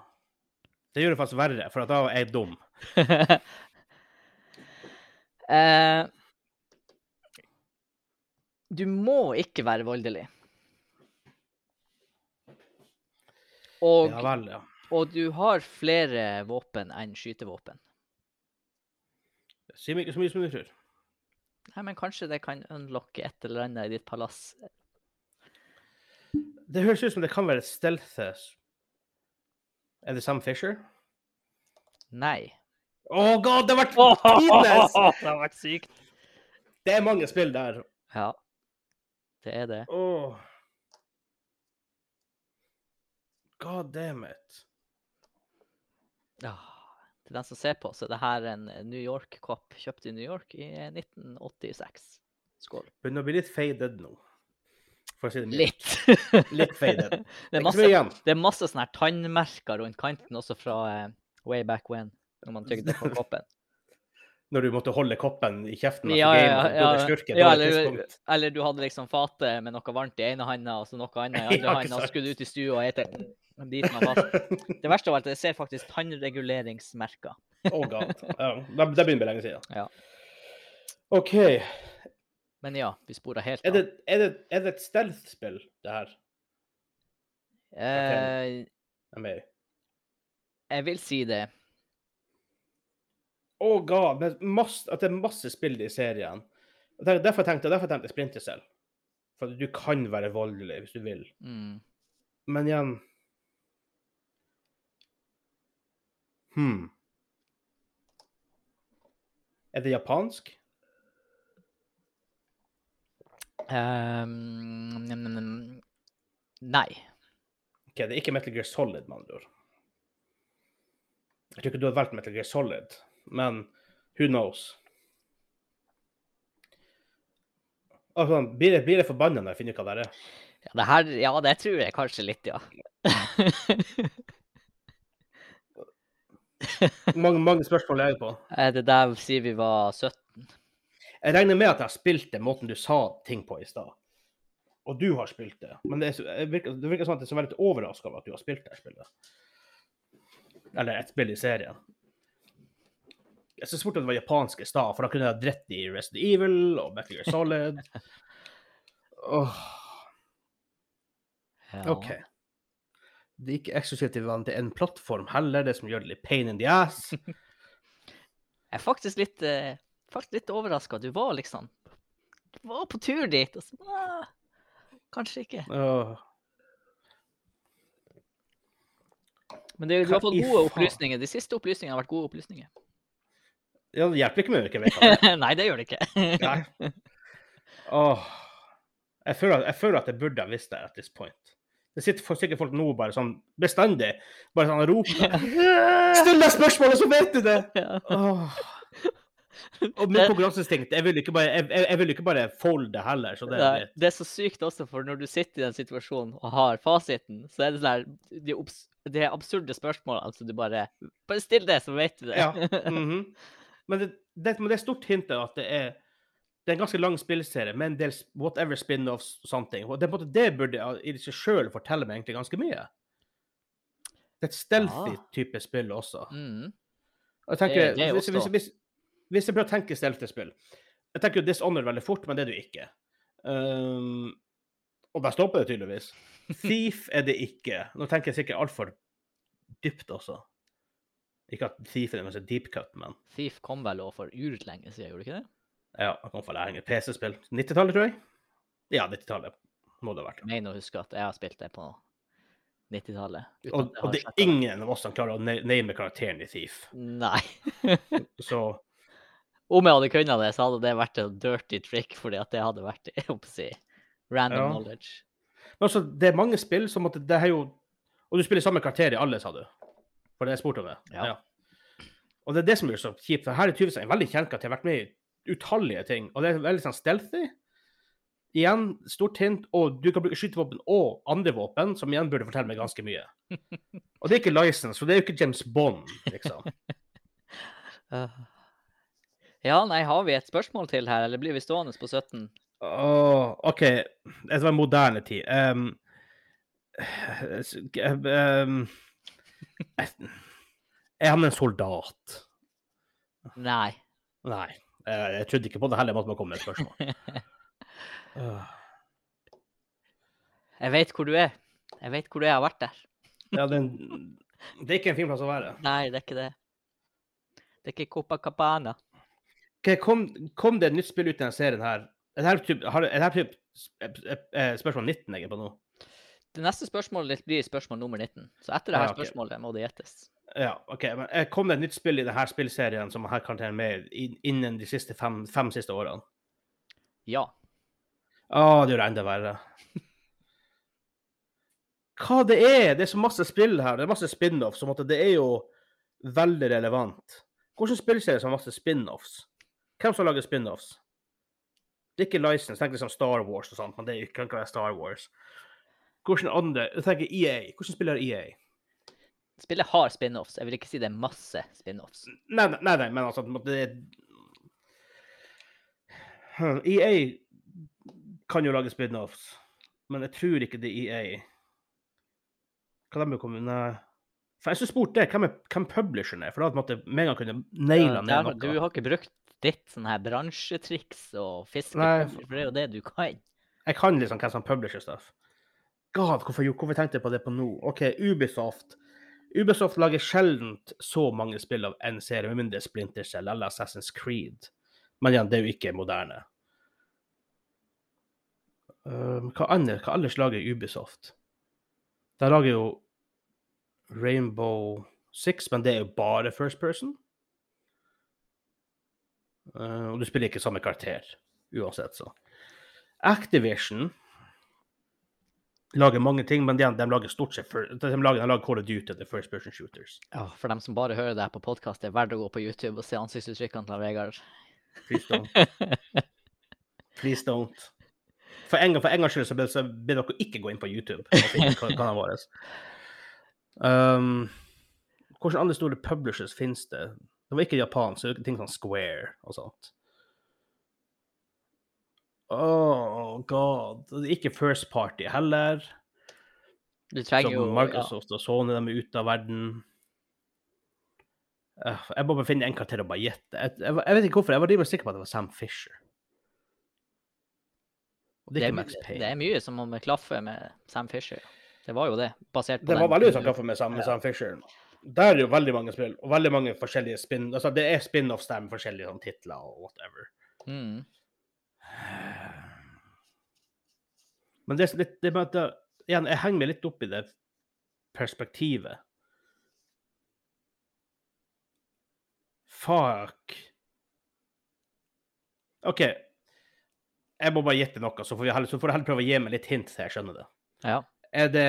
[SPEAKER 1] Det gjør det faktisk verre, for at da er jeg dum.
[SPEAKER 2] Eh, Du må ikke være voldelig. Og,
[SPEAKER 1] Ja vel, ja.
[SPEAKER 2] og du har flere våpen enn skytevåpen.
[SPEAKER 1] Si meg ikke så mye som du tror.
[SPEAKER 2] Nei, men kanskje det kan unlocke et eller annet i ditt palass.
[SPEAKER 1] Det høres ut som det kan være et stealthes. Er det Sam Fisher?
[SPEAKER 2] Nei.
[SPEAKER 1] Å god, det har vært tidenes!
[SPEAKER 2] det har vært sykt.
[SPEAKER 1] Det er mange spill der.
[SPEAKER 2] Ja, det er det.
[SPEAKER 1] Åh. God damn it.
[SPEAKER 2] Ja. Til den som ser på, så er det her en New York-kopp kjøpt i New York i 1986. Skål.
[SPEAKER 1] Begynner å bli litt faded nå. For å si det mildt.
[SPEAKER 2] Litt.
[SPEAKER 1] Litt faded.
[SPEAKER 2] Det er
[SPEAKER 1] Ikke så
[SPEAKER 2] masse,
[SPEAKER 1] mye igjen.
[SPEAKER 2] det er masse sånne her tannmerker rundt kanten, også fra eh, way back when, når man tygde på koppen.
[SPEAKER 1] Når du måtte holde koppen i kjeften. altså,
[SPEAKER 2] Ja,
[SPEAKER 1] etter
[SPEAKER 2] ja,
[SPEAKER 1] gamen,
[SPEAKER 2] ja,
[SPEAKER 1] dårlig styrke,
[SPEAKER 2] ja,
[SPEAKER 1] dårlig
[SPEAKER 2] eller,
[SPEAKER 1] tidspunkt.
[SPEAKER 2] eller du hadde liksom fatet med noe varmt i ene handa, og så noe annet i
[SPEAKER 1] Ja,
[SPEAKER 2] andre
[SPEAKER 1] ikke
[SPEAKER 2] handa, og så
[SPEAKER 1] sant.
[SPEAKER 2] skulle du ut i stua og ete biten av fast. Det verste av alt, jeg ser faktisk tannreguleringsmerker.
[SPEAKER 1] Åh, god. Ja, det, det begynner å bli lenge siden.
[SPEAKER 2] Ja.
[SPEAKER 1] OK.
[SPEAKER 2] Men ja, vi spora helt
[SPEAKER 1] Er det, er det, er det et stealth-spill, det her?
[SPEAKER 2] Eh,
[SPEAKER 1] Jeg er med i.
[SPEAKER 2] jeg vil si det.
[SPEAKER 1] Åh, god. men masse, at det er masse spill i serien. Og der- Derfor tenkte jeg derfor tenkte jeg Splinter Cell. For du kan være voldelig hvis du vil.
[SPEAKER 2] Mm.
[SPEAKER 1] Men igjen Hm. Er det japansk?
[SPEAKER 2] Ehm, mm, mm, mm. nei.
[SPEAKER 1] Ok, det er ikke Metal Gear Solid, med andre ord. Jeg tror ikke du hadde valgt Metal Gear Solid, men who knows? Altså, blir jeg, blir jeg forbanna når jeg finner ut hva det er?
[SPEAKER 2] Ja, det her Ja, det tror jeg kanskje litt, ja.
[SPEAKER 1] Mange, mange spørsmål jeg er på.
[SPEAKER 2] Eh, det der sier vi var 17.
[SPEAKER 1] Jeg regner med at jeg har spilt det måten du sa ting på i stad. Og du har spilt det. Men det, er, så- jeg virker, det virker sånn at jeg er så veldig overraska over at du har spilt det spillet. Eller et spill i serien. Jeg syns fort at det var japansk i stad, for da kunne jeg ha dritt i Resident Evil og Metal Gear Solid. Åh,
[SPEAKER 2] Ja.
[SPEAKER 1] OK. Det er ikke eksklusivt til en plattform heller, det som gjør det litt pain in the ass.
[SPEAKER 2] Jeg er faktisk litt, eh, faktisk litt overraska. Du var liksom Du var på tur dit, og så ah, Kanskje ikke.
[SPEAKER 1] Åh.
[SPEAKER 2] Men det, du har
[SPEAKER 1] Hva
[SPEAKER 2] fått
[SPEAKER 1] i
[SPEAKER 2] gode
[SPEAKER 1] faen?
[SPEAKER 2] opplysninger. De siste opplysningene har vært gode opplysninger.
[SPEAKER 1] Ja, det hjelper ikke mye om jeg ikke vet hva det er.
[SPEAKER 2] nei, det gjør det ikke.
[SPEAKER 1] Nei. Åh. Jeg føler, at- jeg føler at jeg burde ha visst det at this point. Det sitter for- sikkert folk nå bare sånn bestandig, bare sånn og roper. Still deg spørsmålet, så vet du det!
[SPEAKER 2] Ja.
[SPEAKER 1] Åh. Og med
[SPEAKER 2] Det-
[SPEAKER 1] konkurranseinstinkt. Jeg vil ikke bare, jeg, jeg, jeg vil ikke bare folde det heller, så det er
[SPEAKER 2] Nei,
[SPEAKER 1] litt
[SPEAKER 2] det er så sykt også, for når du sitter i den situasjonen og har fasiten, så er det sånn her De, obs de absurde spørsmålene, altså du bare Bare still det, så vet du det.
[SPEAKER 1] Ja. mhm. men, det, det, men det er stort hint av at det er det er en ganske lang spillserie med en del s- whatever spin-offs og sånne ting. Og det, er på en måte det burde jeg i seg sjøl fortelle meg egentlig ganske mye. Det er et stealthy
[SPEAKER 2] Ja.
[SPEAKER 1] type spill også.
[SPEAKER 2] Mm.
[SPEAKER 1] Og Jeg tenker,
[SPEAKER 2] Ah. Det- det er jo
[SPEAKER 1] hvis, hvis,
[SPEAKER 2] også.
[SPEAKER 1] hvis, hvis jeg prøver å tenke stealthy-spill Jeg tenker jo Dishonored veldig fort, men det er det jo ikke. Ehm, og der stopper det tydeligvis. Thief er det ikke. Nå tenker jeg sikkert altfor dypt også. Ikke at Thief er en deep cut, men
[SPEAKER 2] Thief kom vel også for urlenge siden, gjorde det ikke det?
[SPEAKER 1] ja, jeg kommer fra læring i PC-spill. 90-tallet, tror jeg? Ja, 90-tallet må det ha vært.
[SPEAKER 2] Jeg mener å huske at jeg har spilt det på 90-tallet. uten
[SPEAKER 1] Og,
[SPEAKER 2] at jeg har
[SPEAKER 1] og det
[SPEAKER 2] sett
[SPEAKER 1] er ingen av oss som klarer å na- name karakteren i Thief.
[SPEAKER 2] Nei.
[SPEAKER 1] Så
[SPEAKER 2] Om jeg hadde kunnet det, så hadde det vært en dirty trick, fordi at det hadde vært jeg holdt på å si, random
[SPEAKER 1] Ja.
[SPEAKER 2] knowledge.
[SPEAKER 1] Men altså, det er mange spill som at det er jo Og du spiller samme karakter i alle, sa du? For det jeg spurte om det.
[SPEAKER 2] Ja.
[SPEAKER 1] Og det er det som gjør det så kjipt. For her er Tyvesen en veldig kjent karakter, har vært med i utallige ting. Og det er veldig sånn stealthy. Igjen, stort hint, og du kan bruke skytevåpen og andre våpen, som igjen burde fortelle meg ganske mye. Og det er ikke license, for det er jo ikke James Bond, liksom.
[SPEAKER 2] Øh. Ja, nei, har vi et spørsmål til her, eller blir vi stående på 17?
[SPEAKER 1] Åh, OK, det var en moderne tid. Ehm, eh, s- ehm, eh, er han en soldat?
[SPEAKER 2] Nei.
[SPEAKER 1] Nei, eh, jeg trodde ikke på det heller. Jeg måtte bare komme med et spørsmål. Åh.
[SPEAKER 2] Jeg vet hvor du er. Jeg vet hvor du er, jeg har vært der.
[SPEAKER 1] Ja, det, er en- det er ikke en fin plass å være.
[SPEAKER 2] Nei, det er ikke det. Det er ikke Copacabana.
[SPEAKER 1] Ok, kom, kom det et nytt spill ut i denne serien her? Er det her typ, har, er det her typ sp- eh, eh, spørsmål 19 jeg er på nå?
[SPEAKER 2] Det neste spørsmålet ditt blir spørsmål nummer 19. Så etter
[SPEAKER 1] Ja,
[SPEAKER 2] det her
[SPEAKER 1] ok.
[SPEAKER 2] spørsmålet må det gjettes.
[SPEAKER 1] Ja, OK. Men eh, kom det et nytt spill i denne spillserien som her kan tjene med i- innen de siste fem, fem siste årene?
[SPEAKER 2] Ja.
[SPEAKER 1] Å, det gjør det enda verre. Hva det er? Det er så masse spill her. Det er masse spin-offs. som at Det er jo veldig relevant. Hvordan spillserie som har masse spin-offs? Hvem som lager spin-offs? Det er ikke license. Tenk liksom Star Wars og sånt, men det er jo- kan ikke være Star Wars. Hvordan andre Jeg tenker E EA. Hvordan spiller EA?
[SPEAKER 2] Spillet har spin-offs. Jeg vil ikke si det er masse spin-offs.
[SPEAKER 1] Nei, nei, nei, nei, men altså at det er- Hm, EA kan jo lage spin-offs, men jeg tror ikke det er EA. Hva de kommer Nei. For jeg skulle spurt det, hvem, er, hvem publisheren er, for da måtte jeg med en gang kunne naila
[SPEAKER 2] Eh, Der
[SPEAKER 1] ned
[SPEAKER 2] har- Du
[SPEAKER 1] noe.
[SPEAKER 2] har ikke brukt ditt sånn her bransjetriks og fiske,
[SPEAKER 1] Nei,
[SPEAKER 2] for det er jo det du kan.
[SPEAKER 1] Jeg kan liksom hvem som publisher stuff. God, hvorfor, gjorde- hvorfor tenkte jeg på det på nå? OK, Ubisoft. Ubisoft lager sjelden så mange spill av en serie, med mindre Splinter Cell eller Assassin's Creed. Men igjen, det er jo ikke moderne. Um, hva annet? Hva ellers lager Ubisoft? De lager jo Rainbow Six, men det er jo bare first person. Uh, og du spiller ikke samme karakter uansett, så. Activision lager mange ting, men de, de lager stort sett fir- de lager, de lager Call of Duty, the first person shooters.
[SPEAKER 2] Ja, for dem som bare hører det her på podkast, det er verdt å gå på YouTube og se ansiktsuttrykkene til Vegard.
[SPEAKER 1] Please don't. Please don't. For en gang for en gangs skyld så ber- så ber dere ikke gå inn på YouTube. og finne kan- kanalen vår. Um, hvilke andre store publishers finnes det? Det var ikke Japan, så det er ting som Square og sånt. Oh god. Det er ikke First Party heller.
[SPEAKER 2] Du trenger jo
[SPEAKER 1] Som
[SPEAKER 2] ja.
[SPEAKER 1] Microsoft og Sony de er ute av verden. Eh, Jeg må bare finne en karakter og bare gjette. Jeg, jeg, jeg vet ikke hvorfor, jeg var rimelig sikker på at det var Sam Fisher. Og det
[SPEAKER 2] det,
[SPEAKER 1] er
[SPEAKER 2] er
[SPEAKER 1] ikke
[SPEAKER 2] my-
[SPEAKER 1] Max
[SPEAKER 2] det
[SPEAKER 1] Payne.
[SPEAKER 2] er mye som om klaffer med Sam Fisher. Det var jo det, basert på
[SPEAKER 1] Det
[SPEAKER 2] den-
[SPEAKER 1] var veldig sånn kaffe med Sam,
[SPEAKER 2] Ja.
[SPEAKER 1] Sam Fisher. Der er jo veldig mange spill, og veldig mange forskjellige spin... Altså, det er spin-offs der med forskjellige sånn, titler og whatever.
[SPEAKER 2] Mm.
[SPEAKER 1] Eh, Men det er litt det med at det, igjen, Jeg henger meg litt opp i det perspektivet. Fuck. OK. Jeg må bare gjette noe, så får, vi heller, så får du heller prøve å gi meg litt hint til jeg skjønner det.
[SPEAKER 2] Ja.
[SPEAKER 1] Er det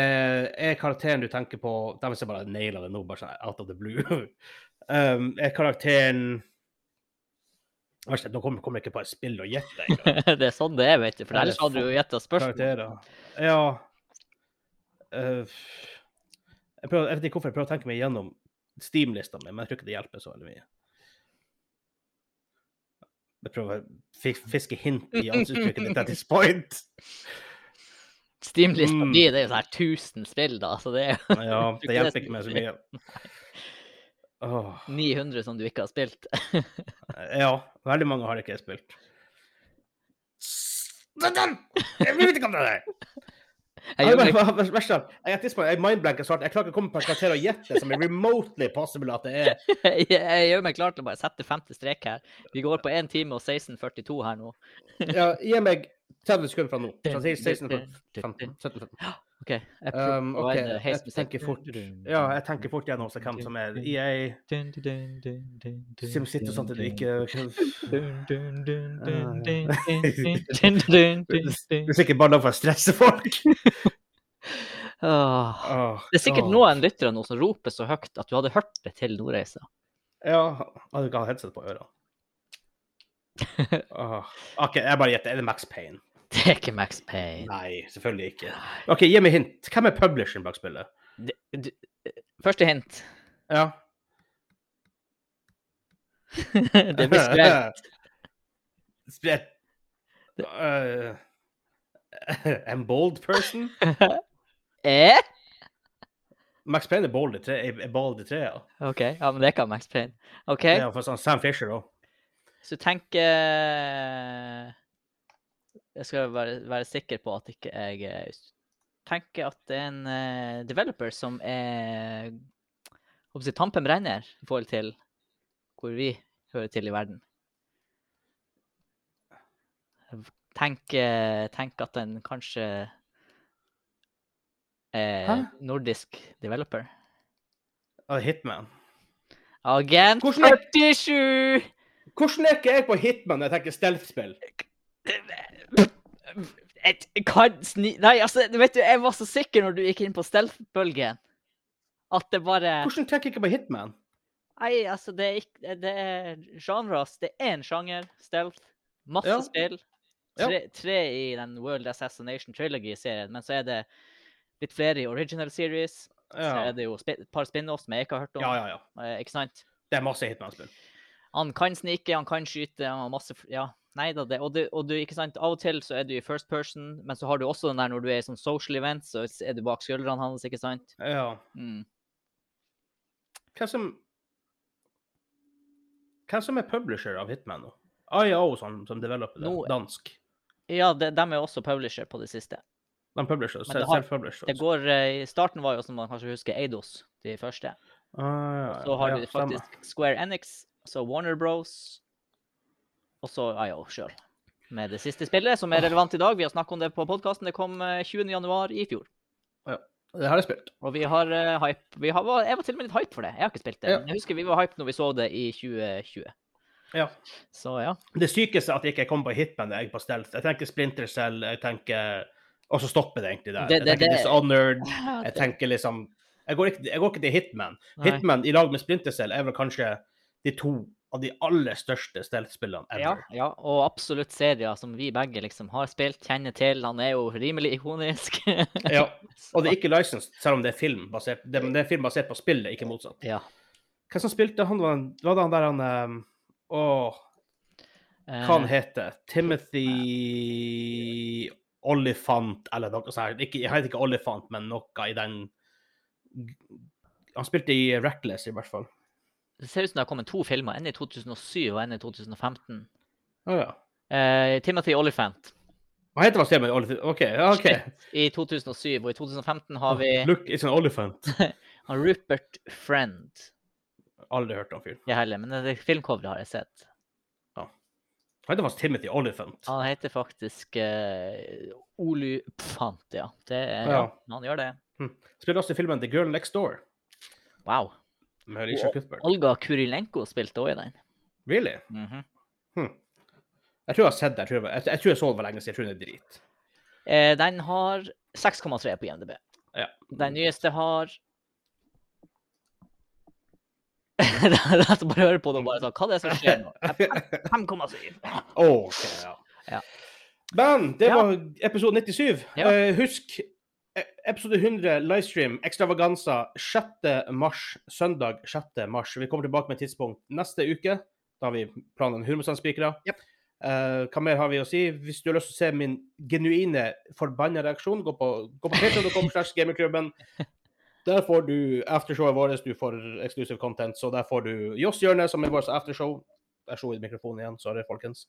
[SPEAKER 1] er karakteren du tenker på Da hvis jeg bare naila det nå, bare sånn out of the blue. um, er karakteren Vær så snill, Nå kommer kommer jeg ikke på et spill å gjette engang
[SPEAKER 2] det er sånn det er, vet du. For
[SPEAKER 1] Ja, det er
[SPEAKER 2] ellers
[SPEAKER 1] sånn
[SPEAKER 2] hadde du jo gjetta spørsmål.
[SPEAKER 1] karakterer. Ja Eh, jeg, prøver, jeg vet ikke hvorfor jeg prøver å tenke meg gjennom Steam-lista mi, men jeg tror ikke det hjelper så veldig mye. Jeg prøver å fis- fiske hint i ansiktsuttrykket ditt at this point.
[SPEAKER 2] Steam-lista
[SPEAKER 1] Mm.
[SPEAKER 2] mi det er jo sånn her 1000 spill, da. Så det er jo
[SPEAKER 1] Ja, det hjelper ikke meg så mye. Åh,
[SPEAKER 2] 900 som du ikke har spilt.
[SPEAKER 1] ja, veldig mange har ikke jeg spilt. Jeg vet ikke om det er!
[SPEAKER 2] Jeg
[SPEAKER 1] Jeg,
[SPEAKER 2] gjorde ikke-
[SPEAKER 1] jeg, jeg, jeg, jeg, tidspunkt, jeg mindblanker snart. Jeg klarer ikke å komme på en karakter og gjette som er remotely possible at det er.
[SPEAKER 2] jeg jeg gjør meg klar til å bare sette femte strek her. Vi går på 1 time og 16.42 her nå.
[SPEAKER 1] Ja, gi meg 30 sekunder fra nå. Så jeg sier 16,
[SPEAKER 2] Dun, dun, dun,
[SPEAKER 1] 15, 17, 17.
[SPEAKER 2] OK. Jeg prøver
[SPEAKER 1] Um,
[SPEAKER 2] å
[SPEAKER 1] OK,
[SPEAKER 2] være
[SPEAKER 1] jeg
[SPEAKER 2] heismusikk.
[SPEAKER 1] tenker fort Ja, jeg tenker fort gjennom også hvem som er E EA, SimCity og sånt, eller sånn ikke Ah, Det er sikkert bare lag for å stresse folk.
[SPEAKER 2] Åh.
[SPEAKER 1] Åh,
[SPEAKER 2] Det er sikkert
[SPEAKER 1] åh.
[SPEAKER 2] noen lyttere nå som roper så høyt at du hadde hørt det til Nordreisa.
[SPEAKER 1] Ja, hadde ikke hatt headset på ørene. Åh. OK, jeg bare gjetter. Er det Max Payne?
[SPEAKER 2] Det er ikke Max Payne.
[SPEAKER 1] Nei, selvfølgelig ikke. OK, gi meg hint. Hvem er publisheren bak spillet?
[SPEAKER 2] Det, du, første hint.
[SPEAKER 1] Ja.
[SPEAKER 2] det er visuelt.
[SPEAKER 1] Spredt. Eh, en bold person?
[SPEAKER 2] Eh?
[SPEAKER 1] Max Payne er bold i tre, er er bold i tre ja.
[SPEAKER 2] OK, ja, men det er ikke Max Payne. OK,
[SPEAKER 1] Ja, for sånn Sam Fisher òg.
[SPEAKER 2] så tenk eh, Jeg skal være, være sikker på at ikke jeg eh, tenker at det er en eh, developer som er hva skal jeg si, tampen brenner i forhold til hvor vi hører til i verden. Tenk, eh, tenk at en kanskje er
[SPEAKER 1] Hæ?
[SPEAKER 2] nordisk developer.
[SPEAKER 1] Hitman.
[SPEAKER 2] Agent
[SPEAKER 1] Hvordan er-
[SPEAKER 2] 47!
[SPEAKER 1] Hvordan er ikke jeg på Hitman når jeg tenker stealth-spill?
[SPEAKER 2] Et, kan sni... Nei, altså, du vet du, jeg var så sikker når du gikk inn på stealth-bølgen. At det bare
[SPEAKER 1] Hvordan tenker jeg ikke på Hitman?
[SPEAKER 2] Nei, altså, det er ikke Det er genres. Det er én sjanger, stealth. Masse
[SPEAKER 1] Ja.
[SPEAKER 2] spill.
[SPEAKER 1] Ja.
[SPEAKER 2] Tre, tre i den World Assassination Trilogy-serien, men så er det litt flere i Original Series. Så
[SPEAKER 1] Ja,
[SPEAKER 2] er det jo spi- et par spin-offs som jeg ikke har hørt om.
[SPEAKER 1] ja, ja. ja.
[SPEAKER 2] eh, Ikke sant?
[SPEAKER 1] Det er masse Hitman-spill.
[SPEAKER 2] Han kan snike, han kan skyte, han har masse f- Ja, nei da, det. Og, det, og du, ikke sant, av og til så er du i first person, men så har du også den der når du er i sånn social event, så s- er du bak skuldrene hans, ikke sant?
[SPEAKER 1] Ja.
[SPEAKER 2] Mm.
[SPEAKER 1] Hvem som Hvem som er publisher av Hitman nå? IO som, som developer det.
[SPEAKER 2] Nå-
[SPEAKER 1] Dansk.
[SPEAKER 2] Ja, de, dem er også publisher på det siste.
[SPEAKER 1] De publisher,
[SPEAKER 2] Men det har-
[SPEAKER 1] self-publisher.
[SPEAKER 2] Det går, eh, I starten var jo, som man kanskje husker, Eidos, de første.
[SPEAKER 1] Ah, ja, ja,
[SPEAKER 2] Så har
[SPEAKER 1] ja,
[SPEAKER 2] du
[SPEAKER 1] stemmer.
[SPEAKER 2] faktisk Square Enix, så Warner Bros, og så IO sjøl. Med det siste spillet, som er relevant i dag. Vi har snakket om det på podkasten. Det kom eh, 20. januar i fjor.
[SPEAKER 1] Det har jeg spilt.
[SPEAKER 2] Og vi har eh, hype. Vi har, var- jeg var til og med litt hype for det. Jeg har ikke spilt det.
[SPEAKER 1] Ja.
[SPEAKER 2] Men jeg husker vi var hype når vi så det i 2020.
[SPEAKER 1] Ja.
[SPEAKER 2] Så ja.
[SPEAKER 1] Det sykeste er at jeg ikke kom på hitman da jeg er på stealth. Jeg tenker Splinter Cell, jeg tenker Og så stopper det egentlig der.
[SPEAKER 2] Det- det-
[SPEAKER 1] jeg tenker
[SPEAKER 2] det-
[SPEAKER 1] Dishonored. Jeg tenker liksom Jeg går ikke, jeg går ikke til Hitman.
[SPEAKER 2] Nei.
[SPEAKER 1] Hitman i lag med Splinter Cell er vel kanskje de to av de aller største stealth-spillene
[SPEAKER 2] ja,
[SPEAKER 1] ever.
[SPEAKER 2] ja, og absolutt serier som vi begge liksom har spilt, kjenner til. Han er jo rimelig ikonisk.
[SPEAKER 1] Ja. Og det er ikke licensed, selv om det er film basert, det, men det er film basert på spillet, ikke motsatt.
[SPEAKER 2] Ja.
[SPEAKER 1] Hvem som spilte han? Var, den- var det han der han um, Åh, hva han
[SPEAKER 2] eh,
[SPEAKER 1] heter Timothy Olifant, eller noe sånt. Ikke, jeg heter ikke Olifant, men noe i den Han spilte i Reckless, i hvert fall.
[SPEAKER 2] det ser ut som det har kommet to filmer, en i 2007 og en i 2015.
[SPEAKER 1] Å ja.
[SPEAKER 2] Eh, Timothy Olyphant
[SPEAKER 1] Hva heter han stemmen? Olif- OK. ja, ok.
[SPEAKER 2] i 2007, og i 2015 har vi
[SPEAKER 1] Look, it's an olifant.
[SPEAKER 2] han Rupert Friend.
[SPEAKER 1] Aldri hørt om fyren.
[SPEAKER 2] Jeg heller, men det filmcoveret har jeg sett.
[SPEAKER 1] Han heter faktisk Timothy Olifant.
[SPEAKER 2] Han heter faktisk eh, Olu Pfant, ja. Det er, ja.
[SPEAKER 1] Ja.
[SPEAKER 2] Han gjør det.
[SPEAKER 1] Spiller også i filmen The Girl Next Door
[SPEAKER 2] Wow.
[SPEAKER 1] med Alicia Cuthbert.
[SPEAKER 2] Olga Kurilenko spilte òg i den.
[SPEAKER 1] Really?
[SPEAKER 2] Mhm.
[SPEAKER 1] Jeg tror jeg har sett det. Jeg tror jeg, jeg, jeg, tror jeg så det for lenge siden. Jeg tror det er drit.
[SPEAKER 2] eh, den har 6,3 på IMDb.
[SPEAKER 1] Ja.
[SPEAKER 2] Den nyeste har Det er lett å bare høre på det og bare sånn Hva er det som skjer nå? Fem- 5,7.
[SPEAKER 1] OK, ja.
[SPEAKER 2] Ja.
[SPEAKER 1] Men det
[SPEAKER 2] Ja.
[SPEAKER 1] var episode 97.
[SPEAKER 2] Ja.
[SPEAKER 1] Eh, husk eh, episode 100 livestream ekstravaganza 6. mars, søndag 6. mars. Vi kommer tilbake med et tidspunkt neste uke. Da har vi planen 100 spikra.
[SPEAKER 2] Japp.
[SPEAKER 1] Eh, hva mer har vi å si? Hvis du har lyst til å se min genuine forbanna reaksjon, gå på, gå på patreon.com slash gamingklubben. Der får du aftershowet vårt, du får exclusive content. Så der får du Joss Hjørne, som er vårt aftershow. Der slo jeg i mikrofonen igjen, sorry, folkens.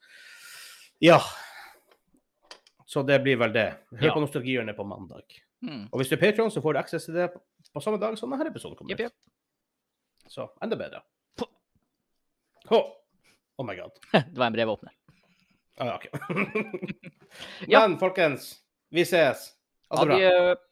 [SPEAKER 1] Ja. Så det blir vel det. Hør
[SPEAKER 2] Ja.
[SPEAKER 1] på Nostalgihjørnet på mandag.
[SPEAKER 2] Mm.
[SPEAKER 1] Og hvis du er Patreon, så får du access til det på samme dag som denne episoden kommer
[SPEAKER 2] Jepp, jepp.
[SPEAKER 1] ut. Så enda bedre.
[SPEAKER 2] Puh.
[SPEAKER 1] Åh. Oh my god.
[SPEAKER 2] Det var en brevåpner.
[SPEAKER 1] Ah, ja, ok.
[SPEAKER 2] Ja.
[SPEAKER 1] Men folkens, vi ses. Ha det bra.
[SPEAKER 2] Altså, Adjø.